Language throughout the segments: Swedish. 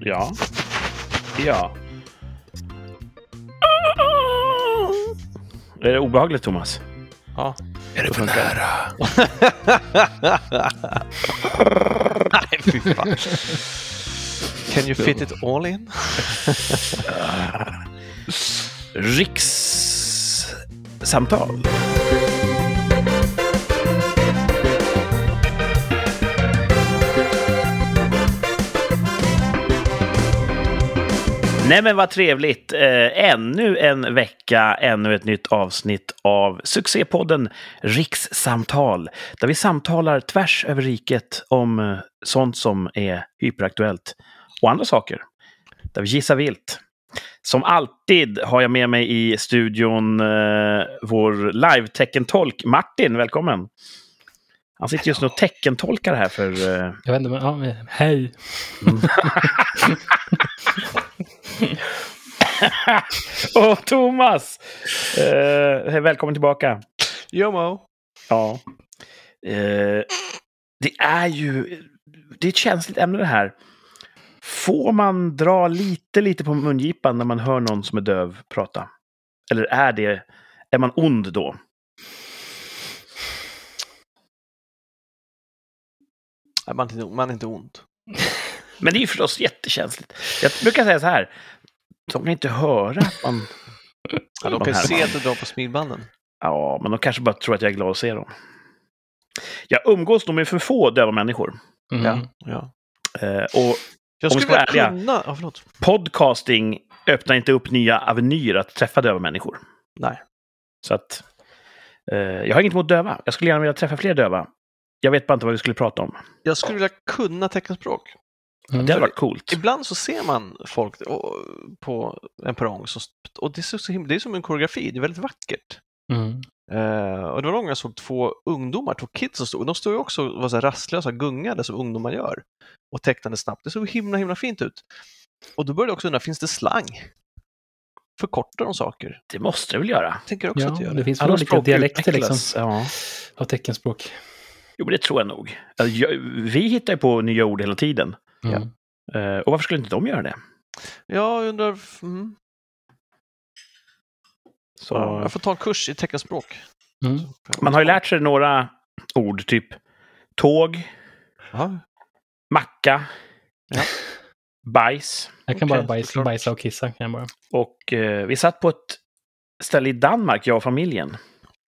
Ja. Ja. Är det obehagligt, Thomas? Ja. Är det för nära? Nej, fy fan. Can you fit it all in? Rikssamtal. Nej men vad trevligt. Eh, ännu en vecka, ännu ett nytt avsnitt av succépodden Rikssamtal. Där vi samtalar tvärs över riket om eh, sånt som är hyperaktuellt och andra saker. Där vi gissar vilt. Som alltid har jag med mig i studion eh, vår live-teckentolk Martin. Välkommen! Han sitter just nu och teckentolkar här för... Eh, Jag vänder mig ja, men hej. och Thomas! Eh, hej, välkommen tillbaka! Jomo. Ja. Eh, det är ju... Det är ett känsligt ämne det här. Får man dra lite, lite på mungipan när man hör någon som är döv prata? Eller är det... Är man ond då? Nej, man, är inte- man är inte ont. Men det är ju förstås jättekänsligt. Jag brukar säga så här. De kan inte höra att man... Ja, de man kan ju härmar. se att du drar på smilbanden. Ja, men de kanske bara tror att jag är glad att se dem. Jag umgås nog med för få döva människor. Mm. Ja. ja. Eh, och Jag Om vi ska skulle vilja vara ärliga. kunna... Ja, förlåt. podcasting öppnar inte upp nya avenyer att träffa döva människor. Nej. Så att... Eh, jag har inget emot döva. Jag skulle gärna vilja träffa fler döva. Jag vet bara inte vad vi skulle prata om. Jag skulle vilja kunna teckenspråk. Mm. Det hade varit coolt. Ibland så ser man folk eh, och- på en perrong som- och det är, så himla, det är som en koreografi, det är väldigt vackert. Mm. Eh, och det var någon gång jag såg två ungdomar, två kids som stod, och de stod ju också och var så här rastlösa, gungade som ungdomar gör och tecknade snabbt. Det såg himla, himla fint ut. Och då började jag också undra, finns det slang? Förkortar de saker? Det måste det väl göra. Tänker också Ja, att det gör det det. finns väl Alla olika språk dialekter utvecklas. liksom, Ja. av teckenspråk. Jo, men det tror jag nog. Alltså, jag, vi hittar ju på nya ord hela tiden. Mm. Eh, och varför skulle inte de göra det? Jag undrar, mm, Så... ja, jag får ta en kurs i teckenspråk. Mm. Man har ju lärt sig några ord, typ tåg, Ja, macka, Ja. bajs. Jag kan Okej, bara bajsa, såklart. bajsa och kissa. Kan jag bara. Och eh, vi satt på ett ställe i Danmark, jag och familjen.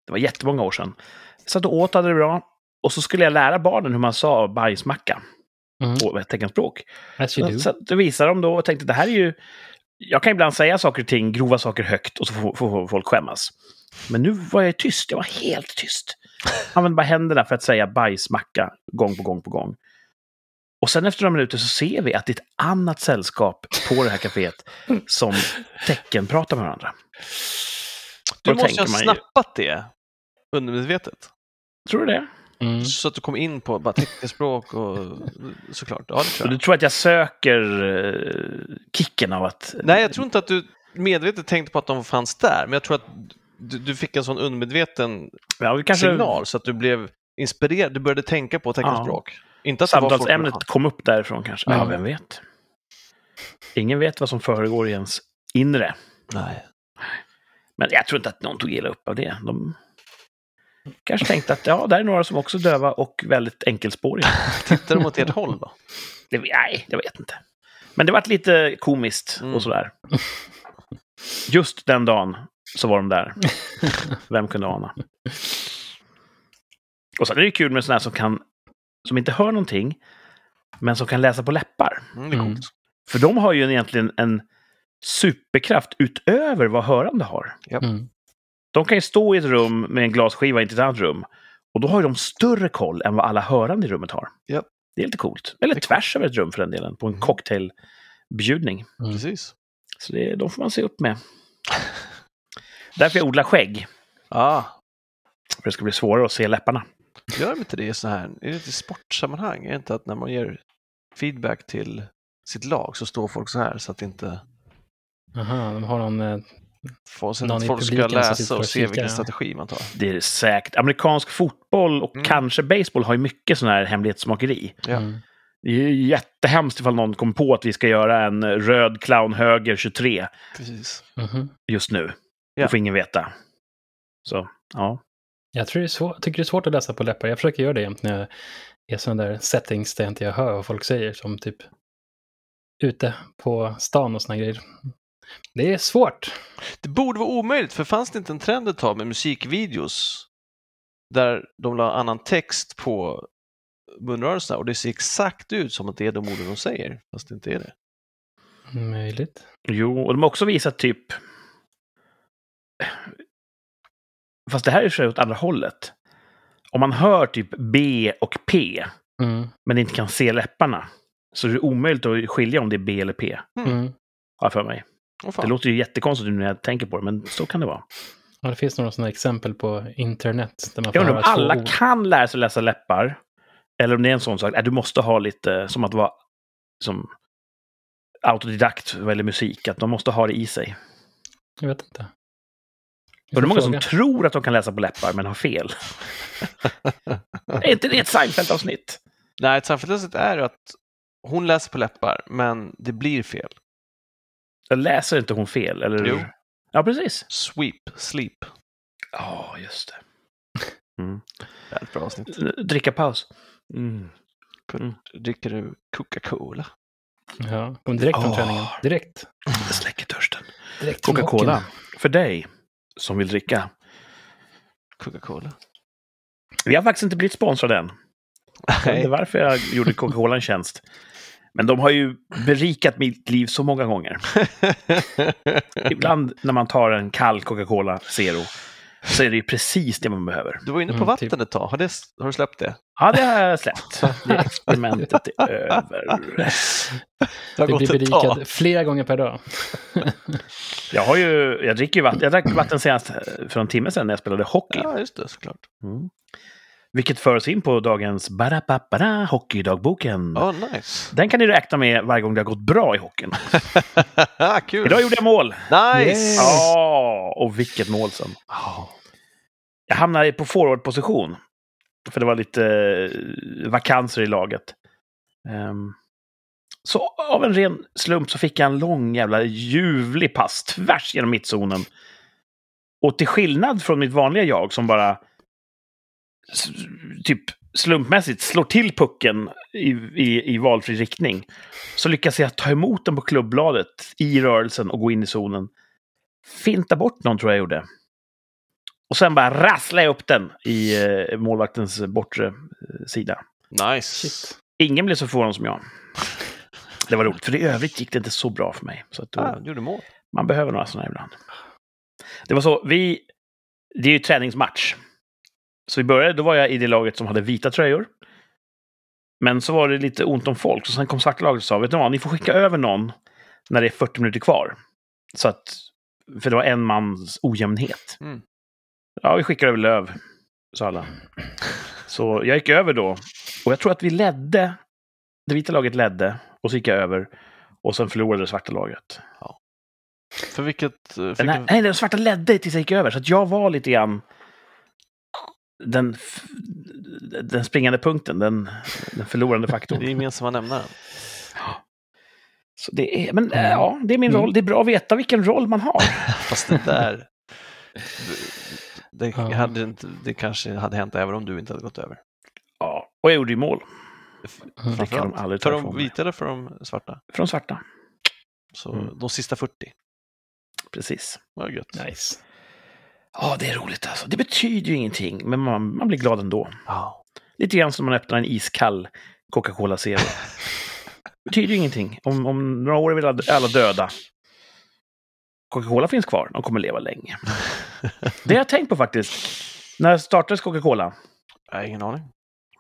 Det var jättemånga år sedan. Vi satt och åt, hade det bra. Och så skulle jag lära barnen hur man sa bajsmacka Mm. på teckenspråk. As you Så, do. så att det visade de då och tänkte det här är ju... Jag kan ibland säga saker och ting, grova saker högt och så får, får, får folk skämmas. Men nu var jag tyst, jag var helt tyst. Använde bara händerna för att säga bajsmacka gång på gång på gång. Och sen efter några minuter så ser vi att det är ett annat sällskap på det här kaféet som teckenpratar med varandra. Du Då måste tänker ha man ju- snappat det undermedvetet. Tror du det? Mm. Så att du kom in på bara teckenspråk och såklart. Ja, det Så tror du jag. tror att jag söker eh, kicken av att... Nej, jag tror inte att du medvetet tänkte på att de fanns där, men jag tror att du, du fick en sån undermedveten Ja, vi kanske... signal så att du blev inspirerad. Du började tänka på teckenspråk. Inte att det var folk- Mm. Samtalsämnet kom upp därifrån kanske. Ja, Ja. vem vet? Ingen vet vad som förgår i ens inre. Nej. Men jag tror inte att någon tog illa upp av det. De kanske tänkte att ja, där är några som också är döva och väldigt enkelspåriga. Tittar de åt ert håll då? Det, nej, jag vet inte. Men det vart lite komiskt Mm. och sådär. Just den dagen så var de där. Vem kunde ana? Och sen är det kul med sådana här som kan, som inte hör någonting, men som kan läsa på läppar. Mm, det är Mm. coolt. För de har ju egentligen en superkraft utöver vad hörande har. Mm. De kan ju stå i ett rum med en glasskiva i ett annat rum. Och då har ju de större koll än vad alla hörande i rummet har. Japp. Det är lite coolt. Eller tvärs över ett rum för den delen, på en Mm. cocktailbjudning. Mm. Precis. Så det, de får man se upp med. Därför jag odlar skägg, Ah, för det ska bli svårare att se läpparna. gör de inte det i så här, är det inte i sportsammanhang? Är det inte att när man ger feedback till sitt lag så står folk så här så att inte Aha, de har någon... eh, få- så Någon att i folk ska publiken som läsa sitter och och se kikar, vilken ja. strategi man tar. Det är säkert. Amerikansk fotboll och Mm. kanske baseball har ju mycket sån här hemlighetsmakeri. Ja. Mm. Det är ju jättehemskt ifall någon kom på att vi ska göra en röd clown höger 23 Precis. Mhm. just nu. Ja. Då får ingen veta. Så, ja. Jag tror det är svår, tycker det är svårt att läsa på läppar. Jag försöker göra det jämt när jag är sådana där settings där jag inte hör vad folk säger, som typ ute på stan och såna grejer. Det är svårt. Det borde vara omöjligt, för fanns det inte en trend ett tag med musikvideos där de la annan text på munrörelserna och det ser exakt ut som att det är de orden de säger, fast det inte är det. Möjligt. Jo, och de har också visat typ... Fast det här är ju åt andra hållet. Om man hör typ B och P, Mm. men inte kan se läpparna, så är det omöjligt att skilja om det är B eller P, Mm. har jag för mig. Åh, Det fan. låter ju jättekonstigt nu när jag tänker på det, men så kan det vara. Ja, det finns några sådana exempel på internet. Där man får Jag undrar om höra två alla ord. kan lära sig läsa läppar, eller om det är en sån sak, att du måste ha lite, som att vara som autodidakt vad gäller musik, att de måste ha det i sig. Jag vet inte. Vi Och det är får många som fråga. tror att de kan läsa på läppar, men har fel. är inte det ett Seinfeld-avsnitt? Nej, ett samfällighet är ju att hon läser på läppar, men det blir fel. Eller Läser inte hon fel? Eller? Jo. Ja, precis. Sweep, sleep. Ja, just det. Väldigt bra avsnitt. Dricka paus. Mm. Dricker du Coca-Cola? Ja, kom direkt från Åh. träningen. Direkt. Det släcker törsten. direkt från Coca-Cola. hockeyn. För dig som vill dricka. Coca-Cola? Vi har faktiskt inte blivit sponsrade än. Jag vet inte Nej, varför jag gjorde Coca-Cola en tjänst. Men de har ju berikat mitt liv så många gånger. Ibland när man tar en kall Coca-Cola Zero så är det ju precis det man behöver. du var inne på Mm, vatten typ. ett tag. Har, det, har du släppt det? Ja, det har jag släppt. Det experimentet är över. Det har Det gått blir ett tag. berikad flera gånger per dag. Jag, har ju, jag dricker ju vatten. Jag drack vatten senast eh, för en timme sedan när jag spelade hockey. Ja, just det, såklart. Mm. Vilket för oss in på dagens Barapapara Hockeydagboken. Ja, nice. Den kan ni räkna med varje gång det har gått bra i hockeyn. Kul! Idag gjorde jag mål! Nice! Yes. Ja. Ja, och vilket mål sen. Jag hamnade på forwardposition. För det var lite eh, vakanser i laget. Ehm, så av en ren slump så fick jag en lång jävla ljuvlig pass tvärs genom mittzonen. Och till skillnad från mitt vanliga jag som bara s- typ slumpmässigt slår till pucken i, i, i valfri riktning så lyckas jag ta emot den på klubbladet i rörelsen och gå in i zonen. Finta bort någon tror jag gjorde. Och sen bara rassla upp den i eh, målvaktens bortre eh, sida. Nice. Shit. Ingen blev så förvånad som jag. Det var roligt, för i övrigt gick det inte så bra för mig. Så att då, Ah, du gjorde mål. Man behöver några sådana ibland. Det var så, vi... Det är ju träningsmatch. Så vi började, då var jag i det laget som hade vita tröjor. Men så var det lite ont om folk, så sen kom svarta laget och sa vet ni vad, ni får skicka över någon när det är 40 minuter kvar. Så att, för det var en mans ojämnhet. Mm. Ja, vi skickar över Löv, sa alla. Så jag gick över då. Och jag tror att vi ledde. Det vita laget ledde. Och så gick jag över. Och sen förlorade det svarta laget. För vilket... eh, För Den här, vilken- nej, den svarta ledde tills jag gick över. Så att jag var lite grann den, f- den springande punkten, den, den förlorande Det faktorn. är gemensamma nämnaren. Så det är, men äh, Mm. ja, det är min Mm. roll. Det är bra att veta vilken roll man har. Fast det där... Det, Ja. hade inte, det kanske hade hänt även om du inte hade gått över. Ja, och jag gjorde ju mål. Det Framförallt. kan de aldrig För ta ifrån de mig. vita eller för de svarta? Från svarta, Så Mm. de sista 40. precis. Vad gött. Nice. Ja, det är roligt alltså. Det betyder ju ingenting, men man, man blir glad ändå. Ja. Lite grann som man öppnar en iskall Coca-Cola Zero. betyder ju ingenting. Om, om några år är vi alla- alla döda. Coca-Cola finns kvar. De kommer leva länge. Det har jag tänkt på faktiskt. När startades Coca-Cola? Jag har ingen aning.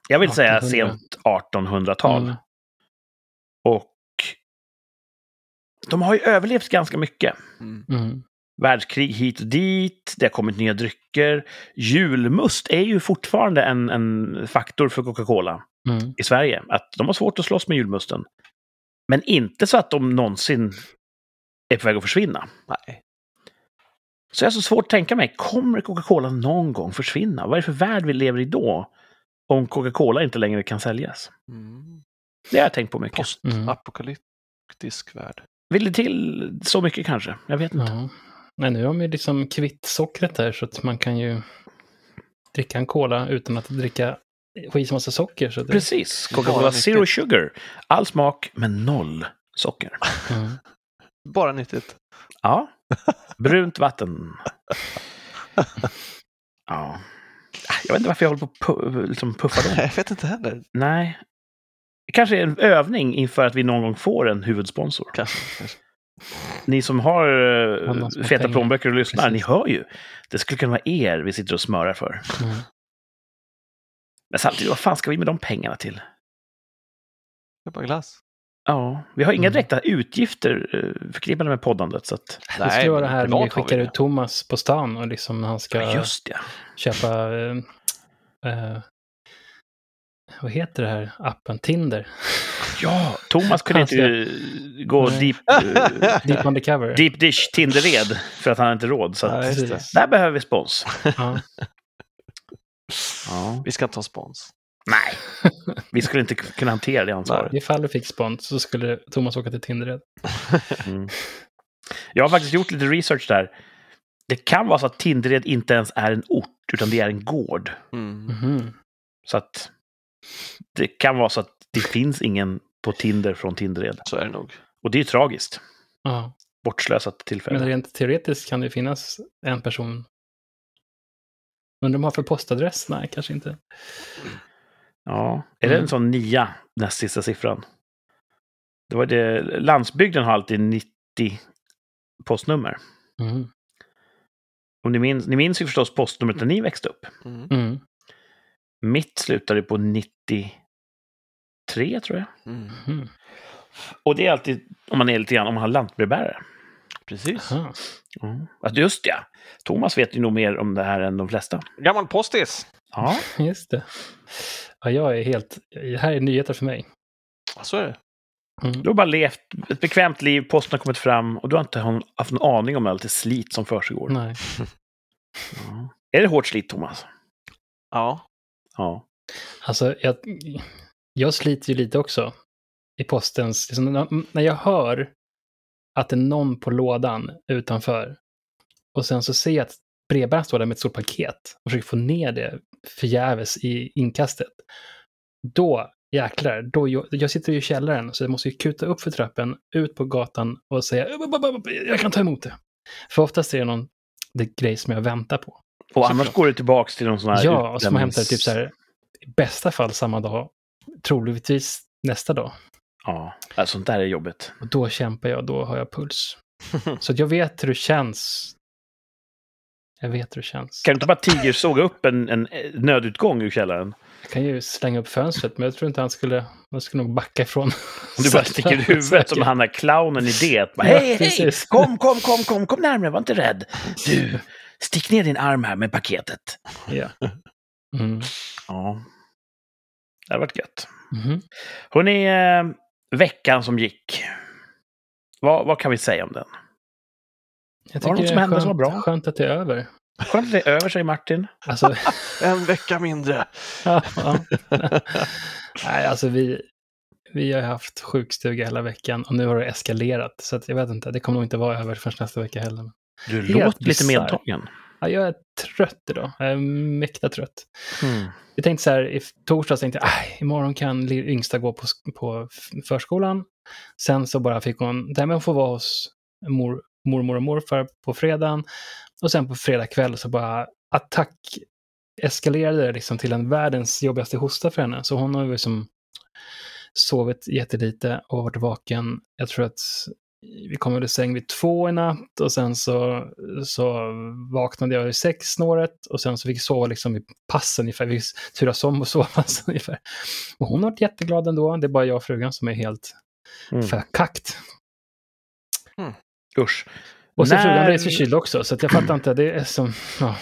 Jag vill säga 1800. sent 1800-tal. Mm. Och de har ju överlevt ganska mycket. Mm. Mm. Världskrig hit och dit, det har kommit nya drycker. Julmust är ju fortfarande en, en faktor för Coca-Cola. Mm. i Sverige. Att de har svårt att slåss med julmusten. Men inte så att de någonsin är på väg att försvinna. Nej. Så jag har så svårt att tänka mig, kommer Coca-Cola någon gång försvinna? Vad är det för värld vi lever i då? Om Coca-Cola inte längre kan säljas. Mm. Det har jag tänkt på mycket. Mm. Postapokalyptisk värld. Vill det till så mycket kanske? Jag vet inte. Ja. Men nu har man ju liksom kvitt sockret här så att man kan ju dricka en cola utan att dricka skitmassa socker. Så det, Precis. Coca-Cola Bara Zero nyttigt. Sugar. All smak, men noll socker. Mm. Bara nyttigt. Ja. Brunt vatten. Ja. Jag vet inte varför jag håller på att pu- liksom puffa dem. Jag vet inte heller. Nej. Det Kanske är en övning inför att vi någon gång får en huvudsponsor. Kanske. kanske. Ni som har eh, Ja, någon som har feta pengar. plånböcker och lyssnar, Precis. ni hör ju. Det skulle kunna vara er vi sitter och smörar för. Mm. Men samtidigt, vad fan ska vi med de pengarna till? Det är bara glass. Ja, vi har inga Mm. direkta utgifter eh, förknippade med poddandet. Så att, Det skulle vara det här när vi privat har skickar det. ut Thomas på stan och liksom när han ska ja. Just det. köpa... eh, eh, vad heter det här appen? Tinder? Ja, Thomas kunde Han inte eh, gå Nej. deep, eh, Deep undercover? deep dish Tinderred för att han inte råd. Så att, Nej. just det. Precis. där behöver vi spons. Ja. Ja. Vi ska inte ha spons. Nej, vi skulle inte kunna hantera det ansvaret. Ifall du fick spons så skulle Thomas åka till Tinder. Mm. Jag har faktiskt gjort lite research där. Det kan vara så att Tindered inte ens är en ort, utan det är en gård. Mm. Mhm. Så att det kan vara så att det finns ingen på Tinder från Tindered. Så är det nog. Och det är ju tragiskt. Ja. Bortslösat Men tillfälle. rent teoretiskt kan det ju finnas en person. Undrar om de har för postadress? Nej, kanske inte. Ja. Är Mm. det en sån nia, näst sista siffran? Det var det. Landsbygden har alltid 90 postnummer. Mm. Om ni, minns, ni minns ju förstås postnumret när ni växte upp. Mm. Mm. Mitt slutade på 93, tror jag. Mm. Mm. Och det är alltid om man är lite grann, om man har lantbrevbärare. Precis. Aha. Att just ja, Thomas vet ju nog mer om det här än de flesta. Gammal postis! Ja, Just det. Ja, jag är helt... Det här är nyheter för mig. Ja, Så är det. Mm. du har bara levt ett bekvämt liv, posten har kommit fram och du har inte hon- haft en aning om allt det slit som försiggår. Nej. Ja. Är det hårt slit, Thomas? Ja. Ja. Alltså, jag, jag sliter ju lite också i postens... Liksom, när- när jag hör att det är någon på lådan utanför och sen så ser jag att brevbäraren står där med ett stort paket och försöker få ner det förgäves i inkastet. Då, jäklar, då, jag, jag sitter ju i källaren så jag måste ju kuta upp för trappen, ut på gatan och säga jag kan ta emot det. För oftast är det någon det är grej som jag väntar på. Och annars går det tillbaks till någon sån här Ja, och som man utlämnings- hämtar typ så här, i bästa fall samma dag, troligtvis nästa dag. Ja, alltså, sånt där är jobbigt. Och då kämpar jag, då har jag puls. Så att jag vet hur det känns. Jag vet hur det känns. Kan du inte bara tigersåga upp en, en eh, nödutgång ur källaren? Jag kan ju slänga upp fönstret, men jag tror inte han skulle, han skulle nog backa ifrån. Om du bara sticker ut huvudet som han där clownen i det. Bara, hej, hej! precis. Kom, kom, kom, kom, kom närmare, var inte rädd. Du, stick ner din arm här med paketet. Ja. Mm. Ja. Det hade varit gött. Mhm. Hörrni, eh, veckan som gick. Vad, vad kan vi säga om den? Jag Var det något tycker det som är hände som skönt, var bra? skönt att det är över. Skönt att det är över, säger Martin. Alltså, En vecka mindre. ja. Nej, alltså vi, vi har haft sjukstuga hela veckan och nu har det eskalerat. Så att jag vet inte, det kommer nog inte vara över förrän nästa vecka heller. Du Helt låter lite bisarr. medtagen. Ja, jag är trött idag. Jag är mäkta trött. Mm, Jag tänkte så här, i torsdags tänkte jag, "Aj, imorgon kan lill- yngsta gå på, sk- på f- förskolan. Sen så bara fick hon, nej men hon får vara hos mor, mormor och morfar på fredagen. Och sen på fredag kväll så bara attack eskalerade det liksom till en världens jobbigaste hosta för henne. Så hon har ju liksom sovit jättelite och varit vaken. Jag tror att vi kom ur säng vid två i natt och sen så, så vaknade jag vid sex snåret och sen så fick jag sova liksom i pass ungefär. Vi turas om och sova så ungefär. Och hon har varit jätteglad ändå. Det är bara jag och frugan som är helt Mm. förkackt. Usch. Och så När- frugan blev förkyld också, så att jag fattar inte. Det är som... Ja.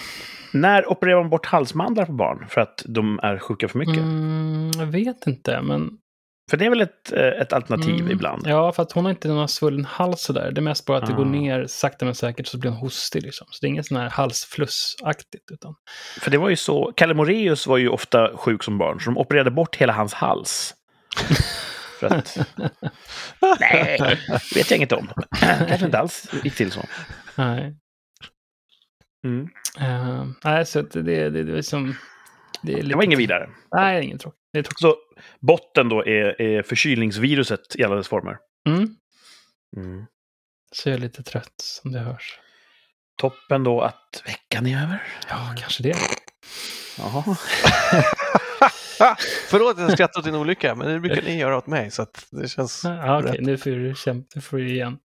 När opererar man bort halsmandlar på barn för att de är sjuka för mycket? Mm, jag vet inte, men... För det är väl ett, eh, ett alternativ Mm. ibland? Ja, för att hon har inte någon svullen hals sådär. Det är mest bara att det går Ah. ner sakta men säkert så blir hon hostig liksom. Så det är ingen sån här halsflussaktigt, utan... För det var ju så, Kalle Moreus var ju ofta sjuk som barn, så de opererade bort hela hans hals. För att... Nej, vet jag inget om. Kanske inte alls gick till så. Nej. Mm. Eh, nej, så att det, det, det, är liksom, det är Det lite... var inget vidare. Nej, det är inget tråkigt. Det är tråkigt. Så botten då är, är förkylningsviruset i alla dess former. Mm. Så jag är lite trött som det hörs. Toppen då att veckan är över. Ja, kanske det. Jaha. Förlåt att jag skrattar åt din olycka, men det brukar ni göra åt mig. Så att det känns... Ja, ah, okej, nu får du kämpa. Nu får du igen.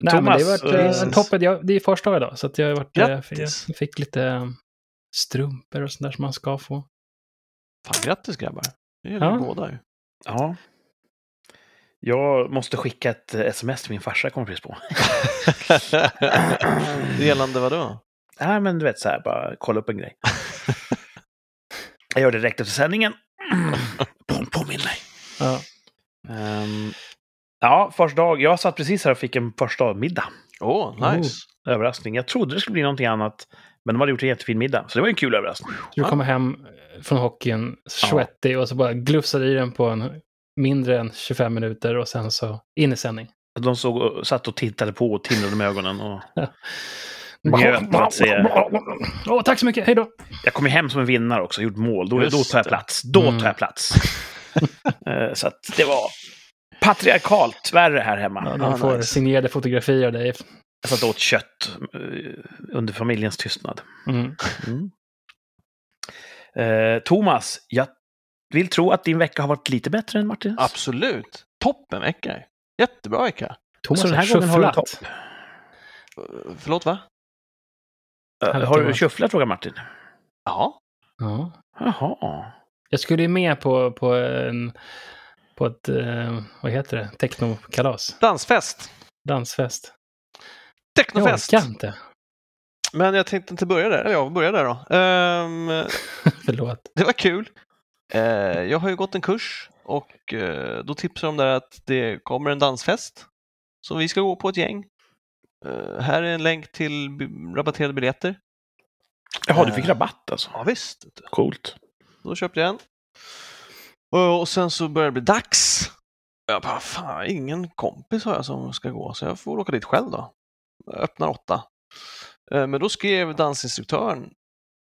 Nej, men det Thomas, har varit eh, Jesus. toppen. Jag, det är första dag idag, så att jag har varit... eh, Jag Grattis. fick lite eh, strumpor och sånt där som man ska få. Fan, grattis grabbar. Det gäller Ja. ju båda ju. Ja. Jag måste skicka ett eh, sms till min farsa, kommer jag precis på. Gällande vadå? Nej, men du vet så här, bara kolla upp en grej. jag gör det direkt efter sändningen. På, påminn mig. Ja. Ehm, ja, första dag. Jag satt precis här och fick en första middag. Åh, Oh. nice. Överraskning. Jag trodde det skulle bli någonting annat, men de hade gjort en jättefin middag. Så det var ju en kul överraskning. Du kommer hem eh, från hockeyn svettig och så bara glufsade i den på en mindre än 25 minuter och sen så in i sändning. Alltså, De såg, och- satt och tittade på och tindrade med ögonen. Och Njöt av att se. Åh, tack så mycket, hej då! jag kom ju hem som en vinnare också, gjort mål. Då, Just då tar jag det. plats. Då Mm. tar jag plats. Eh, så att det var patriarkalt värre här hemma. Ja, Ja, de får nice. signerade fotografier av dig. Mm. Jag satt och åt kött eh, under familjens tystnad. Mm. Eh, Thomas, jag vill tro att din vecka har varit lite bättre än Martins. Absolut. Toppen vecka. Jättebra vecka. Thomas Så den här har gången har du shufflat. topp. Eh, Förlåt, va? Eh, Har du shufflat, frågar Martin. Ja. Ja. Jaha. Jag skulle ju med på, på, en, på ett, eh, vad heter det, technokalas, Dansfest. dansfest. Jag Technofest. orkar inte, Men jag tänkte inte börja där. Eller jag börjar där då. Ehm, förlåt. Det var kul. Eh, jag har ju gått en kurs och eh, då tipsar de där att det kommer en dansfest som vi ska gå på ett gäng. Eh, här är en länk till bi- rabatterade biljetter. Jaha, du fick rabatt alltså. Ja, visst. Coolt. Då köpte jag en. Och, och sen så började det bli dags. Och Jag bara, fan, ingen kompis har jag som ska gå, så jag får åka dit själv då. Jag öppnar åtta. Eh, Men då skrev dansinstruktören,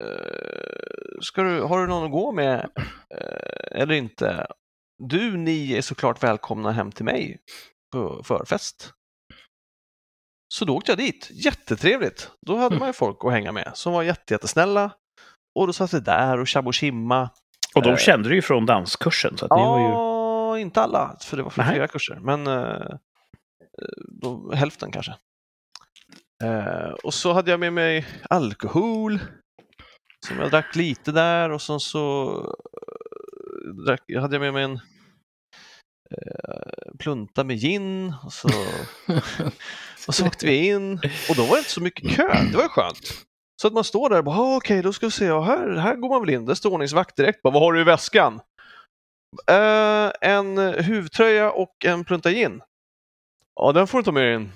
eh, ska du, har du någon att gå med eh, eller inte? Du, ni är såklart välkomna hem till mig på förfest. Så då åkte jag dit, jättetrevligt. Då hade Mm. man ju folk att hänga med som var jätte, jättesnälla. Och då satt vi där och tjabba och tjimma. Och de Eh. kände du ju från danskursen, så att ni var ju... Ja, inte alla, för det var för Nej. flera kurser, men eh, då, hälften kanske. Eh, och så hade jag med mig alkohol, som jag drack lite där och sen så eh, drack, hade jag med mig en eh, plunta med gin och så, och så åkte vi in och då var det inte så mycket kö, det var ju skönt. Så att man står där och bara, "Ah, okej, då ska vi se, ja, här, här går man väl in, där står ordningsvakt direkt, bara, vad har du i väskan? Eh, en huvtröja och en plunta gin. Ja, den får du ta med dig in.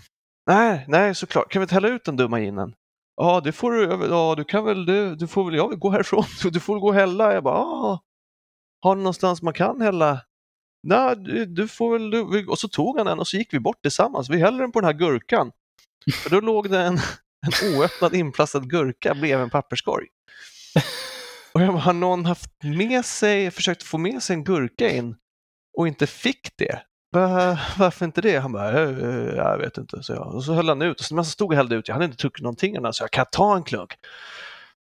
Nej, nej, såklart. Kan vi inte hälla ut den dumma ginen? Ja, det får du. Ja, du kan väl, du, du får väl, jag vill gå härifrån. Du får väl gå och hälla. Jag bara, ja. Har ni någonstans man kan hälla? Nej, du, du får väl, du, vi- och så tog han den och så gick vi bort tillsammans. Vi häller den på den här gurkan. För då låg det en, en oöppnad inplastad gurka bredvid en papperskorg. Och jag bara, har någon haft med sig, försökt få med sig en gurka in och inte fick det? Va- Varför inte det? Han bara, "Eh, eh, jag vet inte. Så jag, och så höll han ut. Och så när jag stod och hällde ut, jag hade inte druckit någonting innan, så jag kan jag ta en klunk.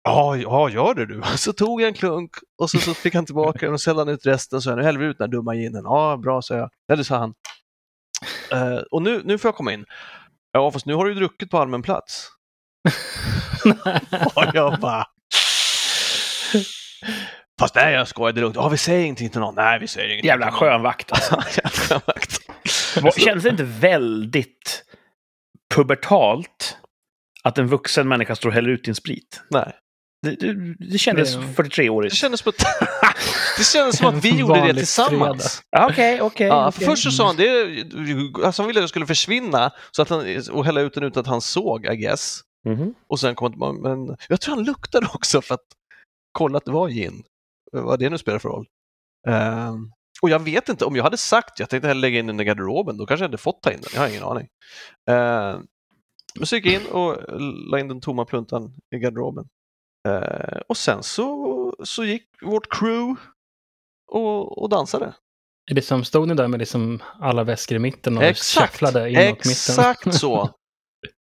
Ja, ja, gör det du. Så tog jag en klunk och så, så fick han tillbaka den och så hällde han ut resten. Så jag, nu häller vi ut den här dumma ginen. Ja, bra, sa jag. Eller sa han. "Eh, och nu, nu får jag komma in. Ja, fast nu har du ju druckit på allmän plats. Och jag bara... Fast nej, jag skojar, det är lugnt. Ja, vi säger ingenting till någon. Nej, vi säger ingenting. Jävla till någon. skönvakt alltså. Jävla skönvakt. Vad- Kändes det inte väldigt pubertalt att en vuxen människa står och häller ut din sprit? Nej. Det, det, det kändes Det- Det 43-årigt. kändes, på det kändes som att vi En gjorde det vanlig tillsammans. Ja, Okej, okej. Ja, för okej. först så sa han det, är- alltså han ville att jag skulle försvinna så att han, och hälla ut den utan att han såg, I guess. Mhm. Och sen kom han men jag tror han luktade också för att kolla att det var gin. Vad det nu spelar för roll. Ehm, Och jag vet inte, om jag hade sagt, jag tänkte hellre lägga in den i garderoben, då kanske jag hade fått ta in den, jag har ingen aning. Eh, men så gick jag in och la in den tomma pluntan i garderoben. Eh, och sen så, så gick vårt crew och, och dansade. Är det som stod ni där med liksom alla väskor i mitten och shufflade inåt mitten? Exakt så!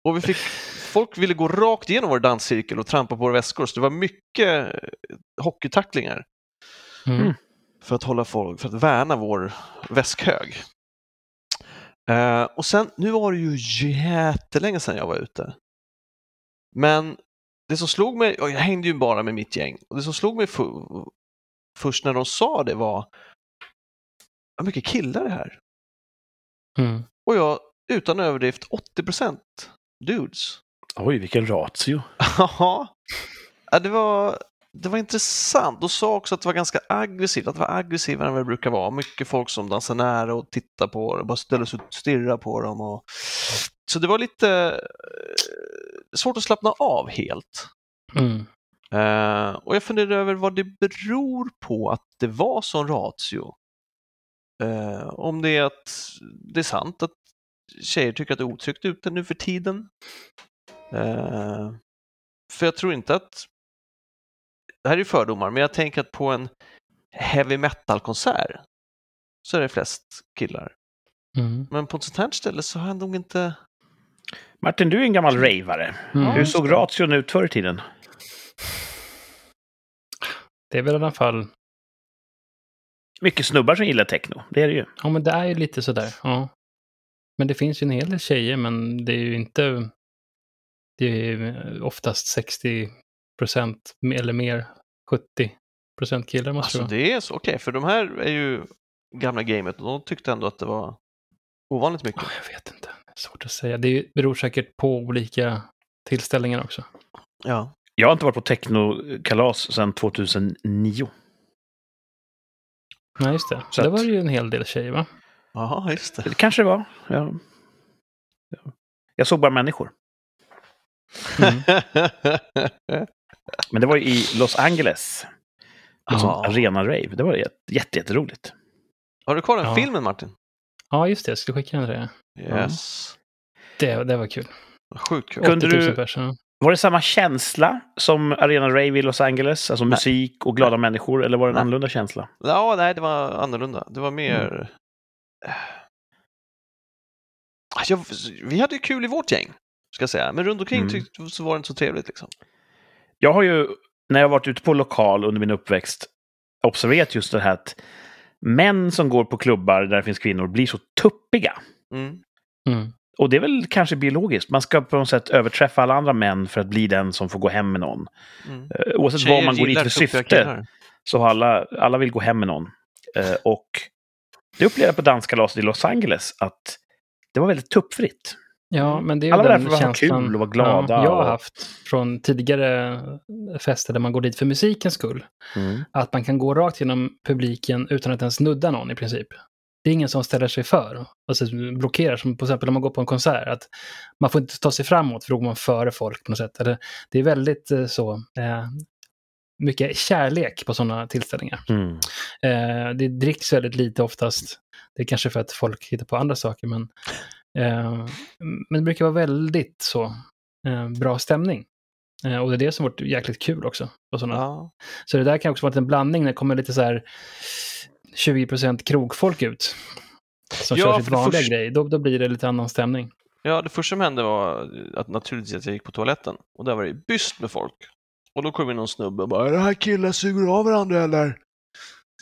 Och vi fick, folk ville gå rakt igenom vår danscirkel och trampa på våra väskor, så det var mycket eh, hockeytacklingar Mm. för att hålla folk, för att värna vår väskhög. Eh, och sen, nu var det ju jättelänge sedan jag var ute. Men det som slog mig, och jag hängde ju bara med mitt gäng, och det som slog mig fu- först när de sa det var, vad mycket killar det här. Mm. Och jag, utan överdrift, 80% dudes. Oj, vilken ratio. Ja, Ja, det var, det var intressant. Och sa också att det var ganska aggressivt, att det var aggressivare än vad det brukar vara. Mycket folk som dansar nära och tittar på det, bara ställer sig och stirrar på dem. Och... Så det var lite eh, svårt att slappna av helt. Mm. Eh, och jag funderade över vad det beror på att det var sån ratio. Eh, om det är att det är sant att tjejer tycker att det är otryggt ute nu för tiden. Eh, för jag tror inte att... Det här är ju fördomar, men jag tänker att på en heavy metal-konsert så är det flest killar. Mm. Men på ett sånt här ställe så har jag nog inte... Martin, du är en gammal ravare. Mm. Hur såg ration ut förr i tiden? Det är väl i alla fall, Mycket snubbar som gillar techno, det är det ju. ja men det är ju lite sådär. Ja. Men det finns ju en hel del tjejer, men det är ju inte, det är ju oftast 60 procent eller mer, 70 procent killar måste Alltså det vara. det är så, okej, för de här är ju gamla gamet och de tyckte ändå att det var ovanligt mycket. Ja, Jag vet inte, det är svårt att säga. Det beror säkert på olika tillställningar också. Ja. Jag har inte varit på technokalas sedan 2009. Nej, just det. Så Så det att- var ju en hel del tjejer, va? Ja, just det. Det kanske det var. Jag, jag såg bara människor. Mm. Men det var ju i Los Angeles. Ett sånt Ja. arena-rave. Det var jätte- jätte- jätteroligt. Har du kvar den Ja. filmen Martin? Ja, just det. Jag skulle skicka den till dig. Yes. Det, det var kul. Sjukt kul. Kunde 80 000 du- pers, ja. Var det samma känsla som arena-rave i Los Angeles? Alltså musik och glada människor? Eller var det en Nej. annorlunda känsla? Ja, nej, det var annorlunda. Det var mer... Mm. Ah, Jag, vi hade ju kul i vårt gäng, ska jag säga. Men runt omkring Mm. tyckte, så var det inte så trevligt. Liksom. Jag har ju, när jag varit ute på lokal under min uppväxt, observerat just det här att män som går på klubbar där det finns kvinnor blir så tuppiga. Mm. Mm. Och det är väl kanske biologiskt. Man ska på något sätt överträffa alla andra män för att bli den som får gå hem med någon. Mm. Eh, Oavsett vad man går dit för syfte Mm. så har alla, alla vill gå hem med någon. Eh, och det upplevde jag på danskalaset i Los Angeles att det var väldigt tuppfritt. Ja, men det är ju Mm. Alla var där den för att ha känslan kul och vara glada Ja, jag har och- haft från tidigare fester där man går dit för musikens skull. Att man kan gå rakt genom publiken utan att ens nudda någon i princip. Det är ingen som ställer sig för och så blockerar, som på exempel när man går på en konsert. att Man får inte ta sig framåt för då går man före folk på något sätt. Eller, det är väldigt eh, så, eh, mycket kärlek på sådana tillställningar. Mm. Eh, det dricks väldigt lite oftast. Det är kanske för att folk hittar på andra saker, men, eh, men det brukar vara väldigt så eh, bra stämning. Eh, och det är det som varit jäkligt kul också. På såna. Ja. Så det där kan också vara en blandning när det kommer lite så här 20% krogfolk ut. Som Ja, kör sitt för det vanliga först- grej. Då, då blir det lite annan stämning. ja, det första som hände var att naturligtvis att jag gick på toaletten och där var det byst med folk. Och då kom in någon snubbe och bara “Är det här killar suger av varandra eller?”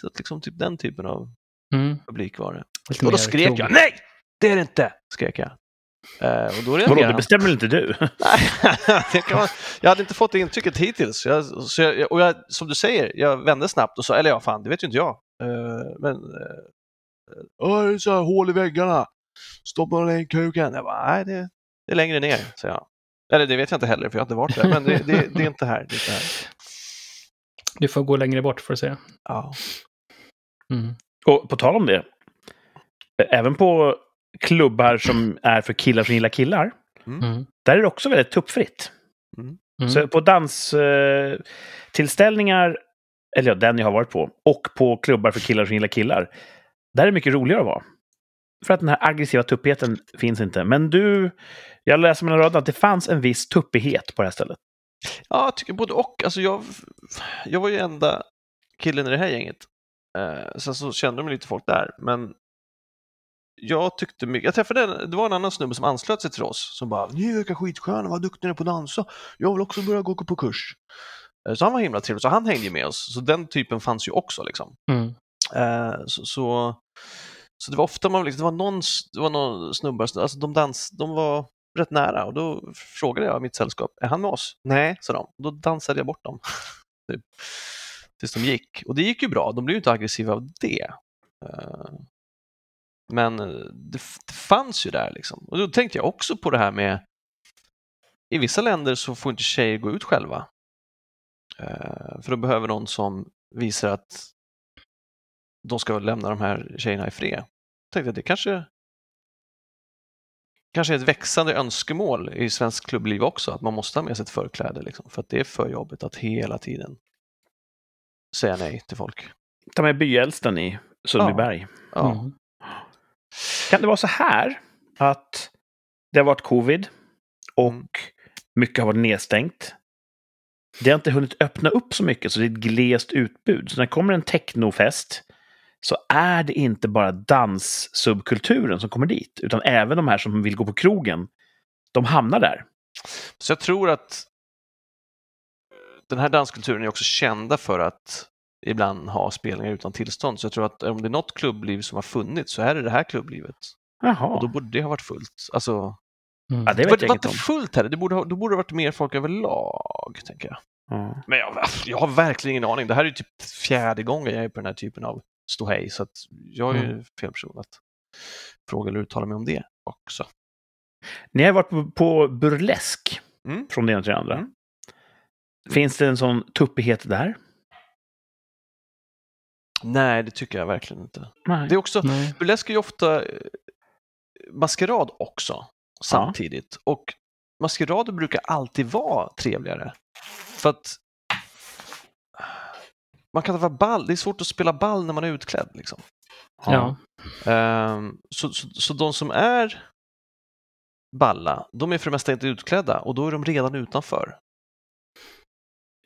Så att liksom typ den typen av Mm, publik var det. lite Och då mer skrek krog. jag nej, det är det inte, skrek jag. Eh, och då Vadå, reagerade det han. bestämmer väl inte du? Nej, det kan man, jag hade inte fått det intrycket hittills. Jag, så jag, och jag, som du säger, jag vände snabbt och sa, eller ja, fan, det vet ju inte jag. Eh, men, eh, "Åh, det är så här hål i väggarna, stoppa den i kuken. Jag bara, nej, det, det är längre ner, sa jag. Eller det vet jag inte heller, för jag har inte varit där. Men det, det, det är inte här. Det är inte här. Du får gå längre bort för att se. Ja. Mm. Och på tal om det, eh, även på klubbar som är för killar som gillar killar, Mm. där är det också väldigt tuppfritt. Mm. Så på danstillställningar eller ja, den jag har varit på, och på klubbar för killar som gillar killar. Där är det mycket roligare att vara. För att den här aggressiva tuppigheten finns inte. Men du, jag läser mellan raderna att det fanns en viss tuppighet på det här stället. Ja, jag tycker både och. Alltså jag, jag var ju enda killen i det här gänget. Eh, sen så kände de lite folk där, men jag tyckte mycket, jag träffade, en- det var en annan snubbe som anslöt sig till oss som bara “Ni verkar skitsköna, vad duktiga ni är på att dansa, jag vill också börja gå på kurs”. Eh, Så han var himla trevlig, så han hängde ju med oss, så den typen fanns ju också liksom. Mm. Eh, så, så, så det var ofta man, liksom, det var någon, s- det var någon snubbar, alltså de, dans, de var rätt nära och då frågade jag mitt sällskap, är han med oss? Nej, sa de. Då dansade jag bort dem. typ. Tills de gick. Och det gick ju bra, de blev ju inte aggressiva av det. Eh, Men eh, det, f- det fanns ju där liksom. Och då tänkte jag också på det här med, i vissa länder så får inte tjejer gå ut själva. Eh, För då behöver någon som visar att de ska lämna de här tjejerna i fred. Jag tänkte att det kanske kanske är ett växande önskemål i svensk klubbliv också, att man måste ha med sig ett förkläde. Liksom, för att det är för jobbigt att hela tiden säga nej till folk. Ta med byäldsten i Sundbyberg. Ja. Mm. Kan det vara så här att det har varit covid Mm. och mycket har varit nedstängt? Det har inte hunnit öppna upp så mycket, så det är ett glest utbud. Så när det kommer en technofest så är det inte bara danssubkulturen som kommer dit, utan även de här som vill gå på krogen, de hamnar där. Så jag tror att den här danskulturen är också kända för att ibland ha spelningar utan tillstånd. Så jag tror att om det är något klubbliv som har funnits så är det det här klubblivet. Och då Jaha. borde det ha varit fullt. Alltså, Mm. Ja, det det var, vet det jag var inget inte om. fullt här, det borde, ha, det borde ha varit mer folk överlag, tänker jag. Ja. Men jag, jag har verkligen ingen aning. Det här är ju typ fjärde gången jag är på den här typen av ståhej, så att jag är Mm. ju fel person att fråga eller uttala mig om det också. Ni har varit på, på burlesk, Mm. från det ena till det andra. Mm. Finns det en sån tuppighet där? Nej, det tycker jag verkligen inte. Nej. Det är också, Nej. burlesk är ju ofta eh, maskerad också, samtidigt. Och maskerader brukar alltid vara trevligare. För att man kan inte vara ball, det är svårt att spela ball när man är utklädd. Liksom. Ja. Ehm, så, så, så de som är balla, de är för det mesta inte utklädda och då är de redan utanför.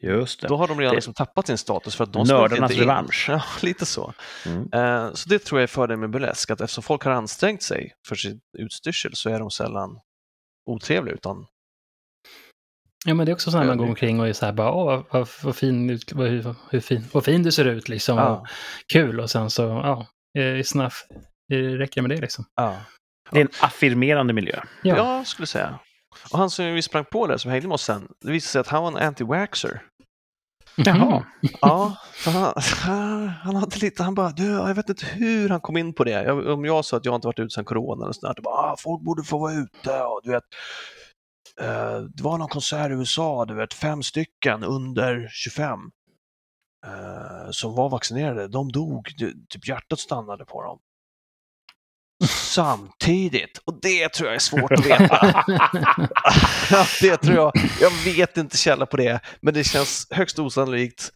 Just det. Då har de redan Det- liksom tappat sin status för att de Nördarnas smög inte in. revansch. Ja, lite så. Mm. Ehm, så det tror jag är fördelen med burlesk, att eftersom folk har ansträngt sig för sin utstyrsel så är de sällan otrevliga utan Ja, men det är också så när man går Ödmjuk. omkring och är så här bara, åh, vad, vad, vad, fin, ut- vad, hur, hur fin, vad fin du ser ut liksom. Ja, Kul och sen så, ja, eh, snuff, eh, räcker det med det liksom. ja. Det är en affirmerande miljö. Ja. ja, skulle jag säga. Och han som vi sprang på där, som hängde med oss sen, det visade sig att han var en anti-waxer. Jaha. Ja, för han, han hade lite, han bara, du, jag vet inte hur han kom in på det. Jag, om jag sa att jag inte varit ute sedan corona eller sådär, då bara, ah, folk borde få vara ute och du vet, eh, det var någon konsert i USA, du vet, fem stycken under 25 eh, som var vaccinerade, de dog, Du- typ hjärtat stannade på dem. Samtidigt, och det tror jag är svårt att veta. Ja, det tror jag. Jag vet inte källa på det, men det känns högst osannolikt.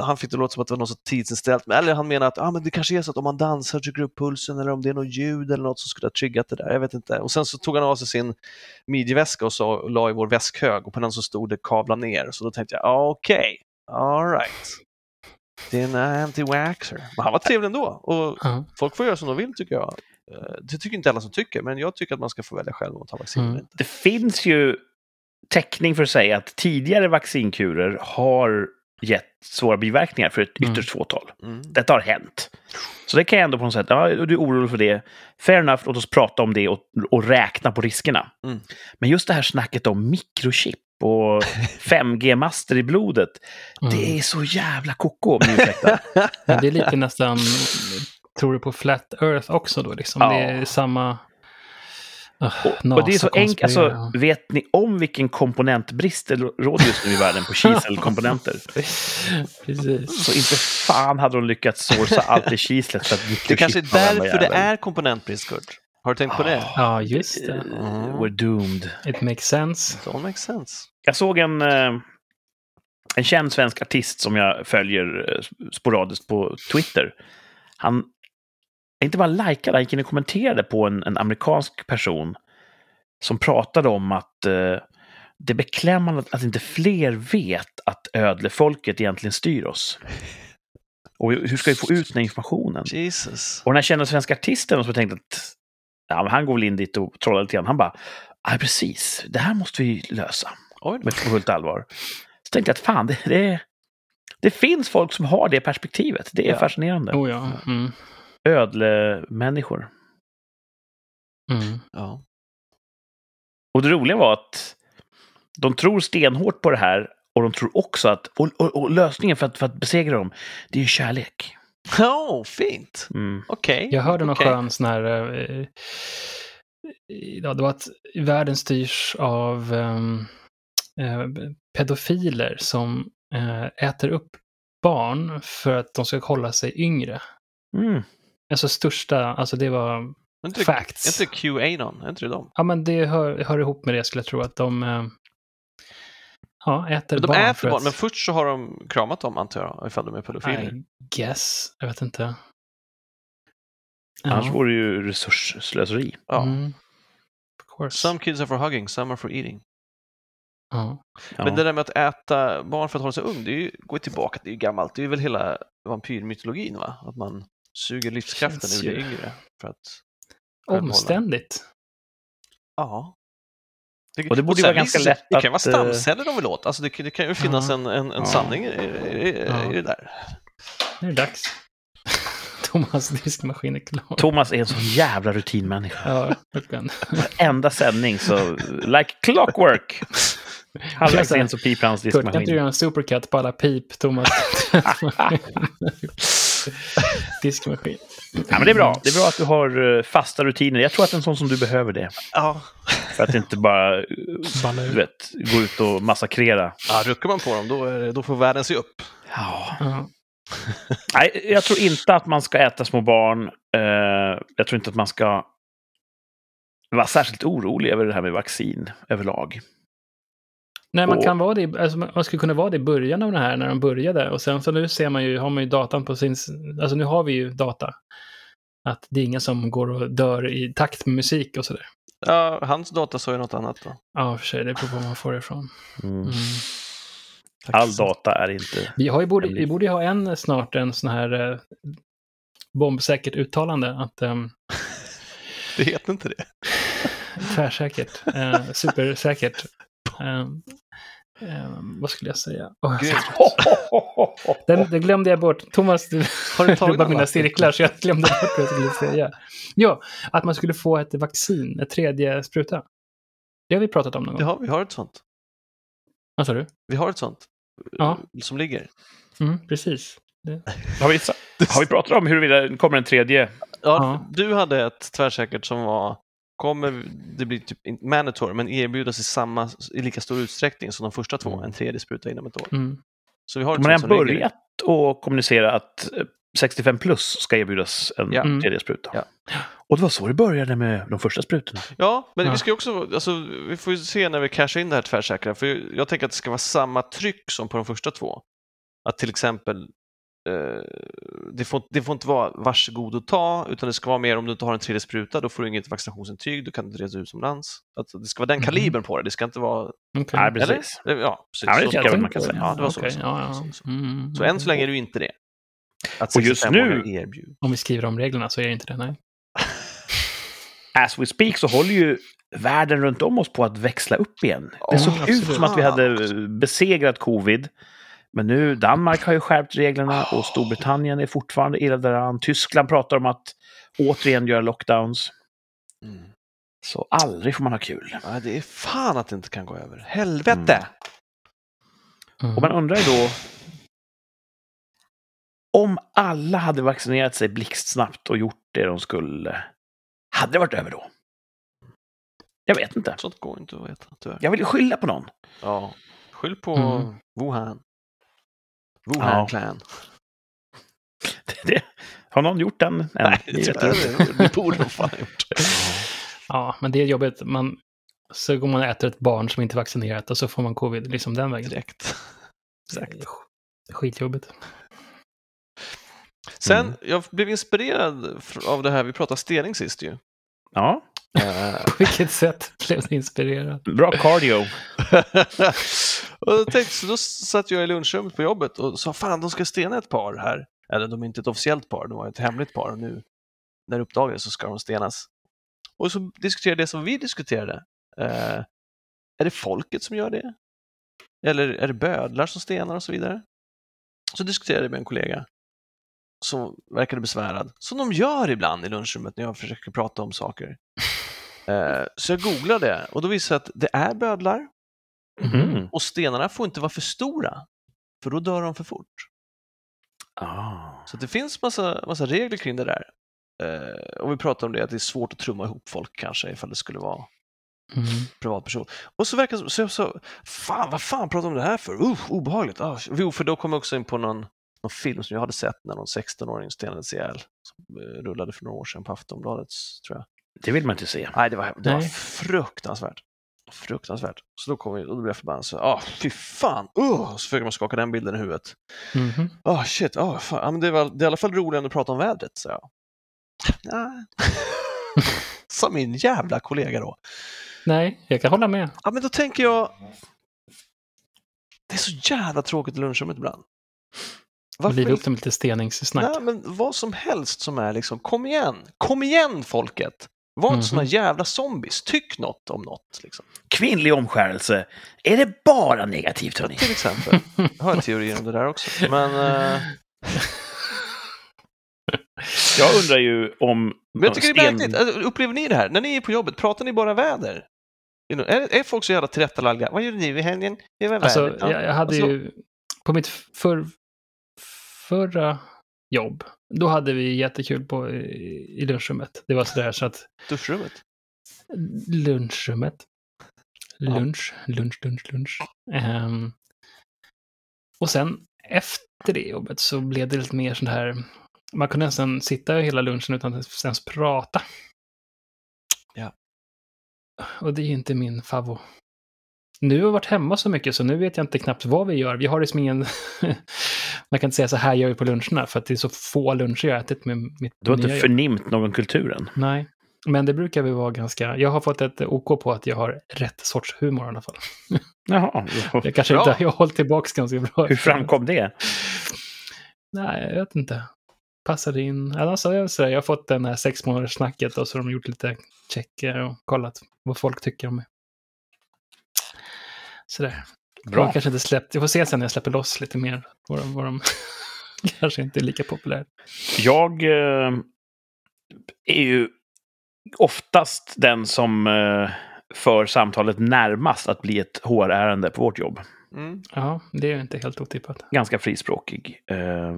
Han fick det låta som att det var något så tidsinställt, men- eller han menar att ah, men det kanske är så att om man dansar trycker upp pulsen eller om det är något ljud eller något som skulle ha triggat det där. Jag vet inte. Och sen så tog han av sig sin midjeväska och, sa, och la i vår väskhög och på den så stod det kavla ner. Så då tänkte jag, ah, okej, all right. Det är en anti-waxer. Men han var trevlig ändå. Och Ja. folk får göra som de vill tycker jag. Eh, Det tycker inte alla som tycker, men jag tycker att man ska få välja själv om man tar vaccin Mm. eller inte. Det finns ju täckning för att säga att tidigare vaccinkurer har gett svåra biverkningar för ett Mm. ytterst fåtal. Mm. Detta har hänt. Så det kan jag ändå på något sätt, ja, du är orolig för det. Fair enough, låt oss prata om det och, och räkna på riskerna. Mm. Men just det här snacket om mikrochip och 5G-master i blodet, Mm. det är så jävla koko, om ni ursäktar. Men det är lite nästan, tror du på Flat Earth också då liksom? Ja. Det är samma... Ah, Och, NASA och det är så enkelt, konspirerar. alltså, vet ni om vilken komponentbrist det råder just nu i världen på kiselkomponenter? Precis. Så inte fan hade de lyckats sourca allt det kislet för att Det kanske är mikrochippa varenda därför det jävel. är komponentbrist, Kurt. Har du tänkt på det? Ja, just det. Eh, We're doomed. It makes sense. It all makes sense. Jag såg en, eh, en känd svensk artist som jag följer eh, sporadiskt på Twitter. Han inte bara likade, han gick in och kommenterade på en, en amerikansk person som pratade om att eh, det är beklämmande att, att inte fler vet att ödlefolket egentligen styr oss. Och hur ska vi få ut den här informationen? Jesus. Och den här kända svenska artisten som jag tänkte att ja, men han går väl in dit och trollar lite grann. Han bara, ja precis, det här måste vi lösa. Oj då. Med på fullt allvar. Så tänkte jag att fan, det, det, det finns folk som har det perspektivet. Det är Ja. fascinerande. Oh, ja. Mm. Ödlemänniskor. Mm. Ja. Och det roliga var att de tror stenhårt på det här. Och de tror också att och, och, och lösningen för att, för att besegra dem, det är ju kärlek. Ja, Oh, fint. Mm. Okej. Jag hörde någon Okej. skön sån här... eh, Ja, det var att världen styrs av ehm, eh, pedofiler som eh, äter upp barn för att de ska hålla sig yngre. Mm. Alltså största, alltså det var Är inte det- facts. är inte det QAnon? Är inte det de? Ja, men det hör, hör ihop med det skulle jag tro, att de eh, ja, äter Men de barn. är för för barn, att, men först så har de kramat dem antar jag, ifall de är pedofiler. I guess, jag vet inte. Annars vore det ju resursslöseri. Ja. Mm. Of course. Some kids are for hugging, some are for eating. Ja. Ja. Men det där med att äta barn för att hålla sig ung, det är ju, går ju tillbaka, det är ju gammalt, det är väl hela vampyrmytologin va? Att man suger livskraften Känns ur det ju- yngre. För att, självhållande. Omständigt. ja. Och det borde ju sen vara ganska visst, det- lätt Det kan att, eh, vara stamceller de vill åt, alltså det, kan- det kan ju finnas Ja. en, en, en Ja. sanning i, i, i, i det där. Nu är det dags. Thomas diskmaskin är klar. Thomas är en sån jävla rutinmänniska. ja, verkligen. Enda sändning så, like clockwork. Halvvägs in så piper hans Kurt, kan inte du diskmaskin. göra en supercut på alla pip Thomas diskmaskin? Ja, men det är bra. Det är bra att du har eh, fasta rutiner. Jag tror att en sån som du behöver det. Ja. För att inte bara, eh, Balla du ur. vet, gå ut och massakrera. ja, ruckar man på dem då, är det- då får världen se upp. Ja. Ja. Nej, jag tror inte att man ska äta små barn. Eh, Jag tror inte att man ska vara särskilt orolig över det här med vaccin överlag. Nej, man, Och- kan vara det, i- alltså man man skulle kunna vara det i början av det här när de började. Och sen så nu ser man ju, har man ju datan på sin... Alltså nu har vi ju data. Att det är inga som går och dör i takt med musik och sådär. Ja, hans data sa ju något annat då. Ja, i och för sig, det beror på var man får det ifrån. Mm. Mm. All data är inte... Vi, har ju borde, Hemligt. vi borde ju ha en eh, snart, en sån här eh, bombsäkert uttalande. Att, ehm, Det heter inte det. tvärsäkert, eh, supersäkert. Ehm, ehm, vad skulle jag säga? Åh, jag- Grymt. den, den glömde jag bort. Thomas, du Har du tagit rubbar alla? mina cirklar så jag glömde bort vad jag skulle säga. Ja, att man skulle få ett vaccin, ett tredje spruta. Det har vi pratat om någon Det gång. har, vi har ett sånt. Vad sa du? Vi har ett sånt. Ja. eh, Som ligger. Mm, precis. Har vi, har vi pratat om huruvida det kommer en tredje? Ja, Ja. du hade ett tvärsäkert som var kommer det bli typ inte mandatory, men erbjudas i, samma, i lika stor utsträckning som de första Mm. två, en tredje spruta inom ett år. Mm. Så vi har ett De har sånt som redan ligger. börjat att kommunicera att eh, 65 plus ska erbjudas en Ja. Mm. tredje spruta. Ja. Och det var så det började med de första sprutorna. Ja, men Ja. vi ska ju också, alltså, vi får ju se när vi cashar in det här tvärsäkra, för jag tänker att det ska vara samma tryck som på de första två. Att till exempel, eh, det, får, det får inte vara varsågod och ta, utan det ska vara mer om du inte har en tredje spruta, då får du inget vaccinationsintyg, du kan inte resa utomlands. Alltså, det ska vara den Mhm. kalibern på det, det ska inte vara Okej. Nej, precis. Eller? Ja, precis. Ja, det Så- tycker jag väl man kan säga. Ja, det var så. Okej, ja, Precis. ja. Mm, Så än så länge är det ju inte det. Att Och just 65 nu- åringar erbjuds. Om vi skriver om reglerna så är det inte det, nej. As we speak så håller ju världen runt om oss på att växla upp igen. Det Ja, såg absolut. ut som att vi hade eh, besegrat covid. Men nu, Danmark har ju skärpt reglerna och Storbritannien är fortfarande illa däran. Tyskland pratar om att återigen göra lockdowns. Mm. Så aldrig får man ha kul. Ja, det är fan att det inte kan gå över. Helvete! Mm. Mm. Och man undrar ju då... Om alla hade vaccinerat sig blixtsnabbt och gjort det de skulle, hade det varit över då? Jag vet inte. Sånt går inte att veta, tyvärr. Jag vill ju skylla på någon. Ja. Skyll på Mm. Wuhan. Wuhan Ja. Clan. Det, har någon gjort den? än? Nej, Jag det, vet inte. det, det borde de fan ha gjort. Ja, men det är jobbigt. Man, så går man och äter ett barn som inte är vaccinerat och så får man covid liksom den vägen. Direkt. Exakt. Skitjobbigt. Sen, Mm. jag blev inspirerad fr- av det här, vi pratade stening sist ju. Ja, Eh, På vilket sätt blev du inspirerad? bra cardio. och då, tänkte, så då satt jag i lunchrummet på jobbet och sa fan, de ska stena ett par här. Eller de är inte ett officiellt par, de var ett hemligt par och nu när det uppdagades så ska de stenas. Och så diskuterade det som vi diskuterade. Eh, är det folket som gör det? Eller är det bödlar som stenar och så vidare? Så diskuterade jag med en kollega som verkade besvärad, som de gör ibland i lunchrummet när jag försöker prata om saker. Eh, så jag googlade och då visade det sig att det är bödlar Mm. och stenarna får inte vara för stora, för då dör de för fort. Ah. Så det finns massa, massa regler kring det där. Eh, och vi pratade om det, att det är svårt att trumma ihop folk kanske, ifall det skulle vara Mm. privatperson. Och så verkar det som, så jag sa, fan vad fan pratar de om det här för? Uh, obehagligt. Ah, jo, för då kom jag också in på någon, någon film som jag hade sett när någon 16-åring stenades ihjäl. Som eh, rullade för några år sedan på Aftonbladet, tror jag. Det vill man inte se. Nej, det var, det var Nej. fruktansvärt. Fruktansvärt. Så då kom vi, och då blev jag förbannad. Så, ah, fy fan! Uh, så försöker man skaka den bilden i huvudet. Mhm. Ah shit, ah fan. Ja, men det, var, det är i alla fall roligare än att prata om vädret, sa jag. Nej. Som min jävla kollega då. Nej, jag kan hålla med. Ja, men då tänker jag... Det är så jävla tråkigt i lunchrummet ibland. Liva upp inte- dem lite steningssnack. Nej, men vad som helst som är liksom, kom igen, kom igen folket! Var inte såna Mhm. jävla zombies, tyck något om något. Liksom. Kvinnlig omskärelse. Är det bara negativt, hörni? Till exempel. Jag har en teori om det där också. Men, eh, Jag undrar ju om... men jag tycker det är sten- märkligt. Alltså, Upplever ni det här? När ni är på jobbet, pratar ni bara väder? You know, Är, är folk så jävla tillrättalagda? Vad gjorde ni i helgen? Det var Alltså, vädret. Ja. jag, jag hade Alltså- ju... På mitt för, förra jobb, då hade vi jättekul på, i, i lunchrummet. Det var sådär så att Duschrummet. lunchrummet. Lunch, lunch, lunch, lunch. Ehm, och sen efter det jobbet så blev det lite mer sånt här... Man kunde nästan sitta hela lunchen utan att ens prata. Ja. Och det är ju inte min favvo. Nu har jag varit hemma så mycket så nu vet jag inte knappt vad vi gör. Vi har liksom ingen... man kan inte säga så här gör vi på luncherna för att det är så få luncher jag har ätit med mitt Du har nya inte jobb. förnimt någon kulturen. Nej, men det brukar vi vara ganska... Jag har fått ett OK på att jag har rätt sorts humor i alla fall. Jaha. Jag kanske Bra. inte... Jag har hållit tillbaka ganska bra. Hur framkom det? Nej, jag vet inte. Passade in. Alltså, jag, sådär, jag har fått den här sex månaders snacket och så har de gjort lite checker och kollat vad folk tycker om mig. Sådär. Bra. Jag kanske inte släppt... Jag får se sen när jag släpper loss lite mer. Vad de... Vad de kanske inte är lika populära. Jag eh, är ju oftast den som eh, för samtalet närmast att bli ett HR-ärende på vårt jobb. Mm. Ja, det är ju inte helt otippat. Ganska frispråkig. Eh,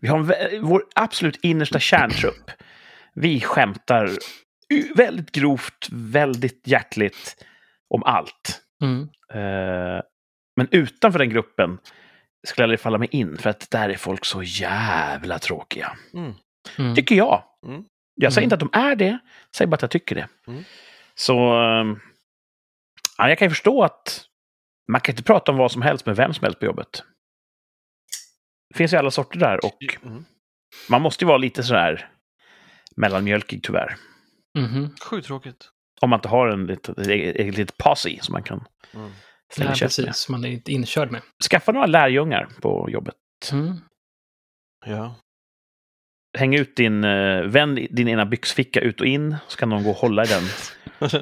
vi har en vä- vår absolut innersta kärntrupp. Vi skämtar u- väldigt grovt, väldigt hjärtligt om allt. Mm. Eh, men utanför den gruppen skulle jag aldrig falla mig in, för att där är folk så jävla tråkiga. Mm. Mm. Tycker jag. Mm. Jag säger Mm. inte att de är det, jag säger bara att jag tycker det. Mm. Så... ehm, Ja, jag kan ju förstå att man kan inte prata om vad som helst med vem som helst på jobbet. Det finns ju alla sorter där och Mm. man måste ju vara lite sådär mellanmjölkig tyvärr. Mhm. Sjukt tråkigt. Om man inte har en litet, ett eget litet posse som man kan Mm. slänga Nej, käft med. precis. Man är inte inkörd med. Skaffa några lärjungar på jobbet. Mm. Ja. Häng ut din, eh, vänd din ena byxficka ut och in, så kan någon gå och hålla i den.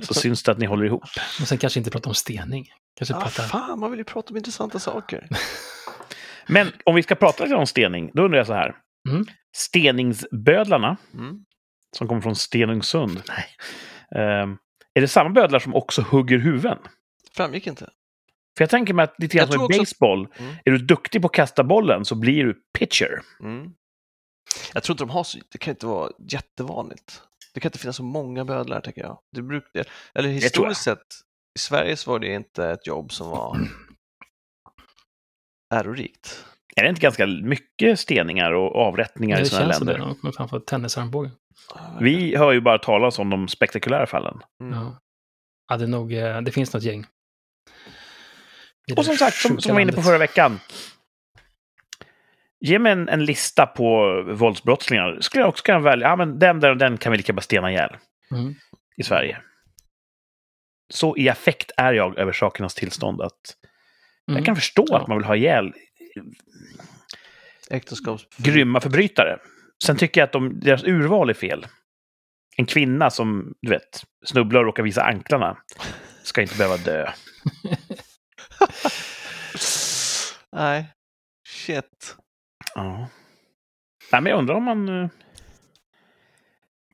Så syns det att ni håller ihop. Och sen kanske inte prata om stening. Kanske Ah, prata... fan, man vill ju prata om intressanta saker. Men om vi ska prata lite om stening, då undrar jag så här. Mm. Steningsbödlarna, Mm. som kommer från Stenungsund. Nej. Ehm, är det samma bödlar som också hugger huvuden? Framgick inte. För jag tänker mig att lite grann Jag som i tror också- baseball, Mm. är du duktig på att kasta bollen så blir du pitcher. Mm. Jag tror inte de har så, det kan inte vara jättevanligt. Det kan inte finnas så många bödlar, tänker jag. Det bruk, eller jag. historiskt sett, i Sverige så var det inte ett jobb som var ärorikt. Är det inte ganska mycket steningar och avrättningar i det sådana känns som det. länder? De kommer framför tennisarmbågen. Vi hör ju bara talas om de spektakulära fallen. Mm. Ja. Ja, det, är nog, eh, det finns något gäng. I Och som det sagt, som, sjuka som vi var inne på landet. förra veckan. Ge mig en, en lista på våldsbrottslingar. Skulle jag också kunna välja, ja men den där och den kan vi lika bara stena ihjäl Mm. i Sverige. Så i affekt är jag över sakernas tillstånd att Mm. jag kan förstå Ja. att man vill ha ihjäl Äktenskaps... grymma förbrytare. Sen tycker jag att de, deras urval är fel. En kvinna som, du vet, snubblar och råkar visa anklarna ska inte behöva dö. Nej. Shit. Ja. Nej, men jag undrar om man... eh,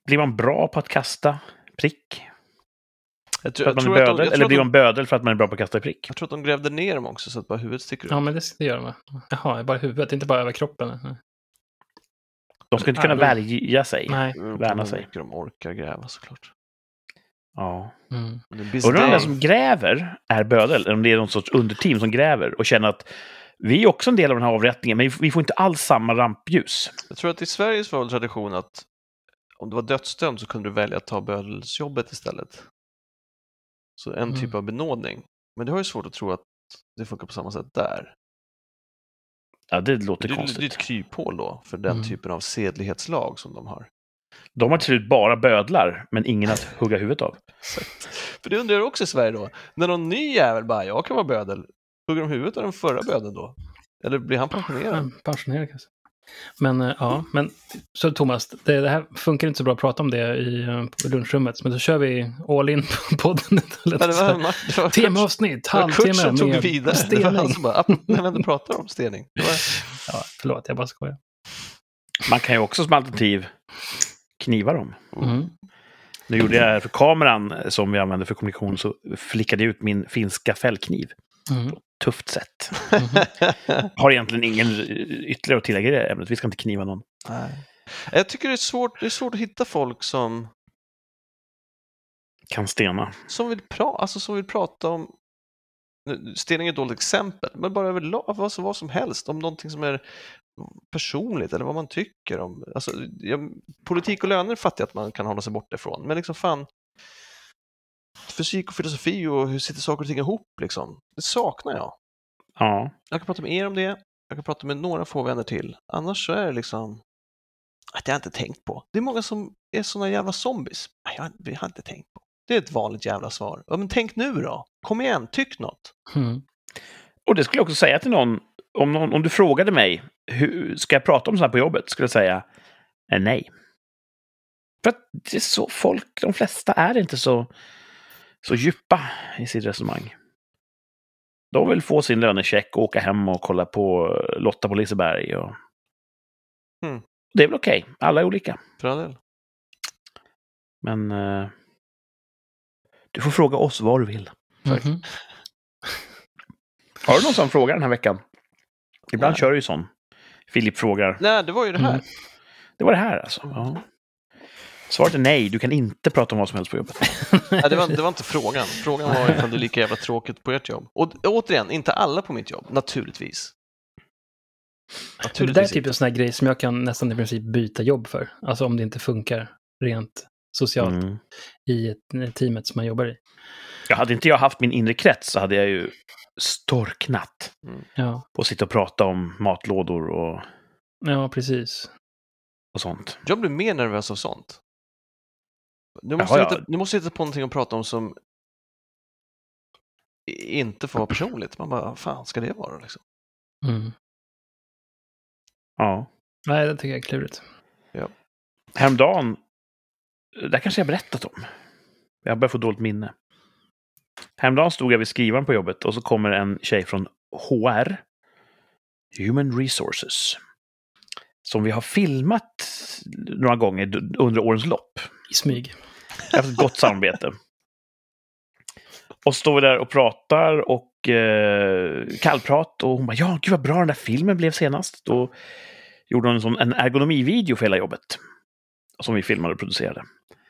Blir man bra på att kasta prick? Jag För tror, att jag man är tror, att, de, bödel? jag, tror Eller att blir man de, bödel för att man är bra på att kasta prick? jag tror att de grävde ner dem också så att bara huvudet sticker ut. Ja, men det, det gör de va? Jaha, bara huvudet, inte bara överkroppen? De ska inte kunna Nej, men- värja sig. Nej. Det beror på värna hur sig. mycket Mm, De orkar gräva såklart. Ja. Mm. Men det är Undrar om bizarre. den som gräver är bödel, eller om det är någon sorts underteam som gräver och känner att vi är också en del av den här avrättningen, men vi får- vi får inte alls samma rampljus. Jag tror att i Sverige så var det tradition att om du var dödsdömd så kunde du välja att ta bödelsjobbet istället. Så en typ Mm. av benådning. Men det har ju svårt att tro att det funkar på samma sätt där. Ja, det låter Det är, det är konstigt. ett kryphål då för den Mm. typen av sedlighetslag som de har. De har till slut bara bödlar, men ingen att hugga huvudet av. För det undrar jag också i Sverige då. När någon ny jävel bara, jag kan vara bödel, hugger de huvudet av den förra bödeln då? Eller blir han pensionerad? Ja, Pensionerad kanske. Men eh, ja, men så Thomas, det, det här funkar inte så bra att prata om det i eh, på lunchrummet, men så kör vi all in på podden. Ja, det var, Mart- det var Kurt, Temaavsnitt, det var Kurt halvtimme som tog med vidare. Det var han stening. som bara, "Ah, när vi ändå pratar om stening. Det var, Ja, förlåt, jag bara skojar. Man kan ju också som alternativ kniva dem. Mm. Nu gjorde jag för kameran eh, som jag använde för kommunikation så flickade jag ut min finska fällkniv. Mm. Tufft sätt. Mm-hmm. Har egentligen ingen eh, ytterligare att tillägga i det ämnet. Vi ska inte kniva någon. Nej. Jag tycker det är svårt, det är svårt att hitta folk som, Kan stena. som, vill, pra, alltså som vill prata om nu, Stening är ett dåligt exempel, men bara överlag, alltså, vad, som- vad som helst, om någonting som är personligt eller vad man tycker om. Alltså, jag, politik och löner fattar jag att man kan hålla sig borta ifrån, men liksom fan, fysik och filosofi och hur sitter saker och ting ihop liksom, det saknar jag. Ja. Jag kan prata med er om det, jag kan prata med några få vänner till. Annars så är det liksom att jag inte tänkt på. Det är många som är såna jävla zombies. Nej, Jag har, jag har inte tänkt på. Det är ett vanligt jävla svar. Ja, men tänk nu då! Kom igen, tyck något! Mm-hmm. Mm. Och det skulle jag också säga till någon. Om, någon, om du frågade mig, hur, ska jag prata om sånt här på jobbet? Skulle jag säga eh, nej. För att det är så folk, de flesta är inte så, så djupa i sitt resonemang. De vill få sin lönecheck och åka hem och kolla på eh, Lotta på Liseberg. Och... Mm. Det är väl okej, alla är olika. För all del. Men eh, du får fråga oss vad du vill. Mm-hmm. Mhm. Har du någon sån fråga den här veckan? Ibland Nej. kör du ju sån. Filip frågar. Nej, det var ju det här. Mm. Det var det här alltså? Ja. Svaret är nej, du kan inte prata om vad som helst på jobbet. Nej, det, var, det var inte frågan. Frågan var ifall det är lika jävla tråkigt på ert jobb. Och återigen, inte alla på mitt jobb, naturligtvis. Men Det där är Naturligtvis. typ en sån här grej som jag kan nästan i princip byta jobb för. Alltså om det inte funkar rent socialt Mm. i ett- eh, teamet som man jobbar i. Jag hade inte jag haft min inre krets så hade jag ju storknat Ja, på att sitta och prata om matlådor och, ja precis. och sånt. Jag blir mer nervös av sånt. Nu måste, Jaha, jag ja. hitta, nu måste jag hitta på någonting att prata om som i- inte får vara personligt. Man bara, fan ska det vara liksom? Mm. Ja. Nej, det tycker jag är klurigt. Häromdagen, eh, det här kanske jag berättat om. Jag börjar få dåligt minne. Häromdagen stod jag vid skrivaren på jobbet och så kommer en tjej från HR, Human Resources, som vi har filmat några gånger d- under årens lopp. I smyg. Efter ett gott samarbete. Och står vi där och pratar och eh, kallprat och hon bara ja, gud vad bra den där filmen blev senast. Då gjorde hon en, sån, en ergonomivideo för hela jobbet. Som vi filmade och producerade.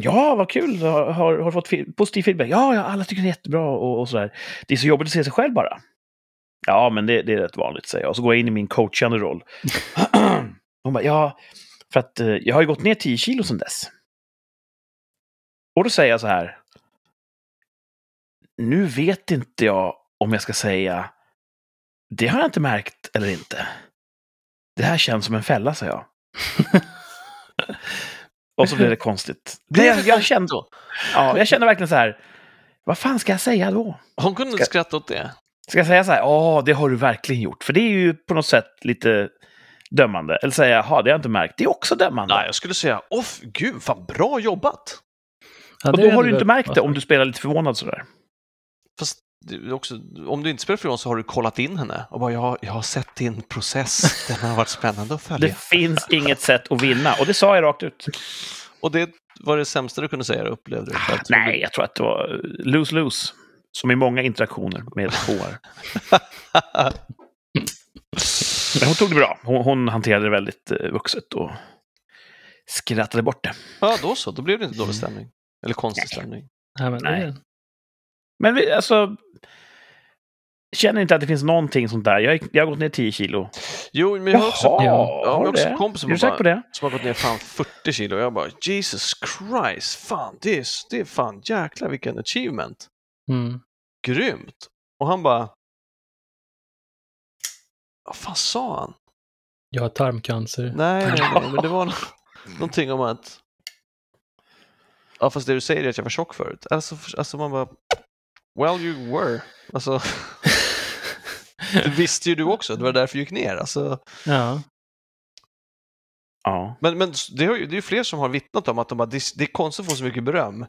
Ja, vad kul! Har, har, har fått fi- positiv feedback. Ja, ja, alla tycker den är jättebra och, och sådär. Det är så jobbigt att se sig själv bara. Ja, men det, det är rätt vanligt, säger jag. Och så går jag in i min coachande roll. Hon bara, ja, för att eh, jag har ju gått ner 10 kilo sedan dess. Och då säger jag så här. Nu vet inte jag om jag ska säga det har jag inte märkt eller inte. Det här känns som en fälla, sa jag. Och så blev det konstigt. Nej, jag, jag, kände, ja, jag kände verkligen så här, vad fan ska jag säga då? Hon kunde inte Ska- skratta åt det. Ska jag säga så här, ja, det har du verkligen gjort. För det är ju på något sätt lite dömande. Eller säga, ja, det har jag inte märkt. Det är också dömande. Nej, jag alltså, skulle säga, åh f- gud, fan bra jobbat! Ja, Och det då är har du ändå inte väl- märkt det om du spelar lite förvånad sådär. Fast det är också, om du inte spelar för Johan så har du kollat in henne och bara, jag, har- jag har sett din process, den har varit spännande att följa. Det finns inget sätt att vinna. Och det sa jag rakt ut. Och det var det sämsta du kunde säga, då, upplevde du? Ah, Nej, jag tror att det var eh, lose-lose. Som i många interaktioner med HR. Men hon tog det bra. Hon, hon hanterade det väldigt eh, vuxet och skrattade bort det. Ja, då så, då blev det inte dålig stämning. Eller konstig stämning. Nej, men det Nej. är- Men vi, alltså... Känner inte att det finns någonting sånt där. Jag, gick- jag har gått ner 10 kilo. Jo, men jag har Jaha, också, jag har har du också det? kompisar Är du som säker bara- på det? som har gått ner fan 40 kilo och jag bara, Jesus Christ, fan, det är, det är fan jäklar vilken achievement. Mm. Grymt! Och han bara, vad fan sa han? Jag har tarmcancer. Nej, nej, nej, men det var nå- någonting om att... Ja, fast det du säger är att jag var tjock förut. Alltså, för- alltså man bara... Well, you were. Alltså, det visste ju du också. Det var därför du gick ner. Alltså, Ja. Mm. Ja. men men det, har ju, det är ju fler som har vittnat om att de bara, det, är- det är konstigt att få så mycket beröm.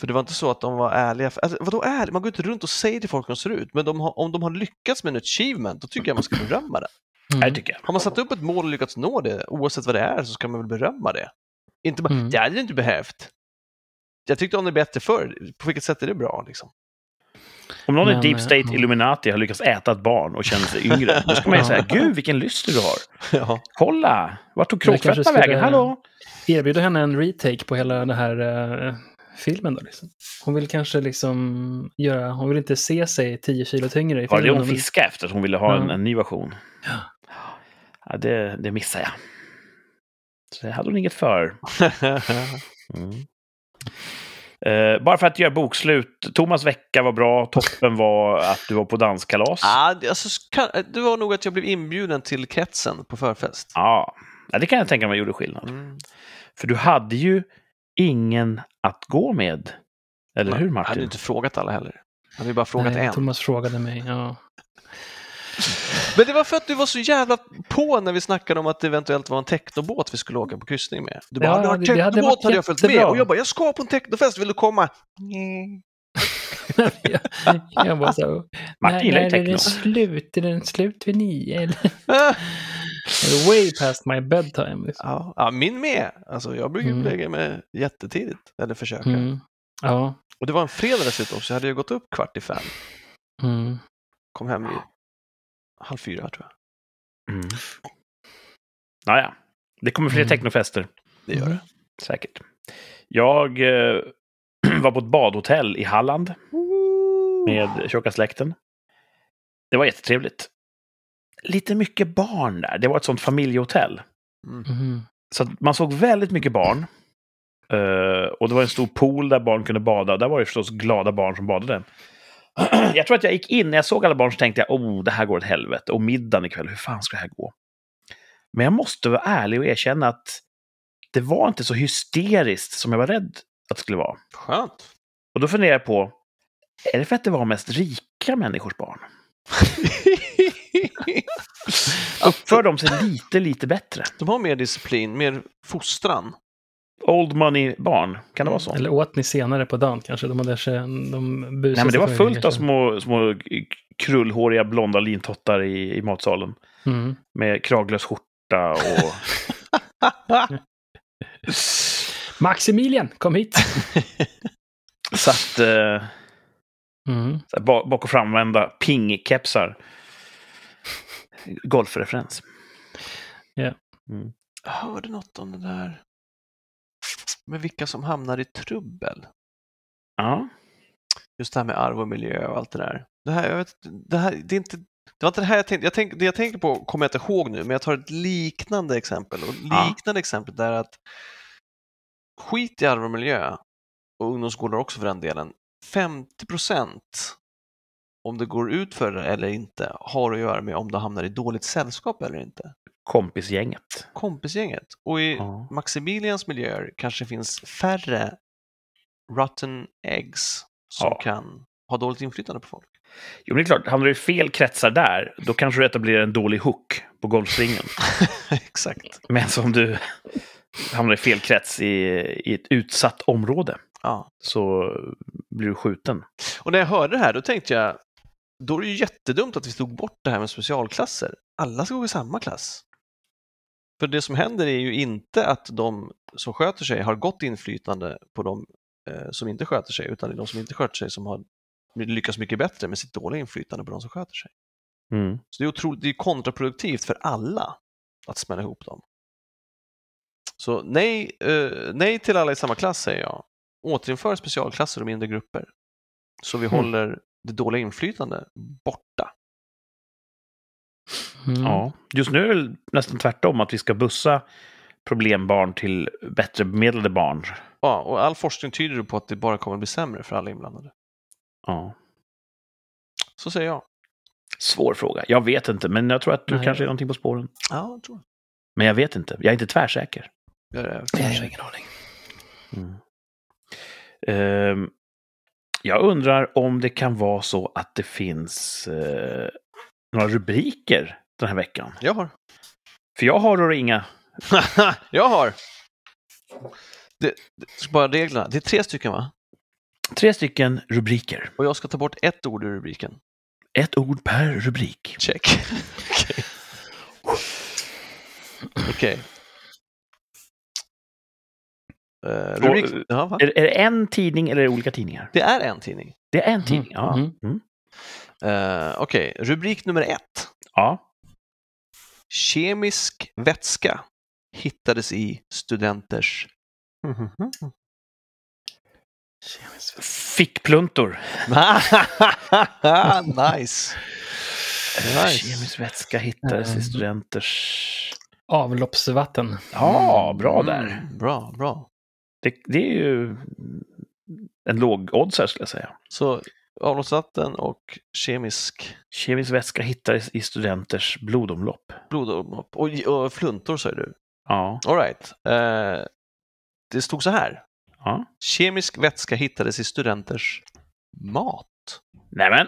För det var inte så att de var ärliga. Alltså, vadå ärlig? Man går inte runt och säger till folk hur de ser ut. Men de har, om de har lyckats med en achievement, då tycker jag man ska berömma det. Det Mm. tycker jag. Har man satt upp ett mål och lyckats nå det, oavsett vad det är, så ska man väl berömma det. Inte bara, Mm. det hade du inte behövt. Jag tyckte om det bättre förr. På vilket sätt är det bra? Liksom? Om någon Men, i Deep eh, State ja. Illuminati har lyckats äta ett barn och känner sig yngre, då ska man ju säga gud vilken lyster du har. Ja. Kolla! Vart tog Men det kanske kråkfötterna vägen? skulle- Hallå! Erbjuder henne en retake på hela den här eh, filmen då? Liksom. Hon vill kanske liksom göra, hon vill inte se sig 10 kilo tyngre i Var filmen. det hon vill- fiskade efter? Att hon ville ha en, Ja. en ny version? Ja. Ja, det, det missade jag. Så det hade hon inget för. Mm. Eh, bara för att göra bokslut. Thomas vecka var bra. Toppen var att du var på danskalas. ah, det- alltså, kan, det var nog att jag blev inbjuden till kretsen på förfest. Ja. ja, det kan jag tänka mig gjorde skillnad. Mm. För du hade ju ingen att gå med. Eller hur, Jag hade Martin? inte frågat alla heller. Jag hade ju bara frågat Nej, en. Thomas frågade mig, ja. Men det var för att du var så jävla på när vi snackade om att det eventuellt var en technobåt vi skulle åka på kryssning med. Du bara, hade du Ja, det- hört det hade technobåt varit hade jag följt med. jättebra. Mm. Och jag bara, jag ska på en technofest, vill du komma? Nej. jag, jag bara så här, Martin när, gillar ju när är techno. den slut? Är den slut vid nio? Eller? Way past my bedtime. Liksom. Ja, ja, min med. Alltså, jag brukar mm. Mm. lägga mig jättetidigt, eller försöka. Mm. Ja. Och det var en fredag dessutom, så jag hade ju gått upp kvart i fem. Mm. Kom hem vid halv fyra, tror jag. Mm. Naja, det kommer fler Mm. technofester. Det gör det. Säkert. Jag eh, var på ett badhotell i Halland med tjocka släkten. Det var jättetrevligt. Lite mycket barn där. Det var ett sånt familjehotell. Mm. Så att man såg väldigt mycket barn. Eh, och det var en stor pool där barn kunde bada. Där var det förstås glada barn som badade. jag tror att jag gick in, när jag såg alla barn så tänkte jag oh, det här går åt helvete. Och middagen ikväll, hur fan ska det här gå? Men jag måste vara ärlig och erkänna att det var inte så hysteriskt som jag var rädd att det skulle vara. Skönt. Och då funderar jag på, är det för att det var mest rika människors barn? Uppför de sig lite, lite bättre? De har mer disciplin, mer fostran. Old money-barn, kan det vara så? Eller åt ni senare på dagen kanske? De hade kän- de Nej, men det var fullt av kanske. små, små krullhåriga blonda lintottar i, i matsalen. Mm. Med kraglös skjorta och... Maximilian, kom hit! så att, eh, Mm. så här, ba- bak och framvända pingkepsar. Golfreferens. Jag hörde något om det där med vilka som hamnar i trubbel. Ja. Just det här med arv och miljö och allt det där. Det här, jag vet, det här, det är inte, det var inte det här jag tänkte, jag tänk, det jag tänker på kommer jag inte ihåg nu, men jag tar ett liknande exempel. Och Ja. liknande exempel där att skit i arv och miljö, och ungdomsgårdar också för den delen, 50 procent om det går ut för det eller inte har att göra med om du hamnar i dåligt sällskap eller inte. Kompisgänget. Kompisgänget. Och i Ja. Maximilians miljöer kanske finns färre rotten eggs som Ja. kan ha dåligt inflytande på folk. Jo, men det är klart, hamnar du i fel kretsar där, då kanske du etablerar en dålig hook på golfsvingen. Exakt. Men som du hamnar i fel krets i, i ett utsatt område Ja. så blir du skjuten. Och när jag hörde det här då tänkte jag, då är det ju jättedumt att vi tog bort det här med specialklasser. Alla ska gå i samma klass. För det som händer är ju inte att de som sköter sig har gott inflytande på de eh, som inte sköter sig, utan det är de som inte sköter sig som har lyckas mycket bättre med sitt dåliga inflytande på de som sköter sig. Mm. Så det är, otroligt, det är kontraproduktivt för alla att smälla ihop dem. Så nej, eh, nej till alla i samma klass säger jag. Återinför specialklasser och mindre grupper. Så vi Mm. håller det dåliga inflytande borta. Mm. Ja. Just nu är det väl nästan tvärtom, att vi ska bussa problembarn till bättre bemedlade barn. Ja, och all forskning tyder ju på att det bara kommer att bli sämre för alla inblandade. Ja. Så säger jag. Svår fråga. Jag vet inte, men jag tror att du Nej. kanske är någonting på spåren. Ja, jag tror Men jag vet inte. Jag är inte tvärsäker. jag. Det är Jag har ingen aning. Mm. Ehm, jag undrar om det kan vara så att det finns eh, några rubriker den här veckan. Jag har. För jag har då inga... jag har. Det, det, så bara reglerna. Det är tre stycken va? Tre stycken rubriker. Och jag ska ta bort ett ord ur rubriken. Ett ord per rubrik. Check. Okej. Okej. Eh, rubrik. Och- Ja, va? Är, är det en tidning eller är det olika tidningar? Det är en tidning. Det är en tidning, ja. Mm. Eh, Okej, rubrik nummer ett. ja. Kemisk vätska hittades i studenters... Kemiskt. Fickpluntor. nice. Kemisk vätska hittades i studenters... Avloppsvatten. Ja, bra Mm, där. Bra, bra. Det, det är ju en låg odds här skulle jag säga. Så avloppsvatten och kemisk Kemisk vätska hittades i studenters blodomlopp. blodomlopp. Och, och fluntor säger du. Ja. All right. Eh, det stod så här. ja. Kemisk vätska hittades i studenters mat. Nej men.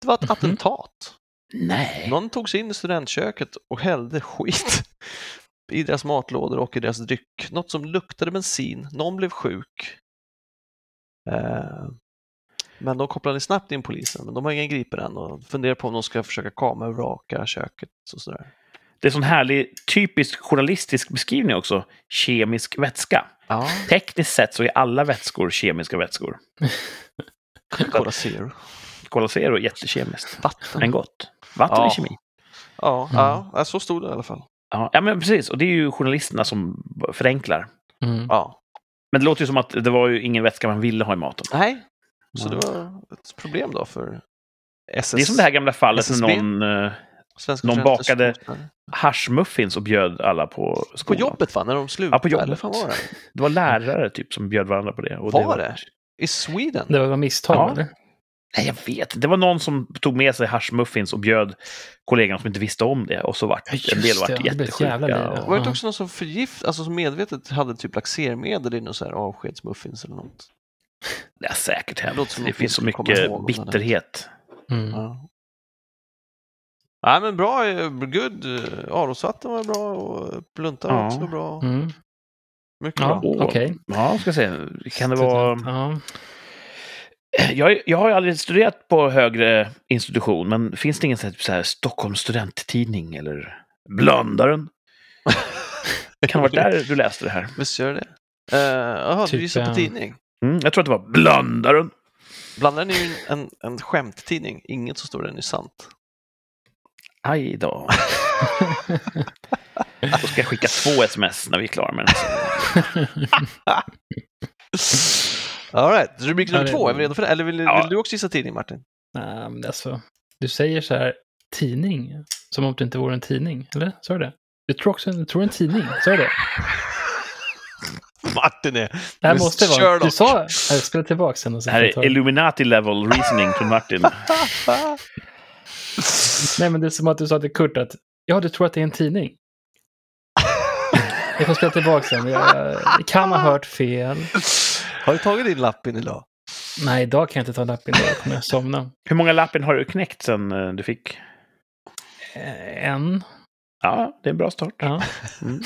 Det var ett Mhm. attentat. Nej. Någon tog sig in i studentköket och hällde skit i deras matlådor och i deras dryck. Något som luktade bensin. Någon blev sjuk. Eh, men de kopplade snabbt in polisen, men de har ingen gripen än och funderar på om de ska försöka kamervraka köket och sådär. Det är sån härlig typisk journalistisk beskrivning också. Kemisk vätska. Ja, Tekniskt sett så är alla vätskor kemiska vätskor. Cola Zero. Cola Zero är jättekemiskt. Vatten. Men gott. Vatten Ja. är kemi. Ja, ja, så stod det i alla fall. Ja, ja, men precis. Och det är ju journalisterna som b- förenklar. Mm. Ja, Men det låter ju som att det var ju ingen vätska man ville ha i maten. Nej, så Nej. det var ett problem då för SS. Det är som det här gamla fallet SSB. när någon eh, Svenska någon studenters bakade- skola. haschmuffins och bjöd alla på På skolan. jobbet va, när de slutade? Ja, på jobbet. Eller fan var det? Det var lärare typ som bjöd varandra på det. Och Var det? I Sweden? Det var misstag, Ja. eller? Nej, jag vet inte. Det var någon som tog med sig haschmuffins och bjöd kollegan som inte visste om det. Och så vart Ja, just en del det. vart Det blev ett jättesjuka. jävla liv, ja. och... Var det inte också någon som förgift, alltså som medvetet hade typ laxermedel i någon så här avskedsmuffins eller något? Det har säkert Det låter hänt. som Det något finns så vi inte kommer mycket ihåg om den här. bitterhet. Mm. Ja. Nej men bra, eh, good. Arosvatten var bra och pluntar var Ja. också bra. Mm. Mycket Ja, bra. Åh. okej. Ja, ska se. Kan det vara... Ja. Jag, jag har ju aldrig studerat på högre institution, men finns det ingen så här, så här Stockholms studenttidning eller Blandaren? Kan det ha varit där du läste det här? Visst gör det Eh, Jaha, Typ, du gissar på eh, tidning? Mm, jag tror att det var Blandaren. Blandaren är ju en, en, en skämttidning, inget som står där är sant. Aj då. Då ska jag skicka två sms när vi är klara med den. All right, rubrik nummer Ja, det- två, är vi redo för det? Eller vill, Ja. vill du också gissa tidning Martin? Nej, men alltså, du säger så här, tidning, som om det inte vore en tidning, eller? Sa du det? Du tror också du tror en tidning, sa du det? Martin är... Det här du är måste vara... Sherlock. Du sa... Nej, Jag spelar tillbaka sen och Det sen här får jag ta är det. Illuminati level reasoning från Martin. Nej, men det är som att du sa till Kurt att ja, du tror att det är en tidning. Jag får spela tillbaka sen. Jag kan ha hört fel. Har du tagit din lapp in idag? Nej, idag kan jag inte ta lappen. Idag kommer jag somna. Hur många lappen har du knäckt sen eh, du fick? Eh, En. Ja, det är en bra start. Ja. Mm.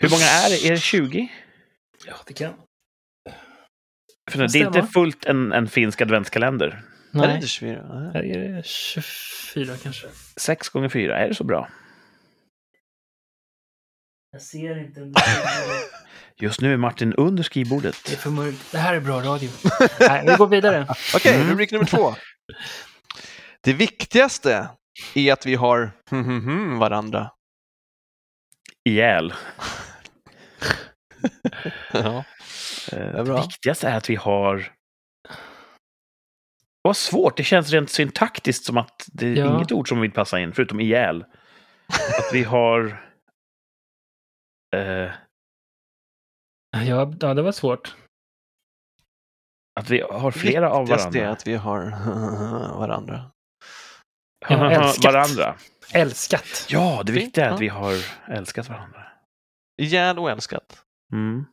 Hur många är det? Är det 20? ja, det kan. För det är stämmer. inte fullt en, en finsk adventskalender. Är det Nej, inte 24? Nej. det är 24 kanske. Sex gånger fyra, är det så bra? Jag ser inte. Just nu är Martin under Det är skrivbordet. för mörkt. Det här är bra radio. Nej, vi går vidare. Okej, Mm. rubrik nummer två. Det viktigaste är att vi har varandra. Ihjäl. Ja. Eh, är Det bra. viktigaste är att vi har... Vad svårt, det känns rent syntaktiskt som att det är Ja. inget ord som vill passa in, förutom ihjäl. Att vi har... Eh, Ja, ja, det var svårt. att vi har flera av viktigaste är varandra. att vi har varandra. Ja, älskat. varandra. Älskat. Ja, det Fint, viktiga är ja. att vi har älskat varandra. Ihjäl och älskat. Mm.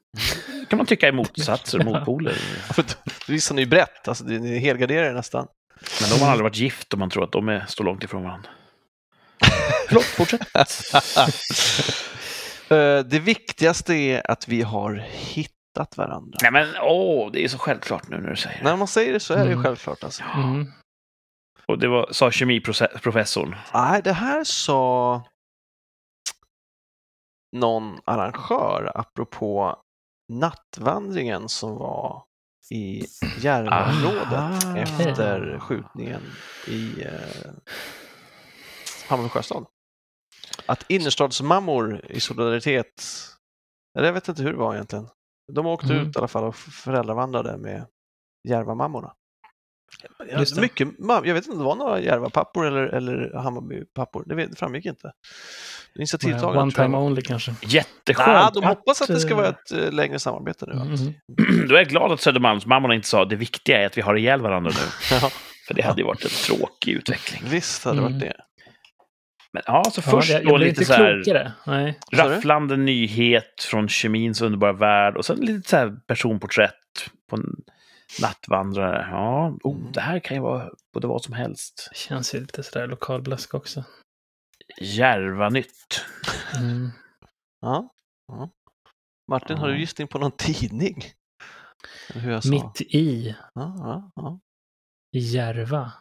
kan man tycka är motsatser, motpoler. För då- då gissar ni ju brett, alltså ni ni helgarderar er nästan. Men de har aldrig varit gift om man tror att de är, står långt ifrån varandra. Förlåt, fortsätt. Eh, Det viktigaste är att vi har hittat varandra. Nej men åh, det är så självklart nu när du säger det. När man säger det så är det ju Mm. självklart. Alltså. Mm. Och det var, sa kemiprofessorn. Nej, det här sa någon arrangör apropå nattvandringen som var i Järvaområdet Ah. Aha. efter skjutningen i eh, Hammarby sjöstad. Att innerstadsmammor i solidaritet, eller jag vet inte hur det var egentligen, de åkte Mm. ut i alla fall och föräldravandrade med Järvamammorna. Ja, Just det. mycket, mam- jag vet inte om det var några Järvapappor eller, eller Hammarbypappor, det vet- det framgick inte. Initiativtagarna One tror jag time var- only kanske. Jätteskönt. Nej, de att- hoppas att det ska vara ett eh, längre samarbete nu. va? Mm. Då är jag glad att Södermalmsmammorna inte sa det viktiga är att vi har ihjäl varandra nu. Ja, För det hade ju varit en tråkig utveckling. visst hade det varit Mm. det. Men ja, så först ja, jag, då jag blir lite så inte här klokare. Nej. Vad sa du? rafflande nyhet från kemins underbara värld och sen lite så här personporträtt på en nattvandrare. Ja, Mm. oh, det här kan ju vara både vad som helst. Det känns ju lite sådär lokalblask också. Järvanytt. Mm. Ja. Ja. Martin, har du Ja. gissning på någon tidning? Eller Hur jag sa? Mitt i Ja, ja, ja. Järva.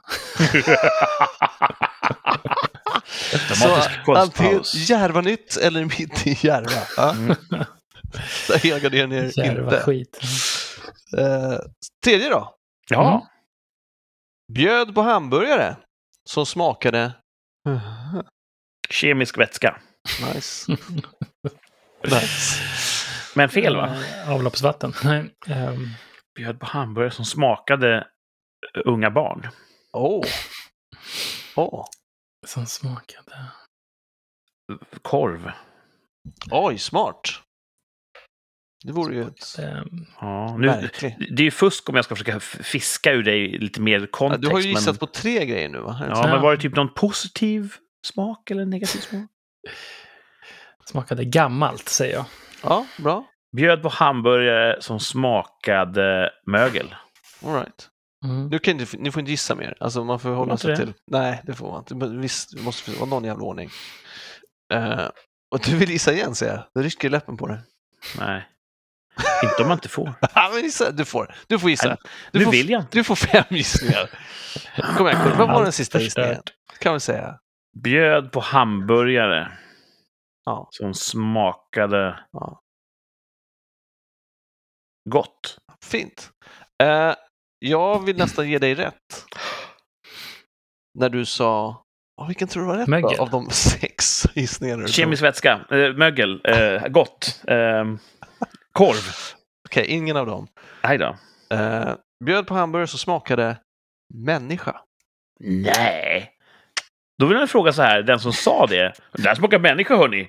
Dramatisk antingen konstpaus. Järvanytt eller Mitt i Järva. Ja. Mm. Där helgarderar ni er Järva inte. skit. Eh, tredje då. Mm. Ja, Bjöd på hamburgare som smakade... kemisk vätska. Nice. nice. Men fel Mm. va? Eh, Avloppsvatten. Nej. ehm, Bjöd på hamburgare som smakade eh, unga barn. Åh. Åh. som smakade. Korv. Oj, smart. Det vore ju ett... ehm, Ja, nu, Verkligen. det är ju fusk om jag ska försöka f- fiska ur dig lite mer Ja, kontext. Du har ju men... gissat på tre grejer nu, va? Har du inte Ja, Ja. men var det typ någon positiv smak eller negativ smak? smakade gammalt säger jag. Ja, bra. Bjöd på hamburgare som smakade mögel. All right. Mm. Du kan inte, ni får inte gissa mer. Alltså man får hålla inte sig det? till... Nej, det får man inte. Men visst, det måste vara någon jävla ordning. Eh, och du vill gissa igen, säger jag. Du rycker i läppen på det. Nej. Inte om man inte får. Ja, men gissa. Du får. Du får gissa. Nej, Du nu får, vill jag inte. Du får fem gissningar. Kom igen, Kurt. Vad var den sista förstört. gissningen? Kan vi säga. Bjöd på hamburgare Ja. som smakade Ja. gott. Fint. Eh, jag vill nästan ge dig rätt. När du sa... Oh, vilken tror du var rätt Mögel. då, av de sex gissningarna du tog? Kemisk vätska, eh, mögel, eh, gott. Eh, korv. Okej, ingen av dem. Nej då. Eh, bjöd på hamburgare som smakade människa. Nej. Då vill jag fråga så här, den som sa det. Det här smakar människa hörni.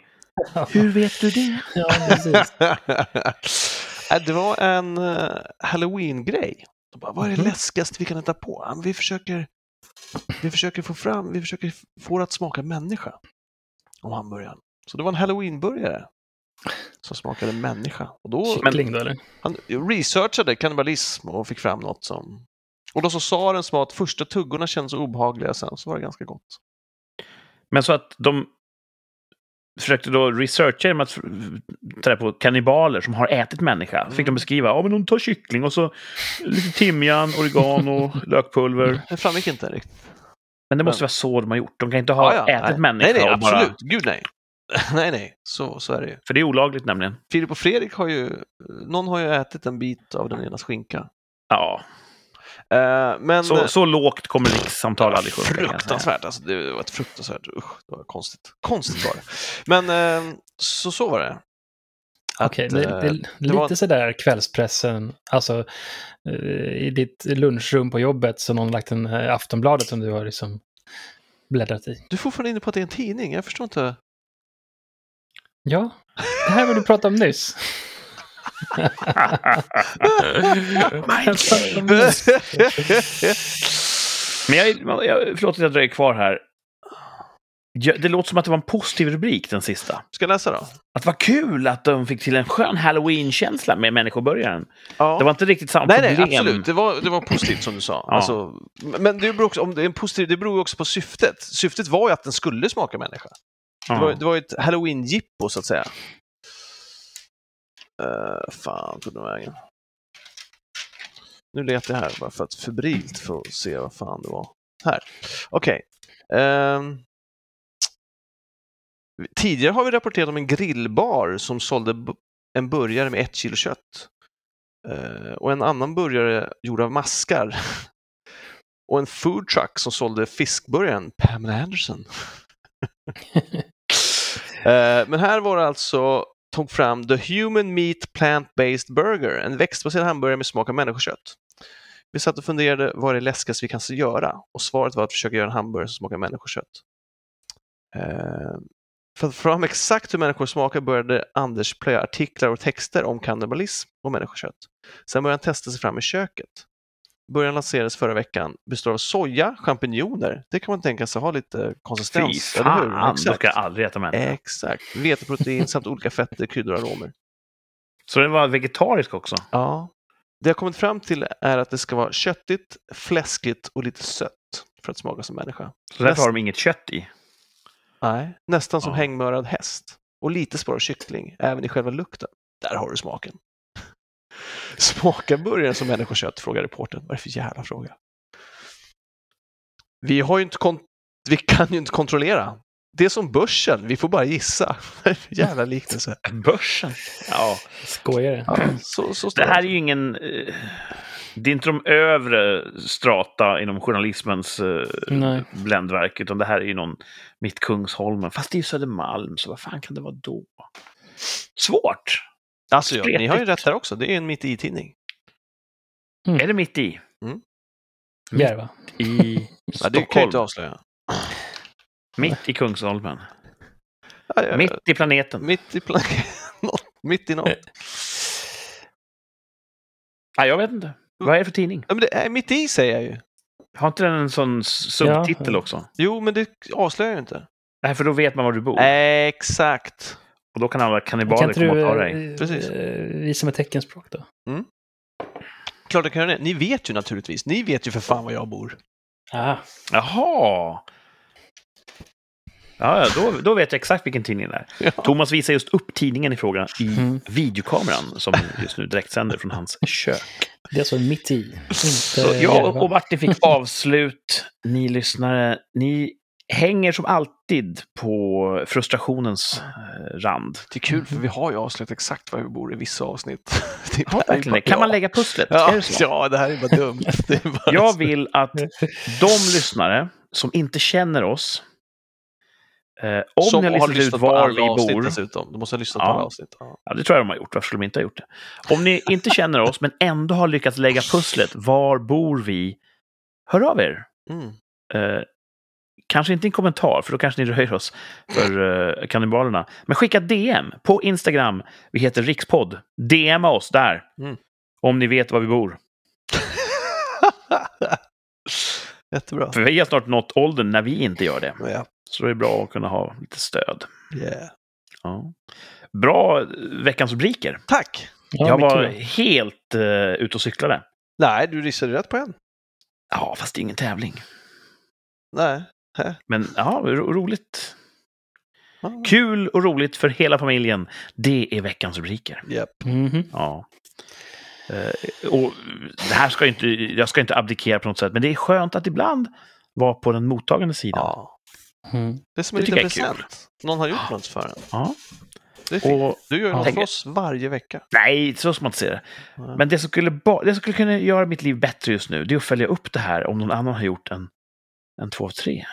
Hur vet du det? Ja, precis. Nej, Eh, det var en eh, halloween-grej. De bara, vad är det Mhm. läskigaste vi kan hitta på? Ja, men Vi försöker, vi försöker få fram, vi försöker f- få det att smaka människa om hamburgaren. Så det var en halloween-burgare som smakade människa. Och då Kyckling då eller? han researchade kannibalism och fick fram något som... Och då så sa den som att första tuggorna kändes obehagliga, sen så var det ganska gott. Men så att de försökte då researcha genom att f- f- ta reda på kannibaler som har ätit människa. Så Mm. fick de beskriva, ja men de tar kyckling och så lite timjan, oregano, lökpulver. Det framgick inte riktigt. Men det måste vara så de har gjort. De kan inte ha Ja, ja, ätit nej. människa Nej, nej, och bara... absolut. Gud nej. nej, nej. Så, så är det ju. För det är olagligt nämligen. Filip och Fredrik har ju, någon har ju ätit en bit av den enas skinka. Ja, Eh, men så, så lågt kommer rikssamtal aldrig sjunka. kan jag säga. fruktansvärt, alltså, det var ett fruktansvärt, usch, det var konstigt. Konstigt var det. Men eh, så, så var det. Att, Okej, det, det, eh, lite var- sådär kvällspressen, alltså eh, i ditt lunchrum på jobbet så någon lagt en eh, Aftonbladet som du har liksom bläddrat i. Du är fortfarande inne på att det är en tidning, jag förstår inte. Ja, det här var du pratade om nyss. Jag pratade om nyss. Men jag, jag, förlåt att jag dröjer kvar här. Ja, det låter som att det var en positiv rubrik, den sista. Ska jag läsa då? Att vad kul att de fick till en skön halloween-känsla med människobörjaren. Ja. Det var inte riktigt samma Nej, nej, problem. absolut. Det var, det var positivt som du sa. Ja. Alltså, men det beror, också, om det, är en positiv, det beror ju också på syftet. Syftet var ju att den skulle smaka människa. Ja. Det var, det var ju ett halloween-jippo, så att säga. Uh, fan, tog den vägen? Nu letar jag här bara för att febrilt för att se vad fan det var. Här. Okej. Ehm. tidigare har vi rapporterat om en grillbar som sålde bu- en burgare med ett kilo kött. Eh, och en annan burgare gjord av maskar. och en foodtruck som sålde fiskburgaren Pamela Anderson. Eh, Men här var det alltså, tog fram The Human Meat Plant-Based Burger, en växtbaserad hamburgare med smak av människokött. Vi satt och funderade vad det är läskigast vi kan göra och svaret var att försöka göra en hamburgare som smakar människokött. Eh, För att få fram exakt hur människor smakar började Anders plöja artiklar och texter om kannibalism och människokött. Sen började han testa sig fram i köket. Början lanserades förra veckan, består av soja, champinjoner. Det kan man tänka sig ha lite konsistens, Fy eller hur? fan, du Exakt. Eh. ska aldrig äta människa. Exakt. Veteprotein samt olika fetter, kryddor och aromer. Så den var vegetarisk också. Ja. Det jag kommit fram till är att det ska vara köttigt, fläskigt och lite sött för att smaka som människa. Så därför Näst- har de inget kött i. Nej. Nästan som Ja. hängmörad häst. Och lite spår av kyckling, även i själva lukten. Där har du smaken. Smakar burgaren som människokött? frågar reportern. Vad är det för jävla fråga? Vi, har ju inte kon- vi kan ju inte kontrollera. Det är som börsen, vi får bara gissa. Vad är det för jävla liknelse? Börsen? Ja. Skojar du? Ja, så, så står Det här är ju ingen... eh, Det är inte de övre strata inom journalismens eh, Nej. bländverk, utan det här är ju någon Mittkungsholmen. Fast det är ju Södermalm, så vad fan kan det vara då? Svårt! Alltså, ja, ni har ju Spretigt. rätt där också. Det är en mitt i-tidning. Är det mitt i? Järva. I Ja, det kan jag inte Stockholm. avslöja. Mitt i Kungsholmen. Ja, ja, Mitt Eh. i planeten. mitt i planeten. mitt i något. Ja, jag vet inte. Vad är det för tidning? Ja, men det är mitt i säger jag ju. Har inte den en sån s- subtitel Ja. också? Jo, men det avslöjar jag ju inte. Nej, för då vet man var du bor. Exakt. Och då kan alla kannibaler Kan inte komma och du ta dig. eh, Precis. eh, visa med teckenspråk då? Klart jag kan göra det. Ni vet ju naturligtvis. Ni vet ju för fan var jag bor. Ah. Jaha! Ja, ja, då, då vet jag exakt vilken tidning det är. Thomas visar just upp tidningen i fråga i Mm. videokameran som just nu direktsänder från hans kök. Det är alltså mitt i, inte Så jag Järva. och Martin fick avslut. Ni lyssnare, ni hänger som alltid på frustrationens eh, rand. Det är kul för vi har ju avslöjat exakt var vi bor i vissa avsnitt. Det Har är bara- verkligen det? Kan man lägga pusslet? Ja, Är det ja, så? ja, det här är bara dumt. Det är bara Jag vill att de lyssnare som inte känner oss, eh, om Som ni har listat ut på var alla vi avsnitt bor, dessutom. De måste ha lyssnat Ja. på alla avsnitt. Ja. Ja, det tror jag de har gjort. Varför skulle de inte ha gjort det? Om ni inte känner oss, men ändå har lyckats lägga pusslet, var bor vi? Hör av er. Mm. Eh, Kanske inte en kommentar, för då kanske ni röjer oss för eh, kannibalerna. Men skicka DM på Instagram. Vi heter Rikspodd. DMa oss där. Mm. Om ni vet var vi bor. Jättebra. För vi har snart nått åldern när vi inte gör det. Ja. Så det är bra att kunna ha lite stöd. Yeah. Ja. Bra eh, veckans rubriker. Tack! Ja, jag var mycket. helt uh, ute och cyklade. Nej, du gissade rätt på en. Ja, fast det är ingen tävling. Nej. Men ja, ro roligt. Ja. Kul och roligt för hela familjen. Det är veckans rubriker. Japp. Mhm. Ja. Eh, och det här ska ju inte, jag ska inte abdikera på något sätt, men det är skönt att ibland vara på den mottagande sidan. Ja. Ja. Mm. Det är som en Det liten tycker jag är present. Någon har gjort något för en. Det är fint. Och, Du gör ju Ja. något för Tänker- oss varje vecka. nej, så ska man inte se det. Ja. Men det som, skulle ba- det som skulle kunna göra mitt liv bättre just nu, det är att följa upp det här om någon annan har gjort en, en två av tre.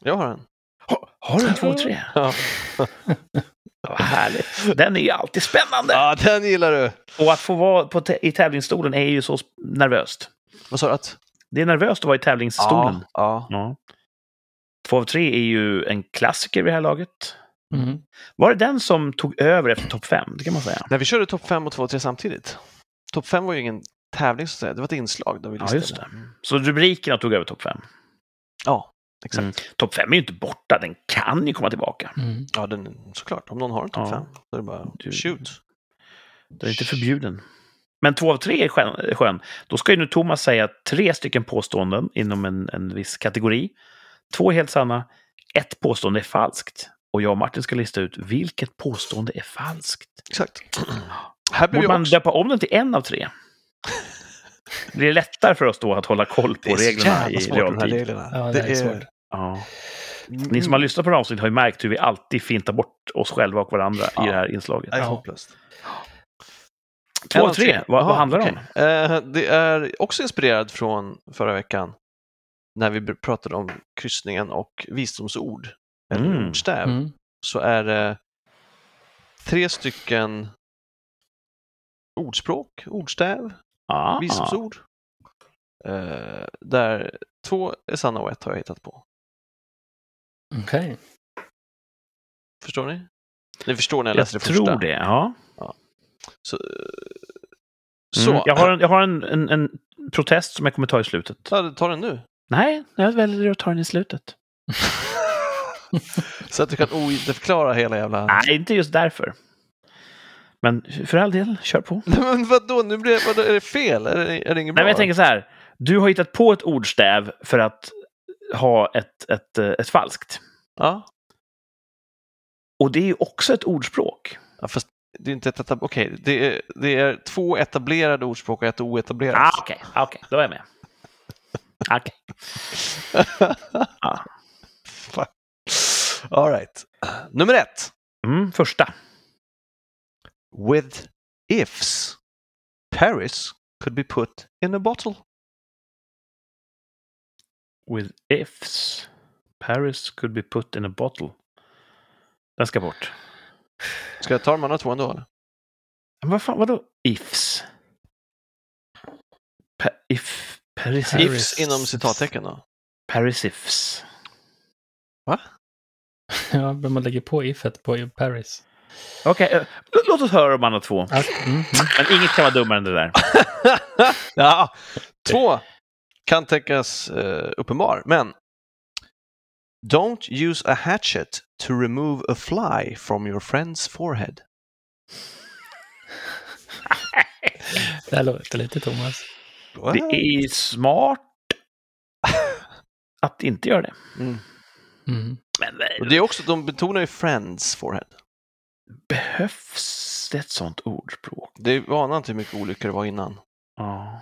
Jag har en. Ha, har du en två av tre? Ja. Vad härligt. Den är ju alltid spännande. ja, den gillar du. Och att få vara på tä- i tävlingsstolen är ju så sp- nervöst. Vad sa du? Att... Det är nervöst att vara i tävlingsstolen. Ja, ja. Ja. Två av tre är ju en klassiker vid det här laget. Mm. Var det den som tog över efter topp fem? Det kan man säga. När vi körde topp 5 och 2 och 3 samtidigt. Topp 5 var ju ingen tävling, så att säga. det var ett inslag. Där vi Ja, listade. just det. Så rubrikerna tog över topp fem. Ja, exakt. Mm. Topp fem är ju inte borta, den kan ju komma tillbaka. Mm. Ja, den, såklart. Om någon har en topp Ja. 5, då är det bara Du- shoot. Den är inte förbjuden. Men två av tre är skön. skön. Då ska ju nu Thomas säga tre stycken påståenden inom en, en viss kategori. Två är helt sanna, ett påstående är falskt. Och jag och Martin ska lista ut vilket påstående är falskt. Exakt. Här blir Borde ju man också... döpa om den till en av tre? Blir det lättare för oss då att hålla koll på Det är så reglerna i jävla svårt, Mm. de här realtid? reglerna. Ja, det, är svårt. Ja. Ni som har lyssnat på det här avsnittet har ju märkt hur vi alltid fintar bort oss själva och varandra Ja. i det här inslaget. Det är Ja. hopplöst. Två En av tre, vad, Aha, vad handlar det om? okej. Eh, det är också inspirerad från förra veckan när vi pratade om kryssningen och visdomsord, eller Mm. ordstäv, Mm. så är det tre stycken ordspråk, ordstäv, Ah. visdomsord. Eh, där två är sanna och ett har jag hittat på. Okej. Förstår ni? Ni förstår när jag, Jag läser det första. tror det, ja. Så, eh, så. Så. Mm. Jag har, en, jag har en, en, en protest som jag kommer ta i slutet. Ta, ta den nu. Nej, jag väljer att ta den i slutet. Så att du kan förklara hela jävla... Nej, inte just därför. Men för all del, kör på. Nej, men vadå, nu blir vadå, är det fel? Är det, är det inget Nej, bra? men jag tänker så här. Du har hittat på ett ordstäv för att ha ett, ett, eh, ett falskt. Ja, Och det är ju också ett ordspråk. ja fast det är inte ett etab... Okej, det, är, det är två etablerade ordspråk och ett oetablerat. Ah, Okej, ah, okej, då är jag med. Okej. Ah. Fan. All right. Nummer ett. Mm, första. With ifs, Paris could be put in a bottle. With ifs, Paris could be put in a bottle. Den ska bort. Ska jag ta de andra två ändå? Eller? Men vad fan, vadå ifs? Pa, if, Paris, Paris. Ifs inom citattecken då? Paris ifs. Ja, men man lägger på ifet på Paris. Okej, eh, lå- låt oss höra de andra två. Ja, mm. Men inget kan vara dummare än det där. ja, två Eh, kan tänkas eh, uppenbar, men Don't use a hatchet to remove a fly from your friend's forehead. Det här låter lite Thomas. Det är ju smart att inte göra det. Mm. Men Och eh, det är också, de betonar ju friends forehead. behövs det ett sånt ordspråk? Det anar inte hur mycket olyckor det var innan. Ja.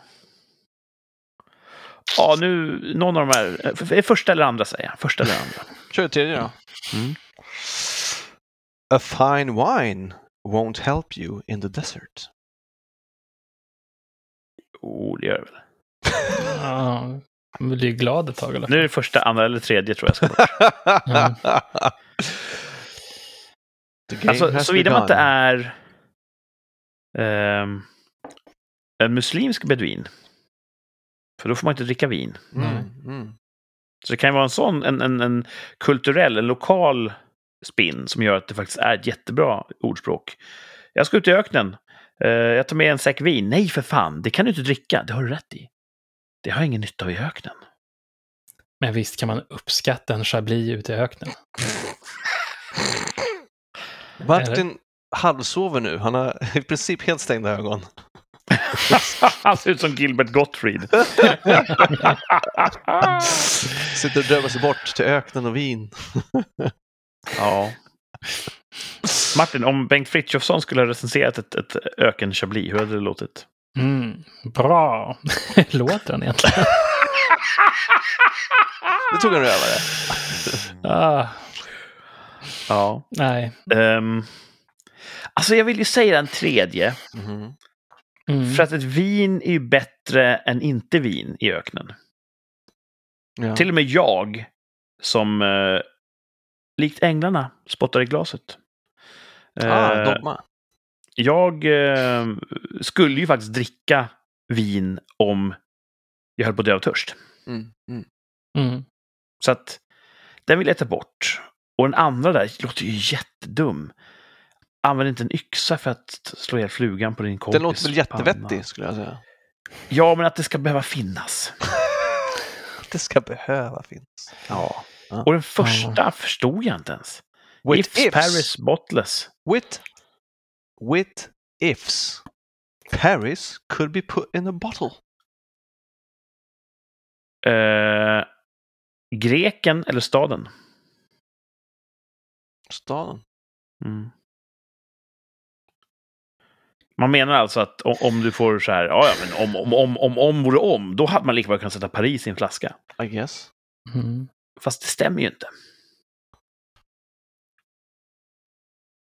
Ja, nu, någon av de här. eh, f- f- Första eller andra säger jag. Första eller andra. Kör det tredje då. Mm. A fine wine won't help you in the desert. Oh, det gör det väl. Ja, man blir ju glad ett tag. Eller? Nu är det första, andra eller tredje tror jag ska bort. Mm. The game Alltså, has såvida man inte begun. är ehm, en muslimsk beduin. För då får man inte dricka vin. Mm, mm. Så det kan ju vara en sån, en, en, en kulturell, en lokal spinn som gör att det faktiskt är ett jättebra ordspråk. Jag ska ut i öknen. Eh, jag tar med en säck vin. Nej, för fan, det kan du inte dricka. Det har du rätt i. Det har jag ingen nytta av i öknen. Men visst kan man uppskatta en chablis ute i öknen? Martin halvsover nu. Han har i princip helt stängda ögon. Han ser ut som Gilbert Gottfried. Sitter och drömmer sig bort till öknen och vin. Ja. Martin, om Bengt Frithiofsson skulle ha recenserat ett, ett öken-chablis, hur hade det låtit? Mm, bra! Låter han egentligen? Det tog en rövare. Mm. Ah, Ja. nej. Ehm, alltså, jag vill ju säga en tredje. Mm-hmm. Mm. För att ett vin är ju bättre än inte vin i öknen. Ja. Till och med jag, som eh, likt änglarna spottar i glaset. ah, Eh, dogma. jag eh, skulle ju faktiskt dricka vin om jag höll på att dö av törst. Mm, mm. Mm. Så att den vill jag ta bort. Och den andra där låter ju jättedum. Använd inte en yxa för att slå ihjäl flugan på din kompis. Den låter väl panna. jättevettig skulle jag säga. Ja, men att det ska behöva finnas. Det ska behöva finnas. Ja. Och den första förstod jag inte ens. With ifs, Paris Botless. With, with ifs. Paris could be put in a bottle. Eh, greken eller staden? Staden. Mm. Man menar alltså att o- om du får så här, ja, ja men om, om, om, om, om vore om, då hade man lika väl kunnat sätta Paris i en flaska. I guess. Mm. Fast det stämmer ju inte.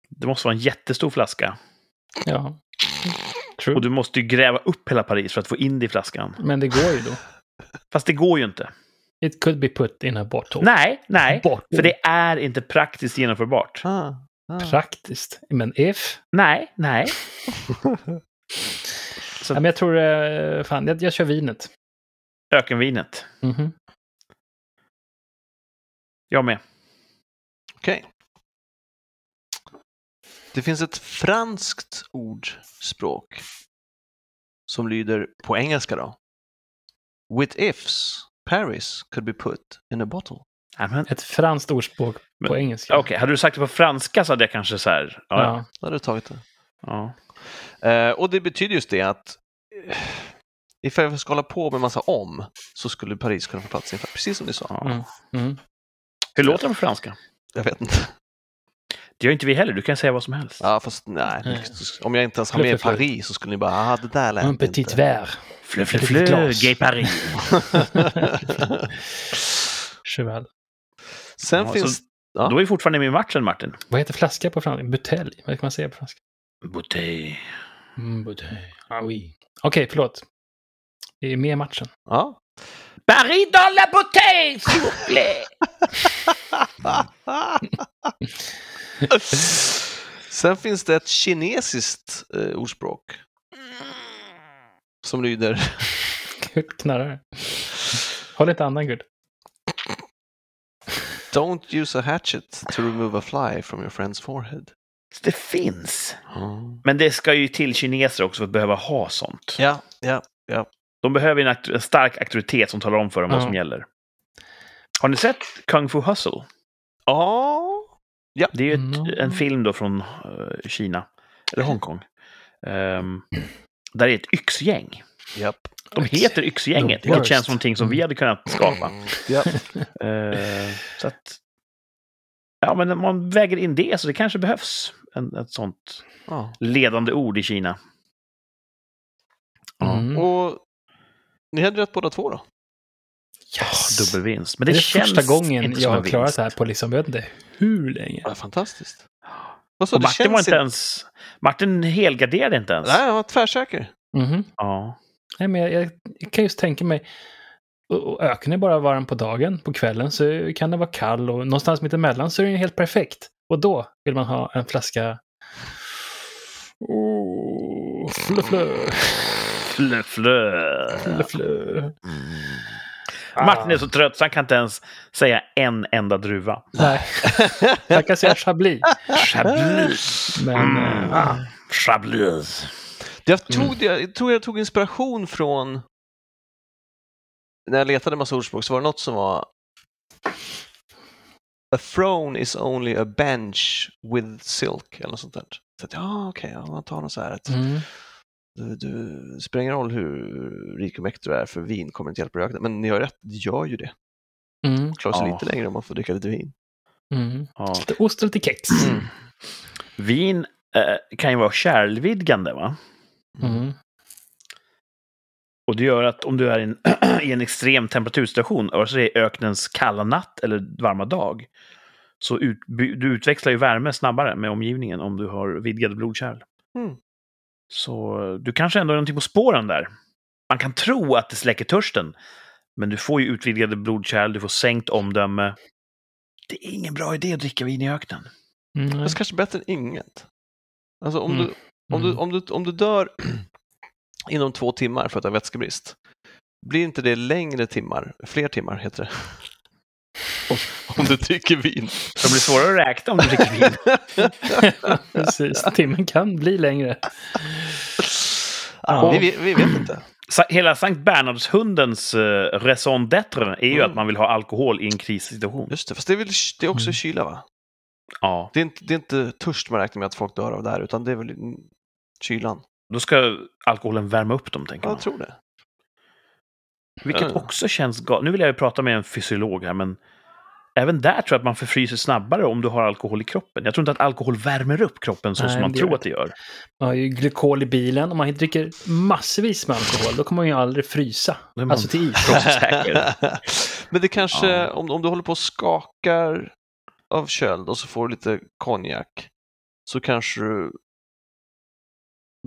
Det måste vara en jättestor flaska. Ja. Och True. du måste ju gräva upp hela Paris för att få in det i flaskan. Men det går ju då. Fast det går ju inte. It could be put in a bottle. Nej, nej. Bottle. För det är inte praktiskt genomförbart. Ah, ah. Praktiskt. Men if? Nej, nej. Ja, men jag tror... eh, Fan, jag, jag kör vinet. Ökenvinet. Mhm. Jag med. Okej. Det finns ett franskt ordspråk som lyder på engelska då. With ifs, Paris could be put in a bottle. Nej, men- Ett franskt ordspråk på Men- engelska. Okej, hade du sagt det på franska så hade jag kanske så här... Ja, ja. Ja. Då hade du tagit det. ja. Eh, och det betyder just det att eh, ifall vi ska hålla på med massa om så skulle Paris kunna få plats inför, precis som ni sa. ja. Mm. Mm. Hur låter det på franska? Jag vet inte. Det gör inte vi heller. Du kan säga vad som helst. Ja, fast nej. Nej. Om jag inte ens har Flöt med för flöt. Paris så skulle ni bara, ah, det där lät Un petit inte. verre. Flö, flö, Ett flö, litet glas. gay Paris. Cheval. Sen Ja, finns... så- Ja. Då är vi fortfarande med i matchen, Martin. Vad heter flaska på franska? Butelj? Vad kan man säga på franska? Bouteille. Mm, butelj. Ah, oui. Okej, förlåt. Vi är med i matchen. Ja. Paris dans la bouteille, s'il vous plaît! Sen finns det ett kinesiskt eh, ordspråk som lyder... Gud, knarrar det. Håll inte andan, Gud. Don't use a hatchet to remove a fly from your friend's forehead. Så det finns. Men det ska ju till kineser också för att behöva ha sånt. Ja, ja. De behöver ju en, auktor- en stark auktoritet som talar om för dem vad Ja. som gäller. Har ni sett Kung Fu Hustle? Ja. Det är ju ett, No. en film då från eh, Kina, eller Mm. Hongkong. Ehm, där det är ett yxgäng. Japp. De heter Yxgänget, The vilket worst. känns som någonting som vi Mm. hade kunnat skapa. Japp. Ehm, så att, ja, men om man väger in det så det kanske behövs en, ett sånt Ja. ledande ord i Kina. Ja, Mm. Och ni hade rätt båda två då? Yes. dubbelvinst. Men det, det, är känns första gången inte jag som har en klarat vinst. det här på liksom, jag vet inte hur länge. Ja, fantastiskt. Vad sa Och du? Martin var Känns inte ens... Martin helgarderade inte ens. Nej, jag var tvärsäker. Mhm. Ja. Nej, men jag, jag, jag kan just tänka mig, och- och öknen är bara varm på dagen, på kvällen så kan den vara kall och någonstans mittemellan så är den helt perfekt. Och då vill man ha en flaska... Oh, flö, flö, Flö, flö. flö, flö. Ah. Mm. Martin är så trött så han kan inte ens säga en enda druva. Nej, jag kan säga chablis. Chablis. Men Mm. eh, Ah, Chablis. Jag tog, det- jag tror jag tog inspiration från... När jag letade massa ordspråk så var det något som var... A throne is only a bench with silk eller något sånt där. Så att, ja, okej, ja, man tar något så här att mm. du, du spelar ingen roll hur rik och mäktig du är för vin kommer inte hjälpa dig att öka. Men ni har rätt, det gör ju det. Mm. Klarar sig Ja. lite längre om man får dricka lite vin. Mm. Ja. Lite ost och lite kex. Vin eh, kan ju vara kärlvidgande, va? Mm. Och det gör att om du är i en, i en extrem temperaturstation, vare sig det är öknens kalla natt eller varma dag, så ut, by- du utväxlar ju värme snabbare med omgivningen om du har vidgade blodkärl. Mm. Så eh, du kanske ändå är någonting på spåren där. Man kan tro att det släcker törsten, men du får ju utvidgade blodkärl, du får sänkt omdöme. Det är ingen bra idé att dricka vin i öknen. Mm. Fast kanske bättre än inget. Alltså om, Mm. du, om, du, om, du, om du dör inom två timmar för att du har vätskebrist, blir inte det längre timmar, fler timmar heter det, om, om du dricker vin? Så det blir svårare att räkna om du dricker vin. Precis, timmen kan bli längre. Ah, vi, vet- vi vet inte. Sa- Hela Sankt Bernhardshundens uh, raison d'être är ju Mm. att man vill ha alkohol i en krissituation. Just det, fast det är, väl, det är också Mm. kyla va? Ja, Det är, inte, det är inte törst man räknar med att folk dör av där, utan det är väl mm, kylan. då ska alkoholen värma upp dem, tänker Ja, man. jag tror det. Vilket Ja. också känns galet. Nu vill jag ju prata med en fysiolog här, men även där tror jag att man förfryser snabbare om du har alkohol i kroppen. Jag tror inte att alkohol värmer upp kroppen så Nej, som man det gör tror att det gör. Man har ju glykol i bilen. Om man dricker massvis med alkohol, då kommer man ju aldrig frysa. Då är man Alltså till is. frostsäker. Men det kanske, Ja. om, om du håller på och skakar av köld och så får du lite konjak, så kanske du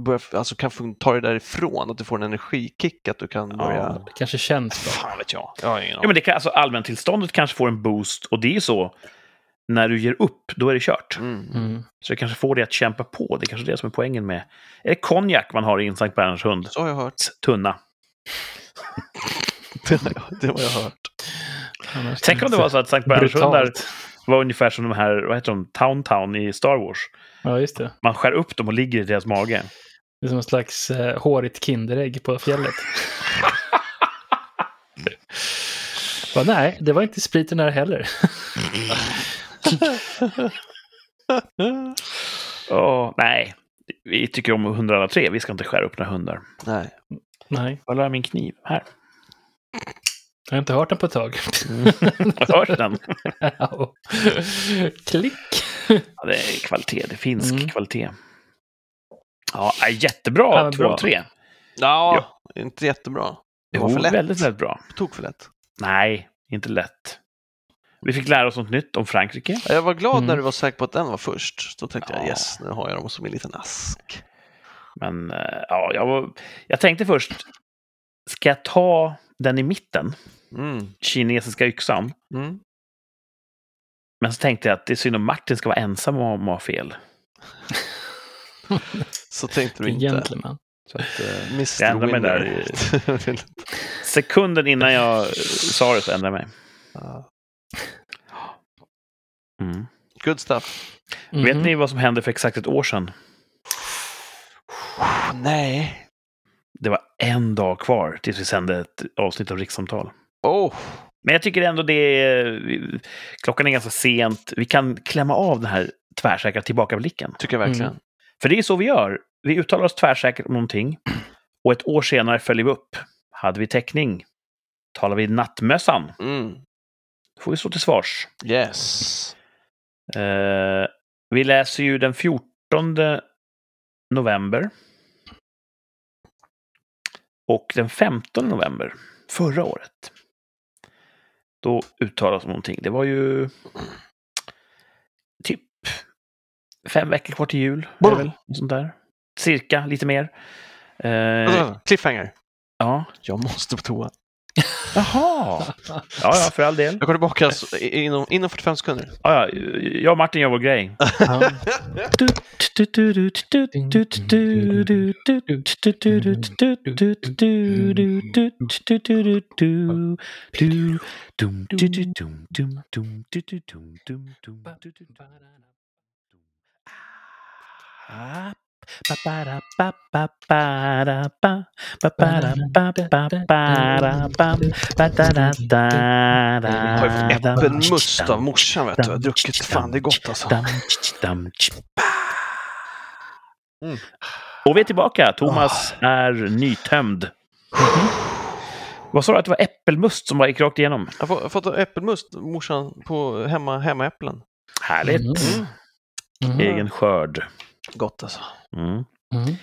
börjar, alltså kan fun- ta dig därifrån, att du får en energikick, att du kan börja... Det kanske känns bra. Fan vet jag. Jag har ingen Ja, aning. men det kan, alltså, allmäntillståndet kanske får en boost, och det är ju så. När du ger upp, då är det kört. Mm. Mm. Så det kanske får dig att kämpa på. Det är kanske är det som är poängen med... Är det konjak man har i en Sankt Bernhardshund? Så har jag hört. Tunna. Det har jag, det har jag hört. Annars Tänk om det var så att Sankt Bernhardshundar brutalt. var ungefär som de här, vad heter de, Town Town i Star Wars. Ja, just det. Man skär upp dem och ligger i deras mage. Det är som en slags eh, hårigt Kinderägg på fjället. Bara, nej, det var inte spriten här heller. Åh, nej, vi tycker om hundar alla tre. Vi ska inte skära upp några hundar. Nej. Nej, Var la jag min kniv? Här. jag har inte hört den på ett tag. Mm. Hörs den? Au. Klick! Ja, det är kvalitet. Det är finsk Mm. kvalitet. Ja, nej, jättebra. Ja, men två bra. av tre. Ja, inte jättebra. Det var Jo, för lätt. väldigt, väldigt bra. På tok för lätt. Nej, inte lätt. Vi fick lära oss något nytt om Frankrike. Jag var glad när Mm. du var säker på att den var först. Då tänkte Ja. jag yes, nu har jag dem som en liten ask. Men eh, ja, jag, var, jag tänkte först, ska jag ta den i mitten, Mm. kinesiska yxan? Mm. Men så tänkte jag att det är synd om Martin ska vara ensam om att ha fel. Så tänkte du inte. Gentleman. Så att, eh, Mr. Jag ändrar mig Winner. sekunden innan jag eh, sa det så ändrade jag mig. Ja. Mm. Good stuff. Mhm. Vet ni vad som hände för exakt ett år sedan? Nej. Det var en dag kvar tills vi sände ett avsnitt av Rikssamtal. Oh. Men jag tycker ändå det är... vi- Klockan är ganska sent. Vi kan klämma av den här tvärsäkra tillbakablicken. Tycker jag verkligen. För det är så vi gör. Vi uttalar oss tvärsäkert om någonting och ett år senare följer vi upp. Hade vi täckning? Talar vi nattmössan? Mm. Då får vi stå till svars. Yes. Eh, vi läser ju den 14 november. Och den 15 november förra året. Då uttalas någonting. Det var ju typ fem veckor kvar till jul. Är det väl? Något sånt där. Cirka, lite mer. Eh, Alltså. Vänta, vänta. Cliffhanger. ja, Jag måste på toa. Jaha! Ja, ja, för all del. Jag går tillbaka så- i- inom, inom 45 sekunder. Ja, ja, jag och Martin gör vår grej. Ja. Jag har ju fått äppelmust av morsan vet du. Jag har druckit. Fan, det är gott alltså. Dam, tsch, dam, tsch, pa. Mm. Ah. Och vi är tillbaka. Thomas är nytömd. Mm-hmm. Vad sa du att det var äppelmust som var gick rakt igenom? Jag har fått äppelmust, morsan, på hemma, hemmaäpplen. Härligt. Mm. Mm-hmm. Egen skörd. Gott alltså. Mm. Mm.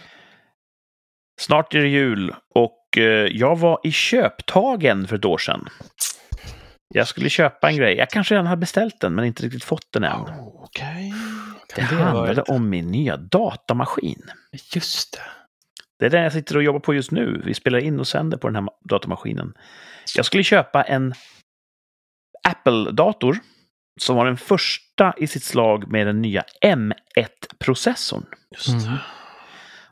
Snart är det jul och eh, jag var i köptagen för ett år sedan. Jag skulle köpa en grej. Jag kanske redan hade beställt den men inte riktigt fått den än. Oh, Okej. Det Kan det ha handlade varit? om min nya datamaskin. Just det. Det är den jag sitter och jobbar på just nu. Vi spelar in och sänder på den här ma- datamaskinen. Jag skulle köpa en Apple-dator som var den första i sitt slag med den nya M1-processorn. Just det. Mm.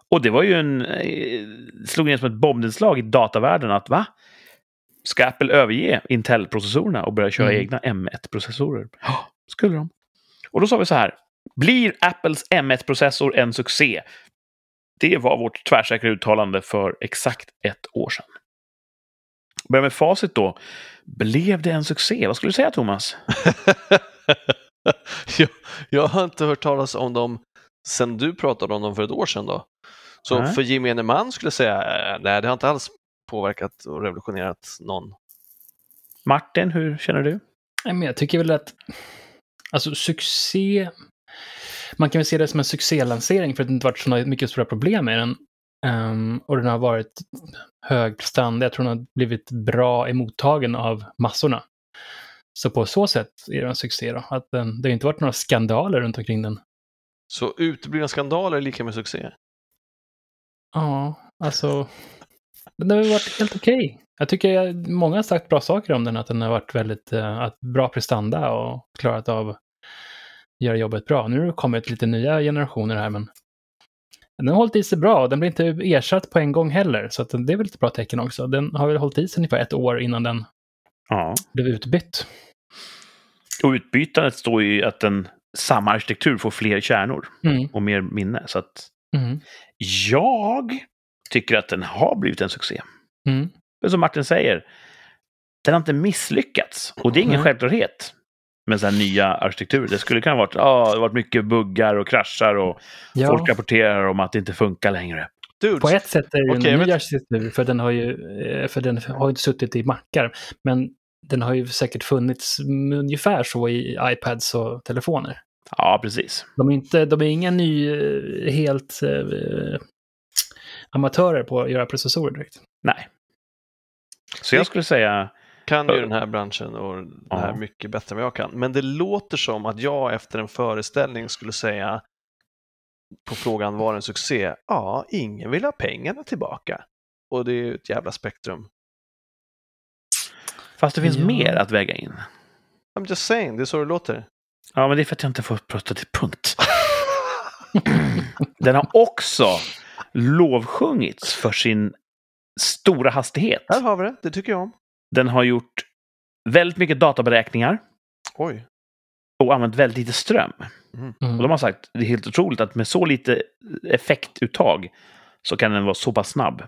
Och det var ju en... Eh, slog in som ett bombnedslag i datavärlden att va? Ska Apple överge Intel-processorerna och börja köra Mm. egna M1-processorer? Ja, skulle de. Och då sa vi så här. Blir Apples M1-processor en succé? Det var vårt tvärsäkra uttalande för exakt ett år sedan. Börja med facit då. Blev det en succé? Vad skulle du säga, Thomas? jag, jag har inte hört talas om dem sen du pratade om dem för ett år sedan. Då. Så Nej. för gemene man skulle jag säga, eh, nej det har inte alls påverkat och revolutionerat någon. Martin, hur känner du? Nej, men jag tycker väl att... Alltså succé... Man kan väl se det som en succélansering för att det inte varit så mycket stora problem med den. Ehm, och den har varit hög prestanda. Jag tror den har blivit bra emottagen av massorna. Så på så sätt är det en succé då. Att den, det har ju inte varit några skandaler runt omkring den. Så uteblivna skandaler är lika med succé. Ja, alltså... Den har väl varit helt okej. Jag tycker jag, många har sagt bra saker om den, att den har varit väldigt eh, att bra prestanda och klarat av att göra jobbet bra. Nu har det kommit lite nya generationer här, men den har hållit i sig bra. och Den blir inte ersatt på en gång heller, så att den- det är väl ett bra tecken också. Den har väl hållit i sig ungefär ett år innan den Ja. blev utbytt. Och utbytandet står ju i att en, samma arkitektur får fler kärnor. Mm. och mer minne. Så att Mm. jag tycker att den har blivit en succé. Mm. Men som Martin säger, den har inte misslyckats. Och det är ingen Nej. självklarhet med så här nya arkitekturer. Det skulle kunna ha varit, ah, det har varit mycket buggar och kraschar och Ja, folk rapporterar om att det inte funkar längre. Dude, på ett sätt är det ju Okej, jag en ny vet- arkitektur, för den har ju eh, för den har ju inte suttit i mackar. Men den har ju säkert funnits mm, ungefär så i iPads och telefoner. Ja, precis. De är, inte, de är inga ny, eh, helt eh, amatörer på att göra processorer direkt. Nej. Så jag skulle säga, kan ju den här branschen och det här Ja. mycket bättre än vad jag kan. Men det låter som att jag efter en föreställning skulle säga på frågan var det en succé? Ja, ingen vill ha pengarna tillbaka. Och det är ju ett jävla spektrum. fast det finns Ja. mer att väga in. I'm just saying, det är så det låter. Ja, men det är för att jag inte får prata till punkt. Den har också lovsjungits för sin stora hastighet. Här har vi det, det tycker jag om. Den har gjort väldigt mycket databeräkningar Oj. och använt väldigt lite ström. Mm. Och de har sagt det är helt otroligt att med så lite effektuttag så kan den vara så pass snabb.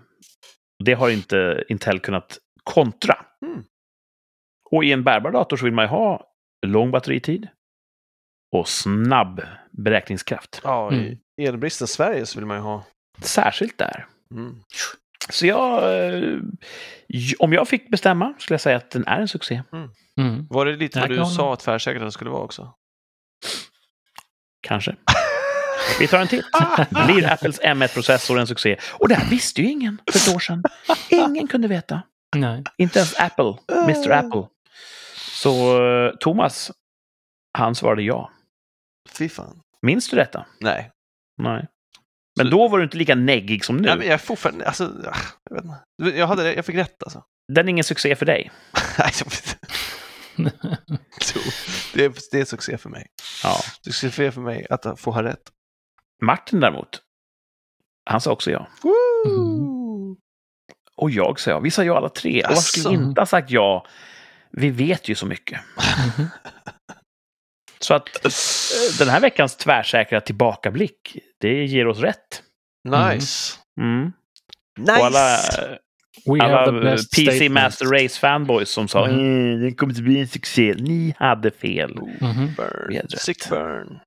Det har inte Intel kunnat kontra. Mm. Och i en bärbar dator så vill man ju ha lång batteritid och snabb beräkningskraft. Ja, i Mm. elbristens Sverige så vill man ju ha. Särskilt där. Mm. Så jag... eh, j- Om jag fick bestämma skulle jag säga att den är en succé. Mm. Var det lite Jag vad kan du hålla sa att tvärsäkerheten skulle vara också? Kanske. Vi tar en till. Blir Apples M1-processor en succé? Och det här visste ju ingen för ett år sedan. Ingen kunde veta. Nej. Inte ens Apple, Mr Eh. Apple. Så eh, Thomas, han svarade ja. Fy fan. Minns du detta? Nej. Nej. Men då var du inte lika neggig som Nej, men nu. jag är fortfarande... Alltså, ah, jag, vet inte. Du vet, jag, hade, det- jag fick rätt alltså. Den är ingen succé för dig. Nej, jag vet inte. Jo, det, är, det är succé för mig. Ja. Succé för mig att få ha rätt. Martin däremot, han sa också ja. Woo! Och jag sa ja. Vi sa ja alla tre. Och varför skulle vi Asså. inte ha sagt ja? Vi vet ju så mycket. Mhm. Så att eh, den här veckans tvärsäkra tillbakablick, det ger oss rätt. Nice. Mm. Nice! Och alla, We have the alla best PC statement. Master Race fanboys som sa Mm. mm. den kommer inte bli en succé, ni hade fel. Mhm. Burn. Vi hade rätt. Sick burn.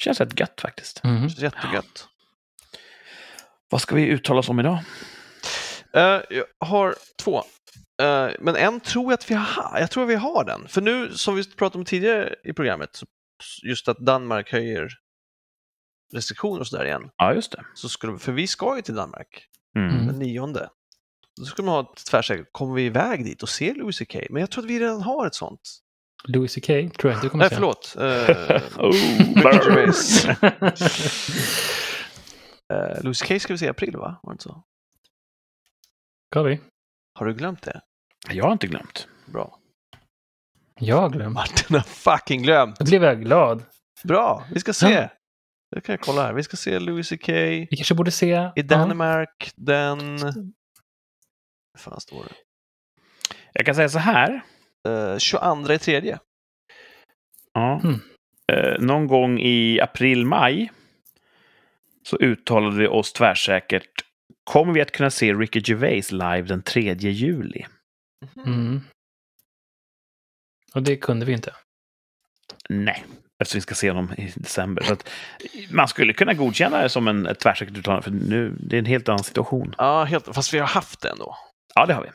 Känns rätt gött faktiskt. Mhm. Känns Jättegött. Vad ska vi uttala oss om idag? Eh, jag har två. Eh, men en tror jag att vi har. Jag tror vi har den. För nu, som vi pratade om tidigare i programmet, så- just att Danmark höjer restriktioner och sådär igen. Ja, just det. Så skulle, för vi ska ju till Danmark Mm. Mm. den nionde. Då skulle man ha ett tvärsäkert, kommer vi iväg dit och ser Louis CK? Men jag tror att vi redan har ett sånt. Louis CK tror jag inte du kommer Nej, se. förlåt. Eh, Oh, Ricky burn. Gervais. Eh, Louis CK ska vi se i april, va? Var det inte så? Ska vi? Har du glömt det? Jag har inte glömt. Bra. Jag har glömt. Martin har fucking glömt. Då blev jag glad. Bra, vi ska se. Ja. Det kan jag kolla här. Vi ska se Louis CK Vi kanske borde se... i Danmark den... Hur fan står det? Jag kan säga så här. Eh, 22 i tredje. Ja. Mm. Eh, någon gång i april-maj så uttalade vi oss tvärsäkert. Kommer vi att kunna se Ricky Gervais live den 3 juli? Ja. Mm. Och det kunde vi inte. Nej, eftersom vi ska se honom i december. Så att man skulle kunna godkänna det som en ett tvärsäkert uttalande, för nu, det är en helt annan situation. Ja, helt... fast vi har haft den då. Ja, det har vi.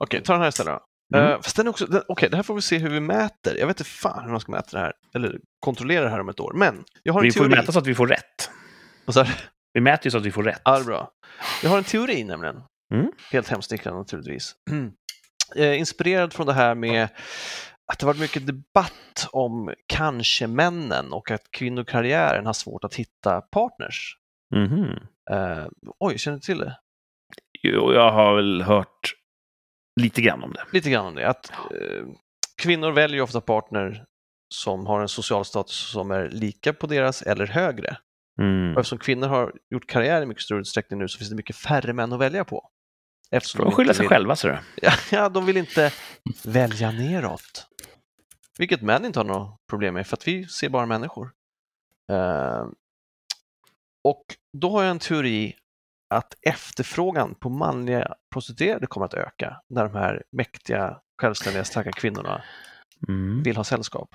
Okej, ta den här istället då. Mm. Eh, fast den är också... Den... Okej, det här får vi se hur vi mäter. Jag vet inte fan hur man ska mäta det här. Eller kontrollera det här om ett år. Men jag har en Vi får teori. mäta så att vi får rätt. Vad sa du? Vi mäter ju så att vi får rätt. Ja, det är bra. Jag har en teori nämligen. Mm. Helt hemsnickrande naturligtvis. Eh, Inspirerad från det här med att det varit mycket debatt om kanske-männen och att kvinnokarriären har svårt att hitta partners. Mhm. Eh, oj, känner du till det? Jo, jag har väl hört lite grann om det. Lite grann om det. Att, eh, kvinnor väljer ju ofta partner som har en social status som är lika på deras eller högre. Mm. Och eftersom kvinnor har gjort karriär i mycket större utsträckning nu så finns det mycket färre män att välja på. Eftersom De inte skyller sig vill- själva, ser du. Ja, ja, de vill inte välja neråt. Vilket män inte har några problem med, för att vi ser bara människor. Eh, och då har jag en teori att efterfrågan på manliga prostituerade kommer att öka när de här mäktiga, självständiga, starka kvinnorna Mm. vill ha sällskap.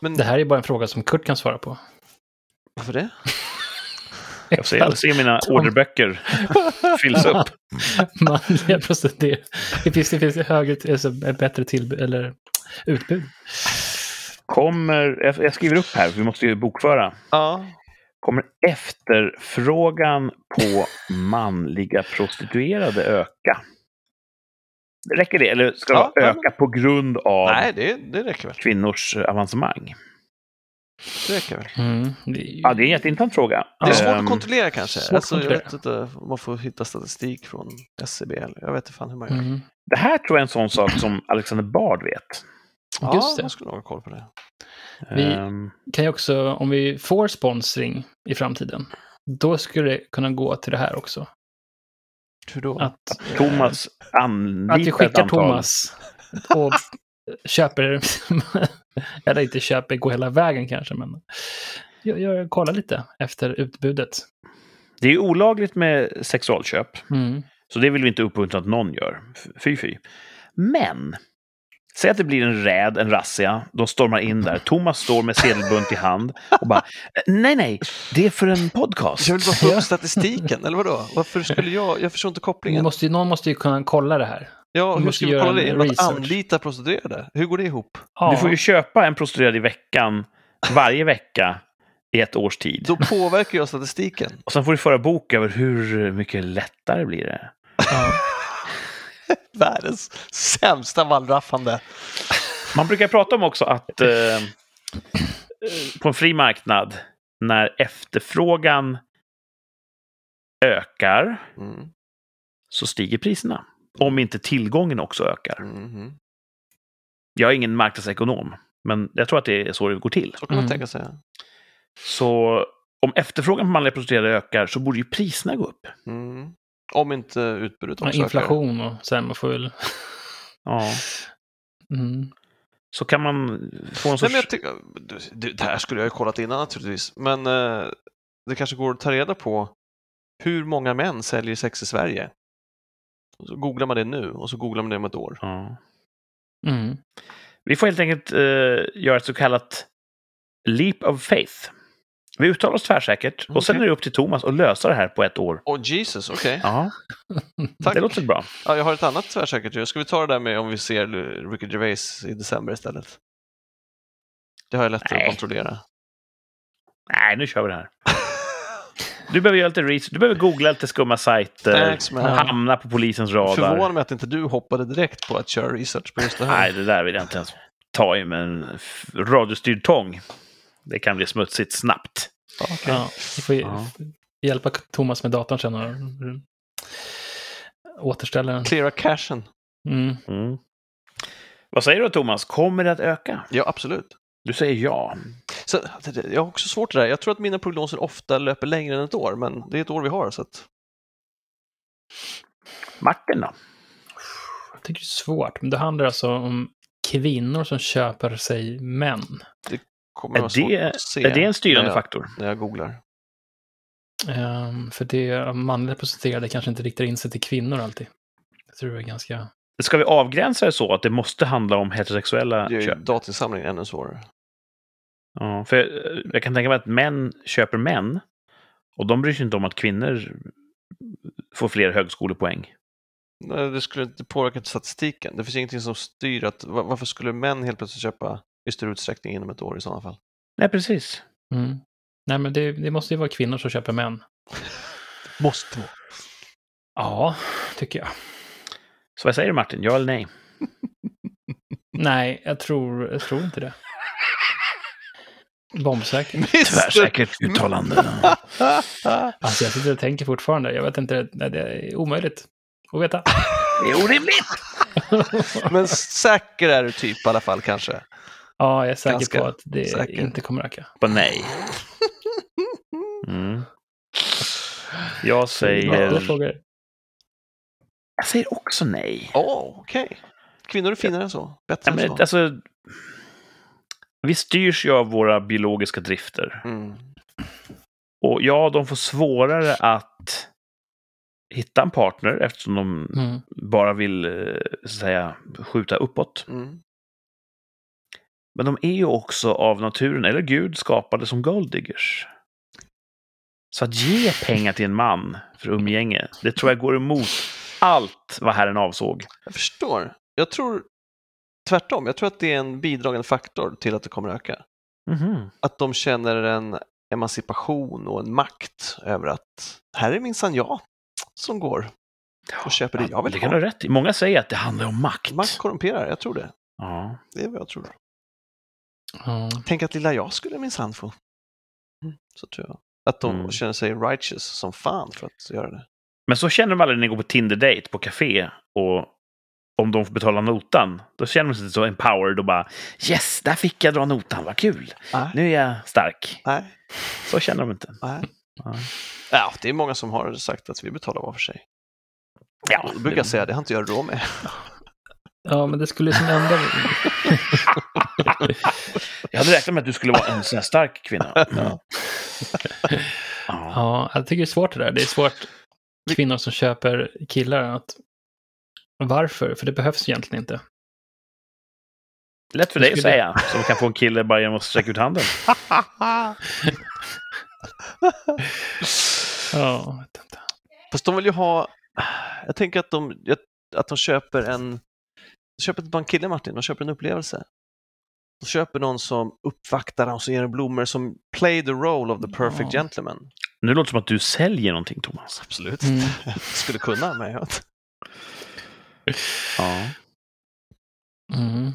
Men Det här är bara en fråga som Kurt kan svara på. varför det? Jag ser, Alltså, jag ser mina Tom. orderböcker fylls upp. Manliga prostituerade. Det finns, det finns högre, alltså, bättre till, eller utbud. Kommer, jag jag skriver upp här, för vi måste ju bokföra. Ja, Kommer efterfrågan på manliga prostituerade öka? Räcker det? Eller ska det Ja, vara ja, öka på grund av nej, det, det räcker väl. kvinnors eh, avancemang? Det räcker väl. Mm. Ja, det är en jätteintressant fråga. Ja. Det är svårt Ehm, att kontrollera kanske. svårt att Alltså, jag kontrollera. vet inte om man får hitta statistik från SCB. Eller, jag vet inte fan hur man gör. Mm. Det här tror jag är en sån sak som Alexander Bard vet. Ja, Just det. man skulle nog ha koll på det. Vi- Ehm, Kan jag också, om vi får sponsring i framtiden, då skulle det kunna gå till det här också. Hur då? Att, Thomas anlitar att vi ett skickar antal. Thomas och köper, eller inte köper, går hela vägen kanske, men jag, jag kollar lite efter utbudet. Det är ju olagligt med sexualköp. Mm. Så det vill vi inte uppmuntra att någon gör. F- Fy, fy. Men, säg att det blir en räd, en razzia. De stormar in där. Thomas står med sedelbunt i hand och bara "Eh, Nej, nej, det är för en podcast. Jag vill bara få Ja. upp statistiken, eller vadå? Varför skulle jag? Jag förstår inte Vi kopplingen. Måste, ju- någon måste ju kunna kolla det här. ja, hur måste ska vi göra kolla det? en Genom att research. anlita prostituerade? Hur går det ihop? Ja. Du får ju köpa en prostituerad i veckan, varje vecka, i ett års tid. Då påverkar jag statistiken. Och sen får du föra bok över hur mycket lättare blir det. Ja. Världens sämsta wallraffande. eh, Man brukar prata om också att eh, på en fri marknad när efterfrågan ökar Mm. så stiger priserna. Om inte tillgången också ökar. Mhm. Jag är ingen marknadsekonom, men jag tror att det är så det går till. Så kan man Mm. tänka sig. Så om efterfrågan på manliga prostituerade ökar så borde ju priserna gå upp. Mm. Om inte utbudet Ja, också ökar. inflation och sen man får väl... Ja. Mm. Så kan man få en Nej, sorts... men jag tycker, du- du, det här skulle jag ju kollat innan naturligtvis, men eh, det kanske går att ta reda på hur många män säljer sex i Sverige. Och så googlar man det nu och så googlar man det om ett år. ja. Mm. Vi får helt enkelt eh, göra ett så kallat leap of faith. Vi uttalar oss tvärsäkert och sen Okej. är det upp till Thomas att lösa det här på ett år. Åh Jesus, okej. Ja, Tack. det låter bra. Ja, jag har ett annat tvärsäkert ju. Ska vi ta det där med om vi ser Ricky Gervais i december istället? Det har jag lättare Nej. att kontrollera. Nej, nu kör vi det här. Du behöver göra lite research, du behöver googla lite skumma sajter, Thanks, man. hamna på polisens radar. Förvånar mig att inte du hoppade direkt på att köra research på just det här. Nej, det där vill jag inte ens ta i med en f- radiostyrd tång. Det kan bli smutsigt snabbt. Ja, okej. Ja, vi får Ja. ju- hjälpa Thomas med datorn sen och återställa den. Cleara cashen. Mm. Mm. Vad säger du Thomas, kommer det att öka? Ja, absolut. Du säger ja. Så, det- det- jag har också svårt det där. Jag tror att mina prognoser ofta löper längre än ett år, men det är ett år vi har. Så att, Martin då? Jag tycker det är svårt, men det handlar alltså om kvinnor som köper sig män. kommer Är vara svårt det- att se Är det en styrande när jag, faktor? när jag googlar. Ehm, för det manliga prostituerade kanske inte riktar in sig till kvinnor alltid. Jag tror det är ganska... Ska vi avgränsa det så att det måste handla om heterosexuella Det är ju köp? datinsamling ännu svårare. Ja, för jag, jag kan tänka mig att män köper män och de bryr sig inte om att kvinnor får fler högskolepoäng. Nej, det skulle inte påverka statistiken. Det finns ingenting som styr att va- varför skulle män helt plötsligt köpa i större utsträckning inom ett år i sådana fall? Nej, precis. Mm. Nej, men det, det måste ju vara kvinnor som köper män. Måste vara. Ja, tycker jag. Så vad säger du Martin, ja eller nej? Nej, jag tror, jag tror inte det. Bombsäker. Tvärsäkert uttalande. Alltså jag sitter och tänker fortfarande. Jag vet inte, nej, det är omöjligt att veta. Det är orimligt! Men säker är du typ i alla fall kanske. Ja, jag är säker Ganska på att det säker. inte kommer öka. På nej. Mm. Jag Lättare säger... frågor. Jag säger också nej. Åh, okej. Kvinnor är finare än så. Bättre nej än så. men, alltså, vi styrs ju av våra biologiska drifter. Mm. Och ja, de får svårare att hitta en partner eftersom de Mm. bara vill eh, så att säga, skjuta uppåt. Mm. Men de är ju också av naturen, eller Gud, skapade som golddiggers. Så att ge pengar till en man för umgänge, det tror jag går emot allt vad Herren avsåg. Jag förstår. Jag tror tvärtom. Jag tror att det är en bidragande faktor till att det kommer öka. Mhm. Att de känner en emancipation och en makt över att här är minsann jag som går och köper det jag Ja, vill det kan du ha. ha rätt i. Många säger att det handlar om makt. Makt korrumperar, jag tror det. Ja. Det är vad jag tror. Ja. Tänk att lilla jag skulle minsann få. Mm, Så tror jag. Att de Mm. känner sig righteous som fan för att göra det. Men så känner de aldrig när de går på Tinder-date på café och om de får betala notan, då känner de sig inte så empowered och bara yes, där fick jag dra notan, vad kul, Nej, nu är jag stark. nej, Så känner de inte. nej. Ja. Ja, det är många som har sagt att vi betalar var för sig. Ja, Då brukar jag säga det har inte jag råd med. ja, men det skulle ju som enda... jag hade räknat med att du skulle vara en sån här stark kvinna. Mm. Ja. Ja, jag tycker det är svårt det där. Det är svårt kvinnor som köper killar. Att... Varför? För det behövs egentligen inte. Lätt för dig att säga, som kan få en kille bara genom att sträcka ut handen. Ja, jag vet inte. Fast de vill ju ha, jag tänker att de, att de köper en, de köper inte bara en kille Martin, de köper en upplevelse. De köper någon som uppvaktar dem, som ger dem blommor, som play the role of the perfect Ja. gentleman. Nu låter det som att du säljer någonting, Thomas. Absolut. Mm. Skulle kunna, men jag Ja. Mm.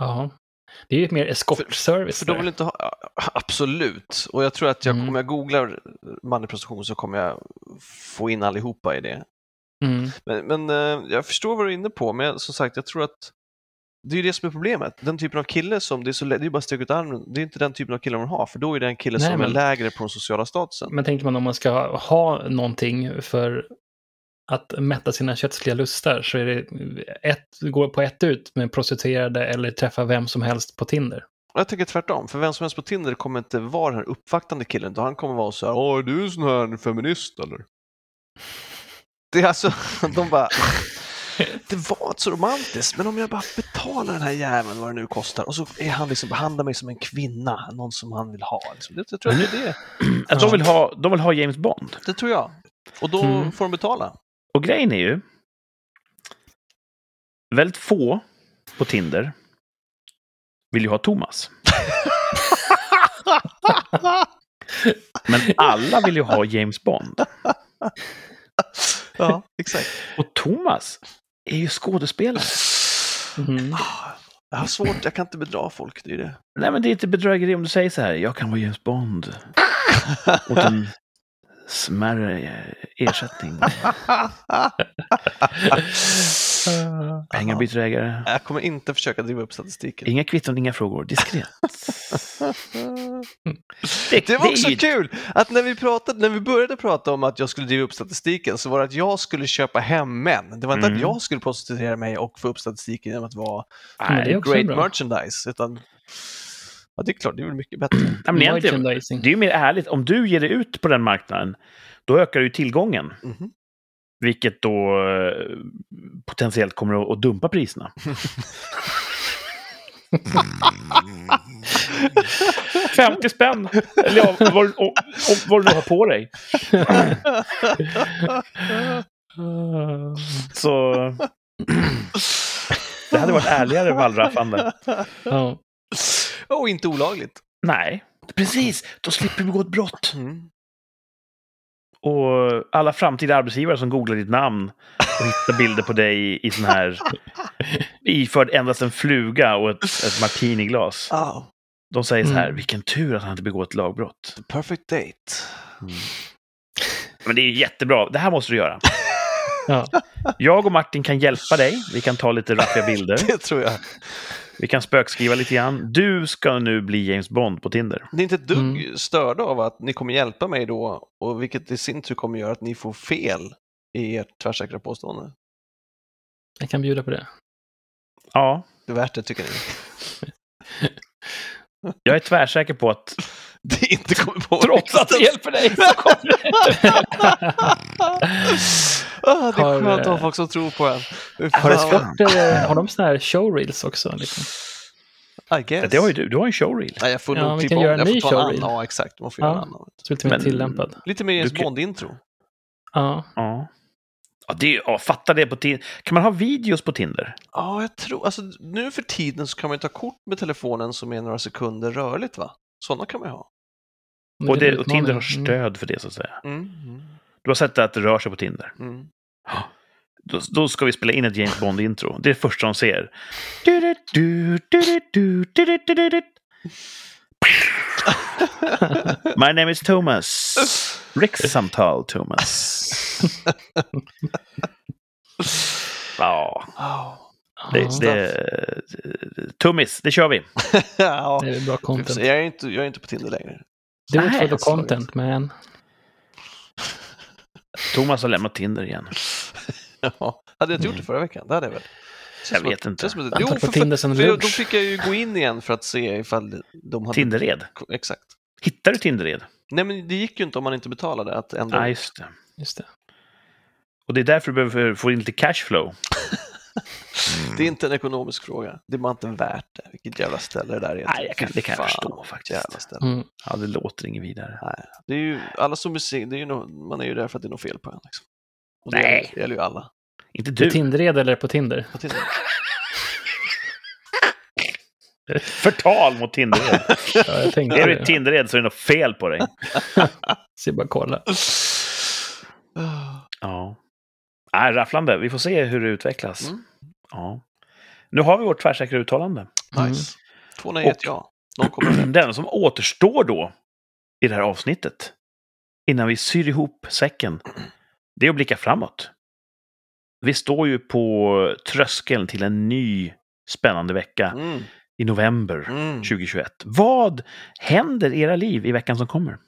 Ja. Det är ju mer eskortservice. För de vill där. inte ha, ja, absolut, och jag tror att jag, Mm. om jag googlar manlig prostitution så kommer jag få in allihopa i det. Mm. Men, men eh, jag förstår vad du är inne på, men jag- som sagt, jag tror att det är ju det som är problemet. Den typen av kille som, det är, så, lä- det är ju bara att sticka ut armen, det är inte den typen av kille man har, för då är det en kille Nej, som är men- lägre på den sociala statusen. Men tänker man om man ska ha någonting för att mätta sina kötsliga lustar så är det ett, går på ett ut med prostituerade eller träffa vem som helst på Tinder. Och Jag tänker tvärtom, för vem som helst på Tinder kommer inte vara den här uppvaktande killen, utan han kommer vara så här ”Åh, är du en sån här feminist eller?” Det är alltså, de bara ”Det var inte så romantiskt, men om jag bara betalar den här jäveln vad det nu kostar och så är han liksom, behandlar mig som en kvinna, någon som han vill ha”. Liksom. Det, jag tror jag det är det. Att de, vill ha, de vill ha James Bond. Det tror jag. Och då Mm. får de betala. Och grejen är ju... Väldigt få på Tinder vill ju ha Thomas. Men alla vill ju ha James Bond. Ja, exakt. Och Thomas är ju skådespelare. Mm. Ah, Jag har svårt, jag kan inte bedra folk, det är det. Nej, men det är inte bedrägeri om du säger så här. Jag kan vara James Bond. Åt en smärre eh, ersättning. Ah. Pengar byter ägare. Jag kommer inte försöka driva upp statistiken. Inga kvitton, inga frågor. Diskret. Det var också är ju- kul att när vi, pratade, när vi började prata om att jag skulle driva upp statistiken så var det att jag skulle köpa hem män. Det var inte Mm. att jag skulle prostituera mig och få upp statistiken genom att vara Men det är också great bra. merchandise. Utan, ja, det är klart, det är väl mycket bättre. Nej, men egentligen, Merchandising. det är ju mer ärligt. Om du ger dig ut på den marknaden, då ökar ju tillgången. Mhm. Vilket då eh, potentiellt kommer att- att dumpa priserna. Mm. 50 spänn! Eller ja, vad, du- och- och vad du nu har på dig. Ah. Så det hade varit ärligare wallraffande. Ja. Och inte olagligt. Nej. Precis, då slipper vi gå ett brott. Mm. Och alla framtida arbetsgivare som googlar ditt namn och hittar bilder på dig i, i sån här... Iförd endast en fluga och ett, ett martiniglas. Oh, De säger så här, Mm. vilken tur att han inte begår ett lagbrott. the perfect date. Mm. Men det är jättebra, det här måste du göra. Ja. Jag och Martin kan hjälpa dig, vi kan ta lite raffiga bilder, Det tror jag. vi kan spökskriva lite grann. Du ska nu bli James Bond på Tinder. Ni är inte ett dugg Mm. störda av att ni kommer hjälpa mig då, och vilket i sin tur kommer göra att ni får fel i ert tvärsäkra påstående. Jag kan bjuda på det. Ja, Det är värt det, tycker ni? jag är tvärsäker på att Det inte kommer på trots att det hjälper dig så kommer det. Ah, det är Har, skönt att ha eh, folk som tror på en. Fy Har, fan, eskorter, har de såna här showreels också? Liksom? I guess. Det har ju du, du har en showreel. Ja, jag får Ja, nog vi klippa kan om. göra en Jag ny får ta en showreel. annan. Ja, exakt. Man får göra Ja. en annan. Så lite mer Men- tillämpad. Lite mer James Du kan- Bond-intro. Ja. Ja. Ja, det är, ju- ja, fatta det på Tinder. Kan man ha videos på Tinder? Ja, jag tror... Alltså, nu för tiden så kan man ju ta kort med telefonen som är några sekunder rörligt, va? Sådana kan man ju ha. Men Och, är det, en och Tinder har utmaning. Mm. stöd för det, så att säga. Mm. Du har sett att det rör sig på Tinder. Mm. Då, då ska vi spela in ett James Bond-intro. Det är det första de ser. Du-du-du, du-du-du, du-du-du-du-du. My name is Thomas. Rikssamtal Thomas. Ja, Ja. det, det, Tummis, det kör vi. ja. Det är bra vi får content. se. Jag är, inte, jag är inte på Tinder längre. Du Nej, är full av alltså. content, man. Thomas har lämnat Tinder igen. Ja. Hade jag inte gjort det förra veckan? Det hade jag väl? Känns Jag som vet att- inte. känns som att- Väntat Jo, på för, Tinder sedan för, för, då lunch. fick jag ju gå in igen för att se ifall de hade... Tindered. Exakt. Hittar du Tindered? Nej, men det gick ju inte om man inte betalade att ändra. Ja, just det. Just det. Och det är därför du behöver få in lite cashflow. Det är inte en ekonomisk fråga. Det är bara inte värt det. Vilket jävla ställe det där är. Nej, jag kan- det kan jag Fy fan, förstå vilket faktiskt. Jävla ställe. Mm. Ja, det låter inget vidare. Det är ju, alla som är sing- det är ju no, man är ju där för att det är något fel på en. Liksom. Och det Nej. gäller- Det gäller ju alla. Inte På du. Tindered eller på Tinder? På Tinder. Förtal mot Tindered. Ja, jag tänkte Är du det. Tindered så är det något fel på dig. Så jag bara kolla. Ah, Ja. Nej, rafflande. Vi får se hur det utvecklas. Mm. Ja. Nu har vi vårt tvärsäkra uttalande. Nice. Två nej, ett ja. Någon kommer rätt. Den som återstår då i det här avsnittet, innan vi syr ihop säcken, det är att blicka framåt. Vi står ju på tröskeln till en ny spännande vecka Mm. i november Mm. 2021. Vad händer i era liv i veckan som kommer?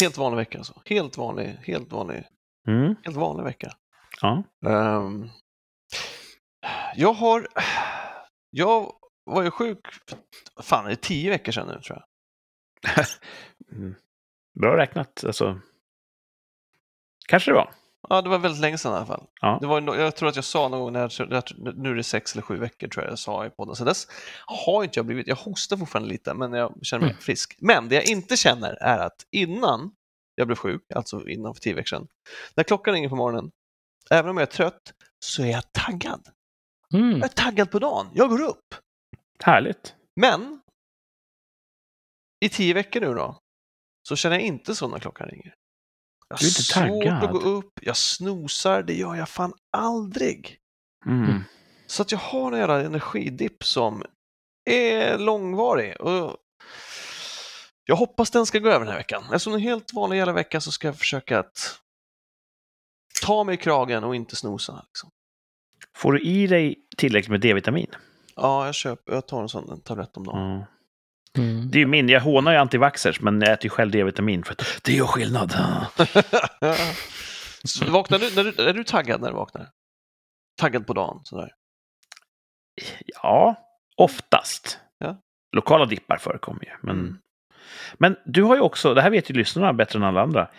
Helt vanlig vecka alltså. Helt vanlig, helt vanlig, Mm, helt vanlig vecka. ja. Ehm, jag har... Jag var ju sjuk, fan är det tio veckor sedan nu tror jag. Mm. Bra räknat, alltså. Kanske det var. Ja, det var väldigt länge sedan i alla fall. Ja. Det var, no- jag tror att jag sa någon gång, när, jag- nu är det sex eller sju veckor tror jag jag sa i podden. Så dess har inte jag blivit, jag hostar fortfarande lite men jag känner mig Mm. frisk. Men det jag inte känner är att innan jag blev sjuk, alltså innan för tio veckor sedan, när klockan ringer på morgonen, även om jag är trött, så är jag taggad. Mm. Jag är taggad på dagen, jag går upp. Härligt. Men i tio veckor nu då, så känner jag inte så när klockan ringer. Jag har Du är inte svårt att taggad. gå upp, jag snosar, det gör jag fan aldrig. Mm. Så att jag har en jävla energidipp som är långvarig. Och jag hoppas den ska gå över den här veckan. Eftersom det är en helt vanlig jävla vecka så ska jag försöka att ta mig i kragen och inte snosa. Liksom. Får du i dig tillräckligt med D-vitamin? Ja, jag, köper, jag tar en sån en tablett om dagen. Ja. Mm. Det är ju min, jag hånar ju antivaxxers, men jag äter ju själv D-vitamin för att det gör skillnad. Så vaknar du, när du, är du taggad när du vaknar? Taggad på dagen? Sådär. Ja, oftast. Ja. Lokala dippar förekommer ju. Men, Mm. men du har ju också, det här vet ju lyssnarna bättre än alla andra,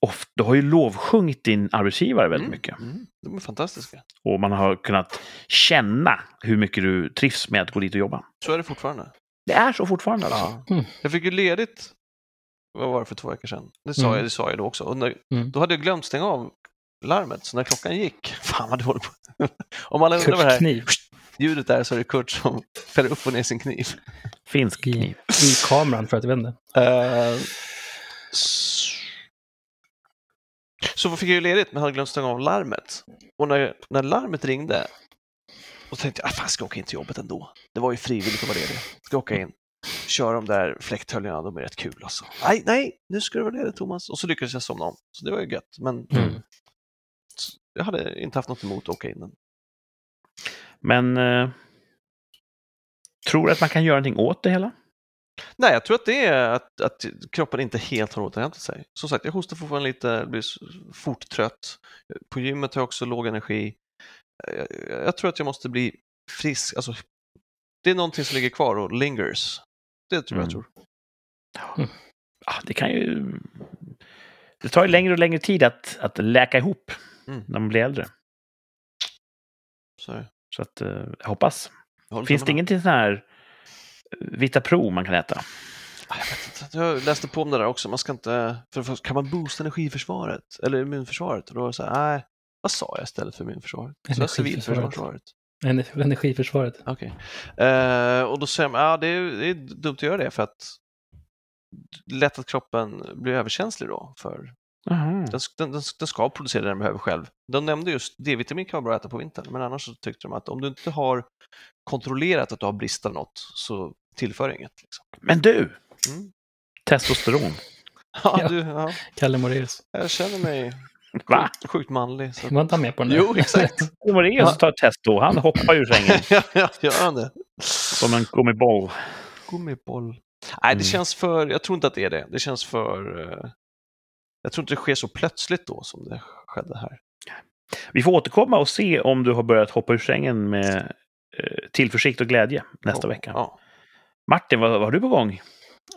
Oft, du har ju lovsjungit din arbetsgivare väldigt Mm. mycket. Mm. De är fantastiska. Och man har kunnat känna hur mycket du trivs med att gå dit och jobba. Så är det fortfarande. Det är så fortfarande alltså. Ja. Mm. Jag fick ju ledigt, vad var det för två veckor sedan? Det sa, Mm. jag, det sa jag då också. Och när, Mm. Då hade jag glömt stänga av larmet, så när klockan gick, fan vad du håller på. Om alla undrar vad det Kurt här Kniv ljudet är så är det Kurt som fäller upp och ner sin kniv. Finsk i, kniv. i kameran för att vända. Eh, s- så fick jag ju ledigt, men hade glömt stänga av larmet. Och när, när larmet ringde, och tänkte jag, ah, fan ska jag åka in till jobbet ändå? Det var ju frivilligt att vara ledig. Ska jag åka in, köra de där fläkthöljena, de är rätt kul alltså. Nej, nej, nu ska du vara ledig Thomas. Och så lyckades jag somna om, så det var ju gött. Men Mm. jag hade inte haft något emot att åka in den. Men eh, tror du att man kan göra någonting åt det hela? Nej, jag tror att det är att, att kroppen inte helt har återhämtat sig. Som sagt, jag hostar fortfarande lite, blir s- fort trött. På gymmet har jag också låg energi. Jag, jag tror att jag måste bli frisk. Alltså, det är någonting som ligger kvar och lingers. Det tror jag Mm. jag tror. Ah, det kan ju... Det tar ju längre och längre tid att, att läka ihop Mm. när man blir äldre. Så, jag Så att, eh, jag hoppas. håller Finns det tummarna. ingenting sån här eh, Vita Pro man kan äta? Ah, Jag, vet inte. jag läste på om det där också. Man ska inte... För det första, kan man boosta energiförsvaret? Eller immunförsvaret? Och då var det så här, nej. Vad sa jag istället för immunförsvaret? Så jag Energiförsvaret. civilförsvaret. Ener- Energiförsvaret. Okej. Eh, och då säger man, ja det är, det är dumt att göra det för att lätt att kroppen blir överkänslig då. För Jaha. den, den, den, den ska producera det den behöver själv. De nämnde just D-vitamin kan vara bra att äta på vintern, men annars så tyckte de att om du inte har kontrollerat att du har brist av något så tillför det inget. Liksom. Men du! Mm. Testosteron. Ja, Ja. Du, ja, Kalle Moraeus. jag känner mig Va? sjukt, sjukt manlig. Så. att- Var inte han med på den där? Jo, exakt. Det var det som tar ett testo. Han hoppar ur sängen ja, ja, gör han det? som en gummiboll. Gummiboll. Nej, det Mm. känns för... Jag tror inte att det är det. Det känns för... eh, Jag tror inte det sker så plötsligt då som det skedde här. Vi får återkomma och se om du har börjat hoppa ur sängen med eh, tillförsikt och glädje nästa Ja, vecka. Ja. Martin, vad, vad har du på gång?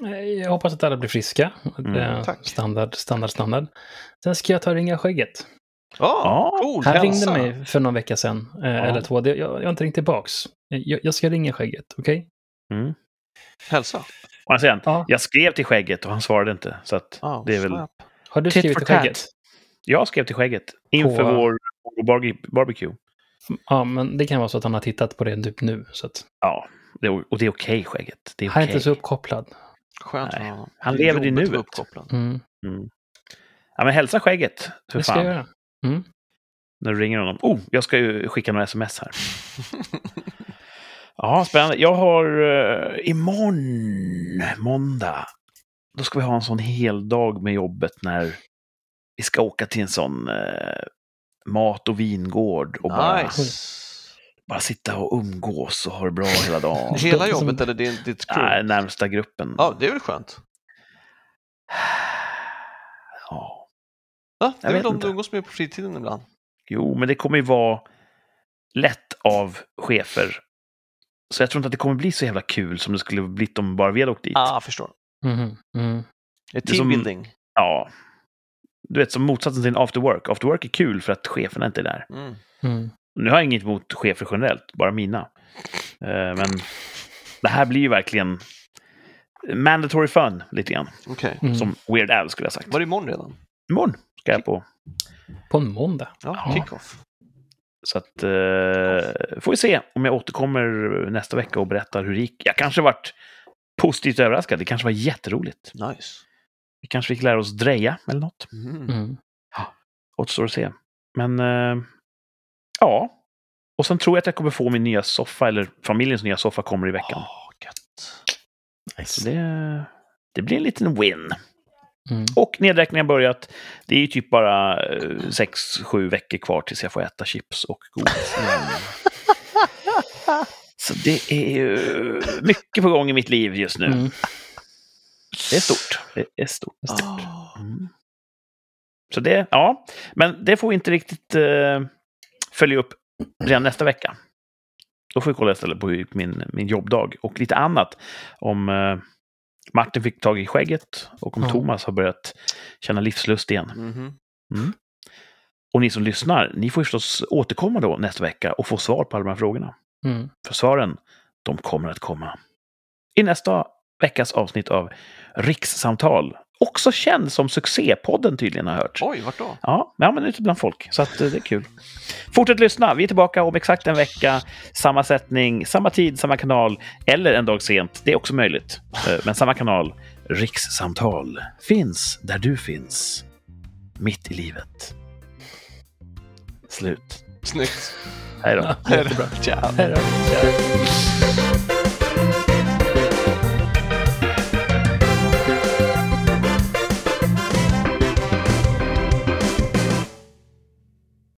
Eh, Jag hoppas att alla blir friska. Mm, Det är tack. Standard, standard, standard. Sen ska jag ta och ringa skägget. Ja, Ja. cool! Han ringde hälsa. mig för någon vecka sedan, eh, eller två. Det- Jag, jag har inte ringt tillbaks. Eh, Jag, jag ska ringa skägget, okej? Hälsa. Och han säger, Ja. jag skrev till skägget och han svarade inte. Så att Ja, det är väl... snap. Har du Tit skrivit for till skägget? Jag skrev till skägget inför På- vår bar- barbecue. Ja, men det kan vara så att han har tittat på det typ nu. Så att Ja, det, är- och det är okej skägget. Det är Han är okej. inte så uppkopplad. Skönt. Nej, ja. han Det är lever i jobbigt att vara nuet. uppkopplad. Mm. Ja, men hälsa skägget, för Det ska jag fan, göra. Mm. när du ringer honom. Oh, jag ska ju skicka några sms här. Ja, spännande. Jag har eh, imorgon, måndag, då ska vi ha en sån hel dag med jobbet när vi ska åka till en sån eh, mat och vingård och bara, Nice. bara sitta och umgås och ha det bra hela dagen. Det Hela låter som- jobbet eller din, ditt Nej, crew? närmsta gruppen. Ja, det är väl skönt. Ja. Ja, det Jag är vet väl de inte. du umgås med på fritiden ibland. Jo, men det kommer ju vara lätt av chefer. Så jag tror inte att det kommer bli så jävla kul som det skulle blivit om bara vi hade åkt dit. Ah, förstår. Mhm, mhm. Det är Det är som- teambuilding. Ja. Du vet, som motsatsen till en after work. After work är kul för att cheferna inte är där. Mm. Mm. Nu har jag inget emot chefer generellt, bara mina. Eh, Men det här blir ju verkligen mandatory fun, lite grann. Okej. Mm. Som Weird Al skulle jag ha sagt. Var det imorgon redan? Imorgon ska jag på. På en måndag. Ja, Ja. kick-off. Så att, eh, får vi se om jag återkommer nästa vecka och berättar hur det gick. Jag kanske varit positivt överraskad. Det kanske var jätteroligt. Nice. Vi kanske fick lära oss dreja eller något. Mm. Mm. Återstår att se. Men eh, ja. Och sen tror jag att jag kommer få min nya soffa, eller familjens nya soffa kommer i veckan. Åh, Ah, gött. Så det, det blir en liten win. Mm. Och nedräkningen har börjat. Det är ju typ bara eh, sex, sju veckor kvar tills jag får äta chips och godis. igen. Så det är ju mycket på gång i mitt liv just nu. Mm. Det är stort. Det är stort. Ah. Mm. Så det, ja. Men det får vi inte riktigt eh, följa upp redan nästa vecka. Då får vi kolla istället på hur min, min jobbdag och lite annat. Om eh, Martin fick tag i skägget och om Ja. Thomas har börjat känna livslust igen. Mhm. Och ni som lyssnar, ni får ju förstås återkomma då nästa vecka och få svar på alla de här frågorna. Mm. För svaren, de kommer att komma i nästa veckas avsnitt av Rikssamtal. Också känd som Succépodden tydligen har hört. Oj, vart då? Ja, men- ja, men ute bland folk. Så att, eh, det är kul. Fortsätt lyssna. Vi är tillbaka om exakt en vecka. Samma sättning, samma tid, samma kanal. Eller en dag sent. Det är också möjligt. Eh, Men samma kanal. Rikssamtal finns där du finns. Mitt i livet. Slut. Snyggt. Hej då. Jättebra. Ciao. Här är det.